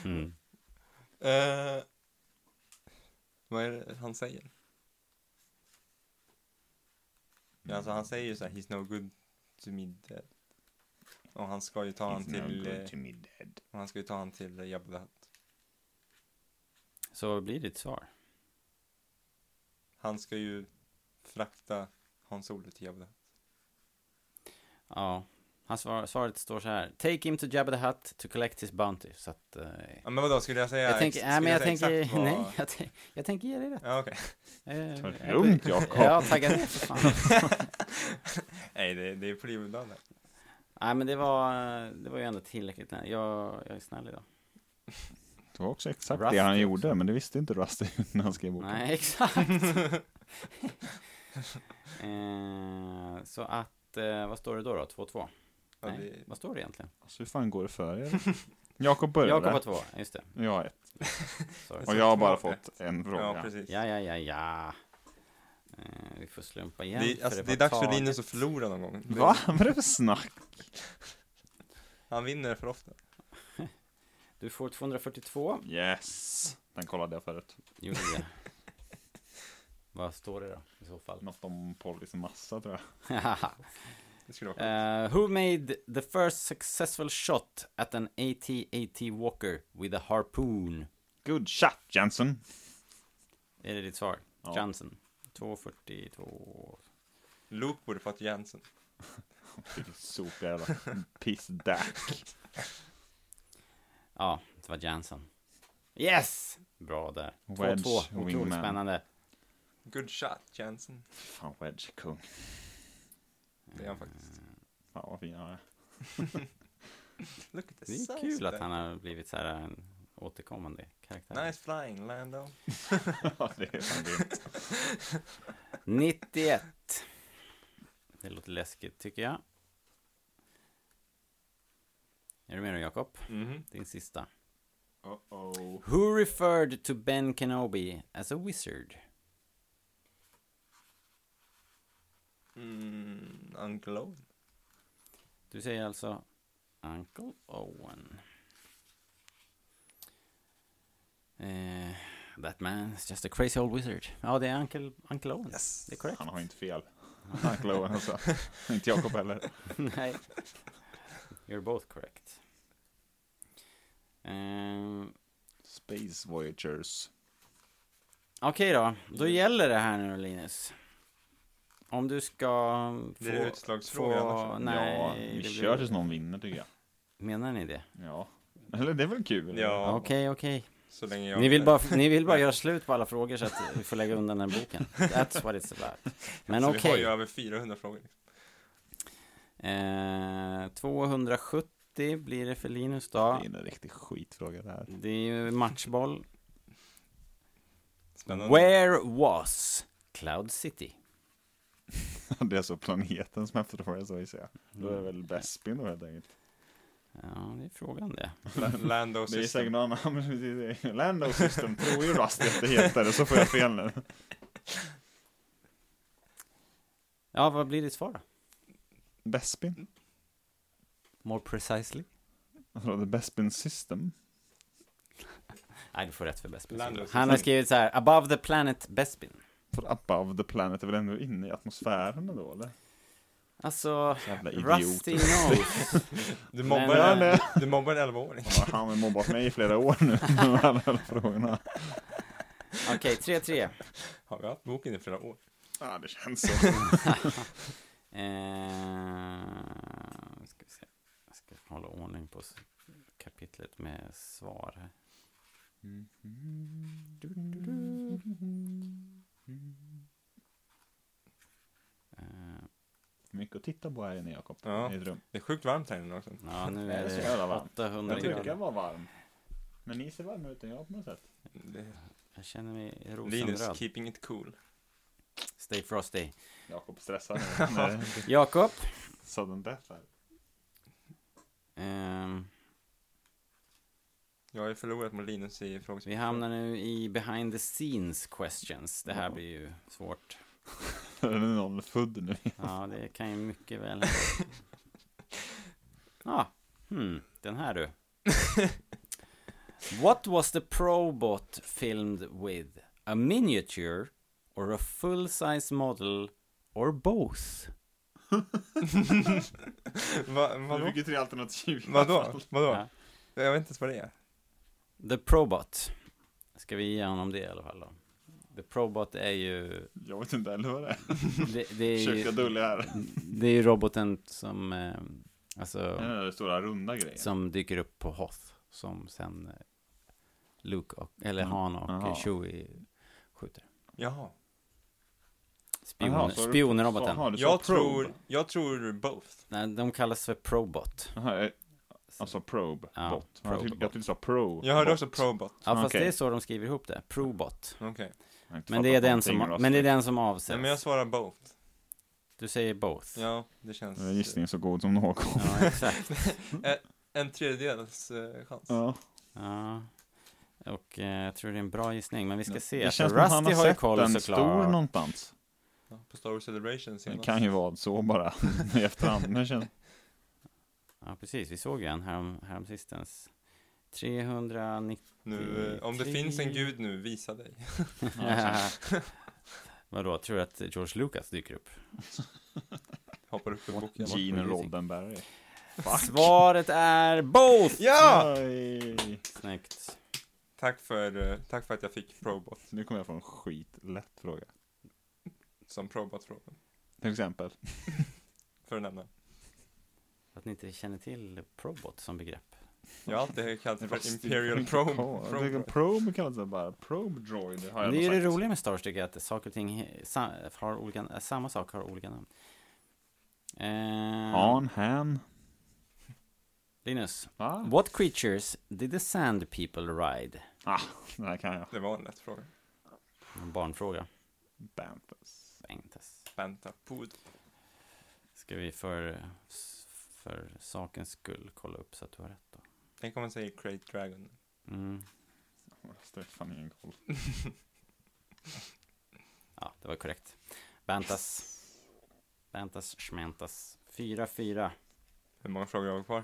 B: mm.
D: Eh, vad är det han säger? Ja, Alltså han säger ju såhär, he's no good to me dead. Och han ska ju ta han till, eh,
C: me dead.
D: och han ska ju ta han till eh, Jabba the Hutt.
B: Så vad blir ditt svar?
D: Han ska ju frakta Hans Solo till Jabba the Hutt.
B: Ja, han svar, svaret står så här. Take him to Jabba the Hutt to collect his bounty. Så att... eh,
D: Ja men vadå, skulle jag säga
B: jag tänker,
D: ex-
B: nej men
D: skulle
B: jag
D: säga
B: tänker,
D: exakt vad-
B: nej, jag, tän- jag tänker ge dig det.
D: Ja okej.
B: Eh,
C: Ta det
B: jag-
C: lugnt, Jakob.
B: Ja, tagga ner för fan.
D: Nej det, det är flygbudan där.
B: Nej men det var, det var ju ändå tillräckligt. Nej, jag, jag är snäll idag.
C: Det var också exakt
B: Rusty
C: det han
B: också.
C: gjorde, men det visste inte Rusty när han skrev boken.
B: Nej, exakt. eh, så att, eh, vad står det då då? 2-2?
D: Ja,
B: Nej,
D: det,
B: vad står det egentligen?
C: Alltså hur fan går det för er? Jakob började.
B: Jakob har två, just det.
C: Jag har ett.
B: Sorry.
C: Och jag har bara fått en
D: Ja,
C: fråga.
D: precis.
B: Ja, ja, ja, ja. Eh, vi får slumpa igen.
D: Det, är- alltså, det är
B: var
D: dags för
B: taget.
D: Linus att förlora någon gång. Det-
C: Va? Vad är det för snack?
D: Han vinner för ofta.
B: Du får 242.
C: Yes! Den kollade jag förut.
B: Gjorde det. Vad står det då i så fall?
C: Något om Pollys massa tror jag.
D: Det skulle vara
B: Eh, who made the first successful shot at an AT-AT Walker with a harpoon?
C: Good shot Jensen!
B: Är det ditt svar?
C: Ja.
B: Johnson. 242.
D: Luke borde fått Jensen.
C: Vilken sopiga jävla pissdack.
B: Ja, det var Jansson. Yes! Bra där.
C: Wedge,
B: 2-2. Otroligt
C: wingman.
B: spännande.
D: Good shot Jensen.
C: Fan Wedge är kung.
D: Det är han faktiskt.
C: Fan vad fin han är.
D: Look at
B: Det
D: the size
B: är
D: of
B: kul att
D: that.
B: han har blivit så här en återkommande karaktär.
D: Nice flying Lando.
C: Ja, det är fan grymt.
B: 91. Det låter läskigt tycker jag. Är du med nu Jakob?
D: Mhm.
B: Din sista.
C: Uh-oh.
B: Who referred to Ben Kenobi as a wizard?
D: Mm, Uncle Owen.
B: Du säger alltså Uncle Owen. Eh, that man's just a crazy old wizard. Ja, det är Uncle, Uncle Owen.
D: Yes.
B: Det är korrekt.
C: Han har inte fel. Han klarar alltså. Inte Jakob heller.
B: Nej. You're both correct. Ehm,
C: Space Voyagers.
B: Okej då,
D: Mm.
B: då gäller det här nu Linus. Om du ska få...
D: Blir det utslagsfråga
B: få,
D: annars?
B: Nej,
C: ja,
B: det
C: vi
B: blir-
C: kör tills någon vinner tycker jag.
B: Menar ni det?
C: Ja. Eller det är väl kul?
D: Ja.
B: Okej, okej.
D: Så länge jag...
B: Ni vill, bara, ni vill bara göra slut på alla frågor så att vi får lägga undan den här boken. That's what it's about. Men
D: Så vi har
B: okej.
D: ju över 400 frågor. liksom.
B: Eh, 270 blir det för Linus då.
C: Det är en riktig skitfråga det här.
B: Det är ju matchboll.
D: Spännande.
B: Where was Cloud City?
C: Det är så planeten som efterfrågar så vi säga. Då är det väl Bespin då helt enkelt.
B: Ja, det är frågan det.
D: La- Lando
C: Det är
D: system.
C: säkert någon annan, men det är Lando System tror ju Rust att det heter det, så får jag fel nu.
B: Ja, vad blir ditt svar då?
C: Bespin?
B: More precisely?
C: Alltså, the Bespin System?
B: Nej, du får rätt för Bespin.
D: Lando.
B: Han har skrivit så här, above the planet Bespin.
C: För above the planet är väl ändå inne i atmosfären då eller?
B: Alltså,
C: Jävla idiot.
B: Rusty knows.
D: Du
B: Men,
D: mobbar,
B: eh,
D: en, du mobbar en 11-åring.
C: Han har- Han har mobbat mig i flera år nu med alla de här frågorna.
B: Okej, 3-3.
D: Har vi haft boken i flera år?
C: Ja, det känns så.
B: Eh, ska vi se. Jag ska hålla ordning på s- kapitlet med svar här. Eh,
C: Mycket att titta på här inne Jakob,
D: Ja.
C: i ett rum.
D: Det är sjukt varmt här inne också.
B: Ja, nu är
C: Jag tycker det
B: det
C: var varmt.
B: 800
C: Jag tycker jag
B: grader.
C: var varm. Men ni ser varma ut än jag på något sätt.
D: Det-
B: Jag känner mig
D: Linus,
B: rosenröd.
D: keeping it cool.
B: Stay frosty.
C: Jakob stressar nu. när det är
B: Jakob.
C: Sudden death här.
B: ehm,
D: Jag har ju förlorat mot Linus i frågespel.
B: Vi hamnar nu i behind the scenes questions. Det här
C: Ja.
B: blir ju svårt.
C: Är det någon född nu?
B: Ja, det kan ju mycket väl hända. Ja, hmm, den här du. What was the Probot filmed with? A miniature or a full size model or both?
D: Va,
C: Du
D: vadå?
C: fick ju tre alternativ.
D: Vadå?
B: Ja.
D: Vadå? Jag vet inte ens vad det är.
B: The Probot. Ska vi ge honom det i alla fall då? The Probot är ju...
C: Jag vet inte heller vad det är.
B: Det, det är ju... Mm,
C: Försökte dölja här.
B: Det är ju roboten som, eh, alltså,
C: Den där stora runda grejen.
B: som dyker upp på Hoth, som sen eh, Luke och, eller
C: Mm.
B: Han och
C: Jaha.
B: Aha. Chewie skjuter.
D: Jaha.
B: Spion,
C: Jaha, så har du- så-
B: spionroboten.
C: jaha, du sa
D: Jag
C: probe.
D: tror, jag tror both.
B: Nej, de kallas för Probot.
C: Jaha, eh, alltså probe.
B: Ja,
C: bot.
B: probe
C: jag tyckte
B: bot.
C: jag tyckte du sa pro.
D: Jag hörde
C: bot.
D: också probot.
B: Ja, fast
C: Ah, Okej.
B: det är så de skriver ihop det. Probot.
D: Okej.
C: Jag har inte
B: Men det, är
C: fattat
B: den som,
C: någonting,
B: men det är
C: Rasmus.
B: den som avses.
D: Nej men jag svarar both.
B: Du säger both.
D: Ja, det känns...
C: Det är en gissning så god som någon.
B: Ja, exakt.
D: Eh, En tredjedels eh, chans.
C: Ja.
B: Ja. Och eh, jag tror det är en bra gissning, men vi ska se.
C: Det
B: För
C: känns som att han
B: Rusty
C: har
B: har ju
C: sett
B: koll
C: den
B: såklart.
C: stor någonstans.
D: Ja, på Star Wars Celebration
C: Det
D: senast.
C: kan ju vara så bara i efterhand. Men känns...
B: Ja, precis. Vi såg ju en härom, härom sistens. 390...
D: Nu, eh, om det
B: Tre-
D: finns en gud nu, visa dig.
B: Vadå, tror du att George Lucas dyker upp?
D: Hoppar upp ur boken.
C: Gene
B: What-
C: Roddenberry.
B: Svaret är both!
D: Ja!
C: Nej.
B: Snyggt.
D: Tack för, eh, tack för att jag fick Probot
C: Nu kommer jag få en skitlätt fråga.
D: som Probot-fråga.
C: Till exempel.
D: För att nämna.
B: Att ni inte känner till Probot som begrepp.
D: Jag har alltid kallat det för
C: Rusty
D: Imperial
C: Point
D: Probe.
C: Car.
D: Probe.
C: Probe kallas det bara. Probe droid har jag
B: det är
C: nog
B: ju det
C: sagt.
B: roliga med Star Wars tycker jag, att saker och ting he- sa, har olika, äh, samma sak har olika namn. Eh,
C: Han, han.
B: Linus.
C: Va?
B: What creatures did the sand people ride?
C: Ah, den här kan jag.
D: Det var en lätt fråga.
B: En barnfråga.
C: Bantus.
B: Bengtes.
D: Vänta, pod.
B: Ska vi för, för sakens skull kolla upp så att du har rätt då?
D: Tänk om man säger Great Dragon.
B: Mm.
C: Det är fan ingen koll.
B: Ja, det var korrekt. Bantas. Bantas schmentas. 4-4.
D: Hur många frågor har vi kvar?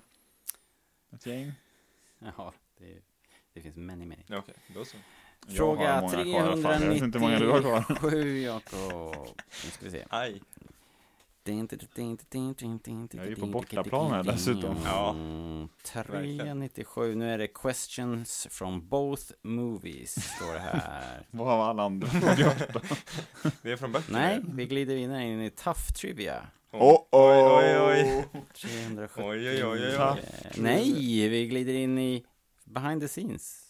C: Ett gäng.
B: Ja, det, det finns many, many.
D: Ja, Okej, då så.
C: Jag har
B: Fråga
C: många kvar i alla fall. Jag vet inte hur många du har kvar.
B: 397, Jakob. Nu ska vi se.
D: Aj.
B: Jag
C: Jag är ju på bortaplan här dessutom.
D: Ja,
B: 397. Mm, Nu är det questions from both movies, står det här.
C: Vad har alla andra frågor?
D: Det är från böckerna.
B: Nej, vi glider vidare in i tough trivia.
D: Oj, oj, oj.
B: 370.
D: Oj, oj, oj, oj,
C: Tough.
D: oj.
B: Eh, Nej, vi glider in i behind the scenes.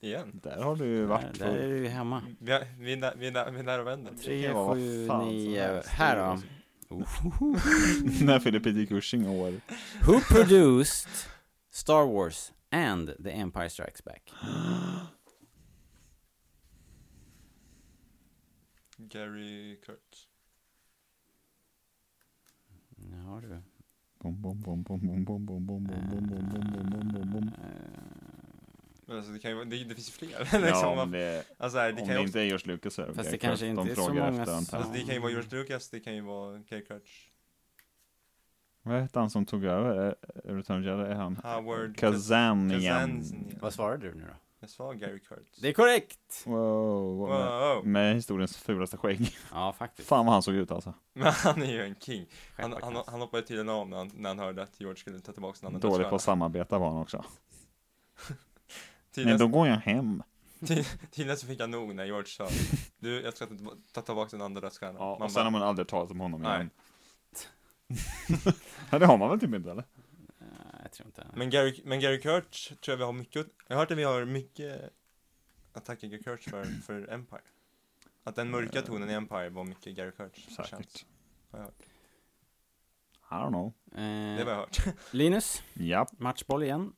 D: Igen.
C: Där har du ju
B: Där,
C: varit
B: där är
C: på.
B: du ju hemma.
D: Vi, har, vi, är där, vi, är där, vi är där och vänder.
C: Det
B: Tre,
C: kan vara
B: sju,
C: vad fan som
B: nio.
C: helst.
B: eh,
C: liksom-
B: Här då. Ohoho.
C: När Philip J. Cushing år.
B: Who produced Star Wars and The Empire Strikes Back?
D: Gary Kurtz.
B: Ja du.
C: Bom, bom, bom, bom, bom, bom, bom, bom, bom, bom, bom, bom, bom, bom, bom, bom.
B: eh,
D: Men alltså, det, kan ju, vara- det, det finns ju fler. liksom,
C: Ja,
D: man-
C: om det,
D: alltså, här, det
C: om
D: kan ju
C: det
D: också-
C: inte är George Lucas så är
B: Fast
C: Gary
B: det kanske
C: Kurtz.
B: inte
C: De
B: är så
C: frågar
B: många
C: efter, antar jag.
D: Alltså det kan ju vara George Lucas, det kan ju vara Gary Crutch,
C: Vad hette han som tog över eh, Return of the Jedi? Är han?
D: Howard
C: Kazan igen.
D: Kazanznian.
B: Vad svarade du nu då?
D: Jag sa Gary Kurtz.
B: Det är korrekt!
C: Wow,
D: Wow,
C: wow. Med,
D: wow.
C: med historiens fulaste skägg.
B: Ja, faktiskt.
C: Fan vad han såg ut alltså.
D: Men han är ju en king. Han,
B: Självklart.
D: han, han hoppade tydligen av när han, när han hörde att George skulle ta tillbaka sin andra
C: Dålig på att
D: dödsstjärna.
C: samarbeta var han också. Nej,
D: Tydligen,
C: då går jag hem.
D: tydligen så fick han nog när George sa Du, jag ska ta- ta tillbaka den andra dödsstjärnan.
C: Ja,
D: Man
C: och sen
D: bara,
C: har man aldrig talat om honom
D: Nej.
C: igen. Nej, det har man väl typ inte eller?
B: Nej, jag tror inte.
D: men, Gary, men Gary Kurtz tror jag vi har mycket Jag har hört att vi har mycket att tacka Gary Kurtz för, för Empire. Att den mörka tonen i Empire var mycket Gary Kurtz.
C: Eh. Säkert.
D: Har jag hört.
C: I don't know.
D: Det har
B: Eh,
D: jag hört.
B: Linus,
C: Japp,
B: matchboll igen.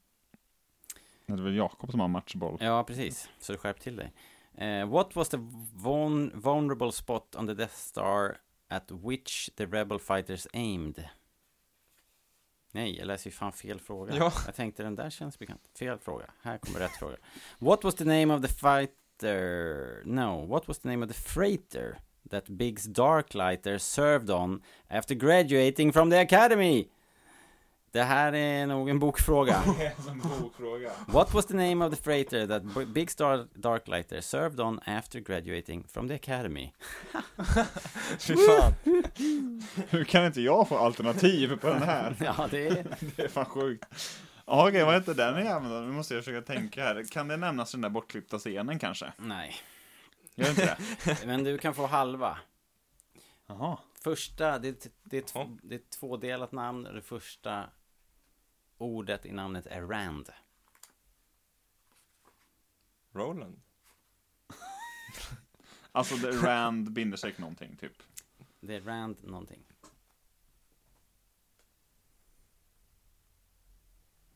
C: det är väl Jakob som har matchboll.
B: Ja, precis. Så du skärp till dig. Eh, what was the vul- vulnerable spot on the Death Star at which the rebel fighters aimed? Nej, jag läser ju fan fel fråga.
D: Ja.
B: Jag tänkte den där känns bekant. Fel fråga. Här kommer rätt fråga. What was the name of the fighter? No, what was the name of the freighter that Biggs Darklighter served on after graduating from the Academy? Det här är nog en bokfråga. What was the name of the freighter that B- Big Star Darklighter served on after graduating from the Academy?
D: Fy fan.
C: Hur kan inte jag få alternativ på den här?
B: ja, det är...
C: Det är fan sjukt. Ja, Okej, vad hette den jäveln då? Nu måste jag försöka tänka här. Kan det nämnas den där bortklippta scenen kanske?
B: Nej.
C: Gör inte det?
B: Men du kan få halva.
C: Jaha.
B: Första, det, är t- det, är t-
D: Jaha.
B: det är ett tvådelat namn och det första ordet i namnet är Rand.
D: Roland.
C: Alltså, det- Rand binder sig någonting typ.
B: Det är Rand någonting.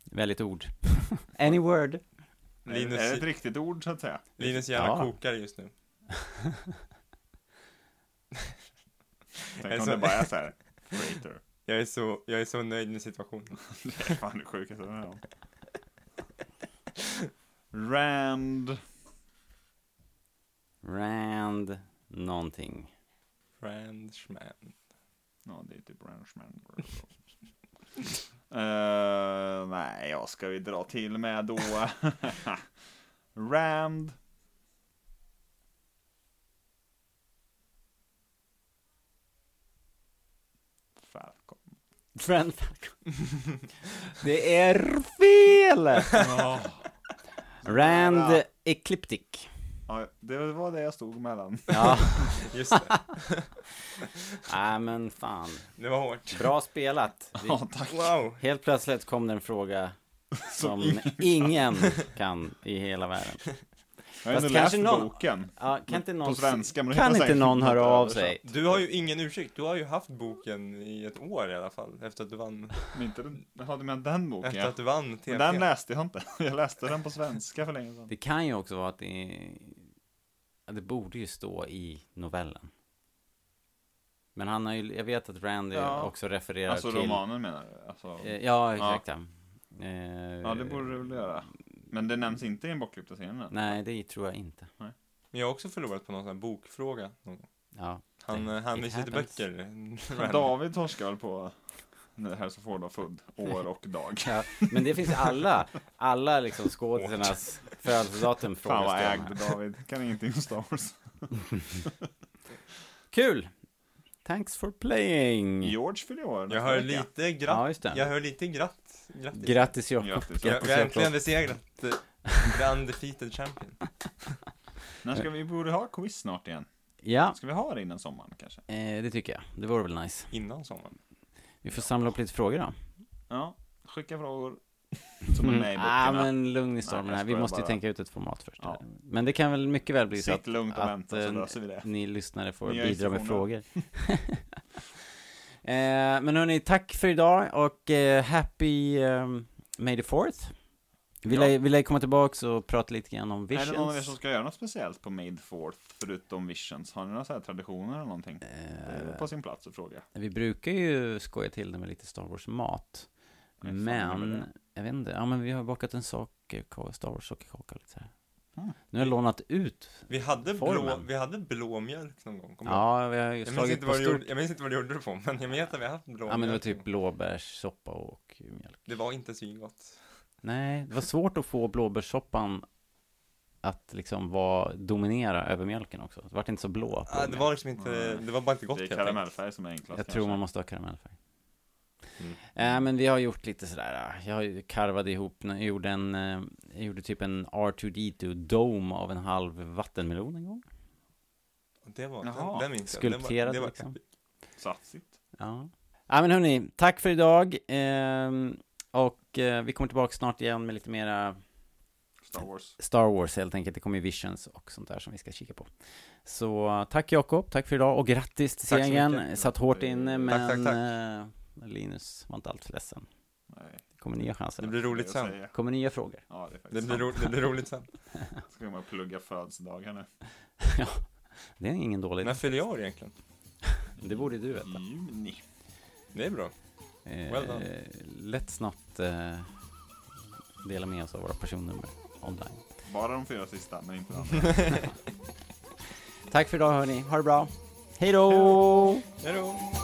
B: Väldigt ord. Any word.
C: Linus...
D: Linus-
C: Är det ett riktigt ord så att säga?
D: Linus hjärna
B: Ja.
D: kokar just nu.
C: Tänk om
D: så-
C: det bara är så här. Freighter.
D: Jag är så, jag är så nöjd med situationen.
C: Det är fan det sjukaste jag varit med om. Rand.
B: Rand någonting.
D: Frenchman.
C: Ja, det är typ Ranchman. Eh, nej, jag ska vi dra till med då. Rand. Falcon.
B: Rand Falcon. det är fel! Rand Ecliptic.
C: Ja, det var det jag stod mellan.
B: Ja,
D: Just det,
B: nej men fan.
D: det var hårt.
B: Bra spelat. Vi,
C: Ja, tack.
D: Wow!
B: helt plötsligt kom det en fråga som ingen, kan i hela världen.
C: Jag har
B: Fast
C: ändå läst
B: kanske någon-
C: boken.
B: Ja, kan inte någon,
C: På svenska, men det
B: kan
C: var
B: inte
C: säkert
B: någon
C: inte
B: höra av
C: översatt.
B: sig?
D: Du har ju ingen ursäkt, du har ju haft boken i ett år i alla fall efter att du vann,
C: Men inte den, Jaha, du menar den boken?
D: efter
C: Ja.
D: att du vann TP.
C: Men den läste jag inte. Jag läste den på svenska för länge sedan.
B: Det kan ju också vara att det, ja, det borde ju stå i novellen. Men han har ju, jag vet att Randy
C: Ja.
B: också refererar
C: Alltså
B: till...
C: romanen menar du? Alltså,
B: Eh, Ja, exakt ja. Eh,
C: ja, det borde du väl göra. Men det nämns inte i den bortklippta scenen?
B: Nej, det tror jag inte.
D: Men jag har också förlorat på någon sån här bokfråga. någon gång.
B: Ja,
D: Han,
B: Nej,
D: eh, han
B: it
D: visar lite
B: happens.
D: böcker.
C: Men David torskar väl på när Hälso Ford var född, år och dag.
B: ja. Men det finns alla, alla liksom skådisarnas födelsedatum
C: Fan
B: frågas
C: vad
B: det om
C: ägd
B: här.
C: David, kan ingenting om Star Wars.
B: Kul! Thanks for playing!
C: George fyller år nästa
D: Jag hör
C: vecka.
D: lite
B: Ja,
D: gratt.
B: just det.
D: Jag hör lite gratt. Grattis.
B: Grattis Jakob!
C: Grattis.
D: jag, jag har
B: Jakob.
D: äntligen besegrat eh, the undefeated champion.
C: När ska vi, borde ha quiz snart igen?
B: Ja,
C: Ska vi ha det innan sommaren kanske?
B: eh, det tycker jag. Det vore väl nice.
D: Innan sommaren.
B: Vi får samla upp lite frågor då.
C: Ja, skicka frågor som är med i böckerna.
B: ah, men lugn i stormen
C: Nej, jag
B: här. Vi
C: skojar
B: måste ju
C: bara.
B: tänka ut ett format först.
C: Ja.
B: Men det kan väl mycket väl bli så
C: Sitt
B: att,
C: lugnt och
B: att
C: vänta så
B: eh,
C: löser vi det.
B: ni lyssnare får
C: Nya
B: bidra med frågor.
C: instruktioner.
B: eh, men hörni, tack för idag och eh, happy ehm, May the 4th. Vi
C: Ja.
B: lär vill jag komma tillbaks och prata lite grann om
C: Är det någon av er
B: visions.
C: som ska göra något speciellt på Made Fourth förutom Visions? Har ni några så här traditioner eller någonting? Det
B: Eh.
C: är väl på sin plats att fråga.
B: Vi brukar ju skoja till det med lite Star Wars-mat.
C: Nej, fan, vad är
B: Men,
C: det?
B: jag vet inte, ja men vi har bakat en sockerkaka, Star Wars sockerkaka lite så här.
C: Mm.
B: Nu har jag lånat ut,
D: Vi hade, blå,
B: Formen.
D: vi hade blå mjölk någon gång. kommer du ihåg?
B: ja vi har ju
D: jag, minns
B: slagit
D: inte
B: på
D: vad du
B: stort
D: gjorde, jag minns inte vad du gjorde det på, men jag vet att vi har haft blå
B: Ja men det var
D: mjölk
B: typ
D: någon
B: blåbärssoppa och mjölk.
D: gång. det var inte svingott.
B: Nej, det var svårt att få blåbärssoppan att liksom vara, dominera över mjölken också. Det vart inte så blå.
D: Ah, det var liksom inte, det var bara inte gott
C: Det är
D: helt enkelt.
C: karamellfärg som är enklast.
B: Jag
C: kanske.
B: tror man måste ha karamellfärg.
D: Mm.
B: Äh, men vi har gjort lite sådär, äh, jag har ju karvade ihop, jag gjorde en, eh, jag gjorde typ en R2D2 dome av en halv vattenmelon en gång.
D: Det var,
C: Jaha.
D: den, den minns jag.
B: Skulpterat
D: den var, det var,
B: liksom.
C: Satsigt.
B: Ja. ja men hörni, tack för idag. Ehm, och eh, vi kommer tillbaka snart igen med lite mera
C: Star Wars.
B: Star Wars helt enkelt, det kommer ju Visions och sånt där som vi ska kika på. Så tack Jakob, tack för idag och grattis till
D: Tack så
B: segern.
D: mycket.
B: Satt hårt inne men
D: Tack, tack, tack.
B: eh, Linus var inte alltför ledsen.
C: Nej,
B: Det kommer nya
D: Det
B: chanser.
D: blir roligt
C: det är att
D: sen.
C: säga.
B: Det kommer nya frågor.
C: Ja, det är faktiskt
D: Det blir, ro, det blir roligt sen.
C: sant. Ska man plugga födelsedagar nu?
B: Det är ingen dålig.
D: När fyller jag år egentligen?
B: Det borde du veta.
C: Juni.
D: Det är bra.
B: Eh,
D: Mm. Well done.
B: let's not eh, dela med oss av våra personnummer online.
C: Bara de fyra sista, men inte de andra.
B: Tack för idag hörni, ha det bra. Hej då!
D: Hej då!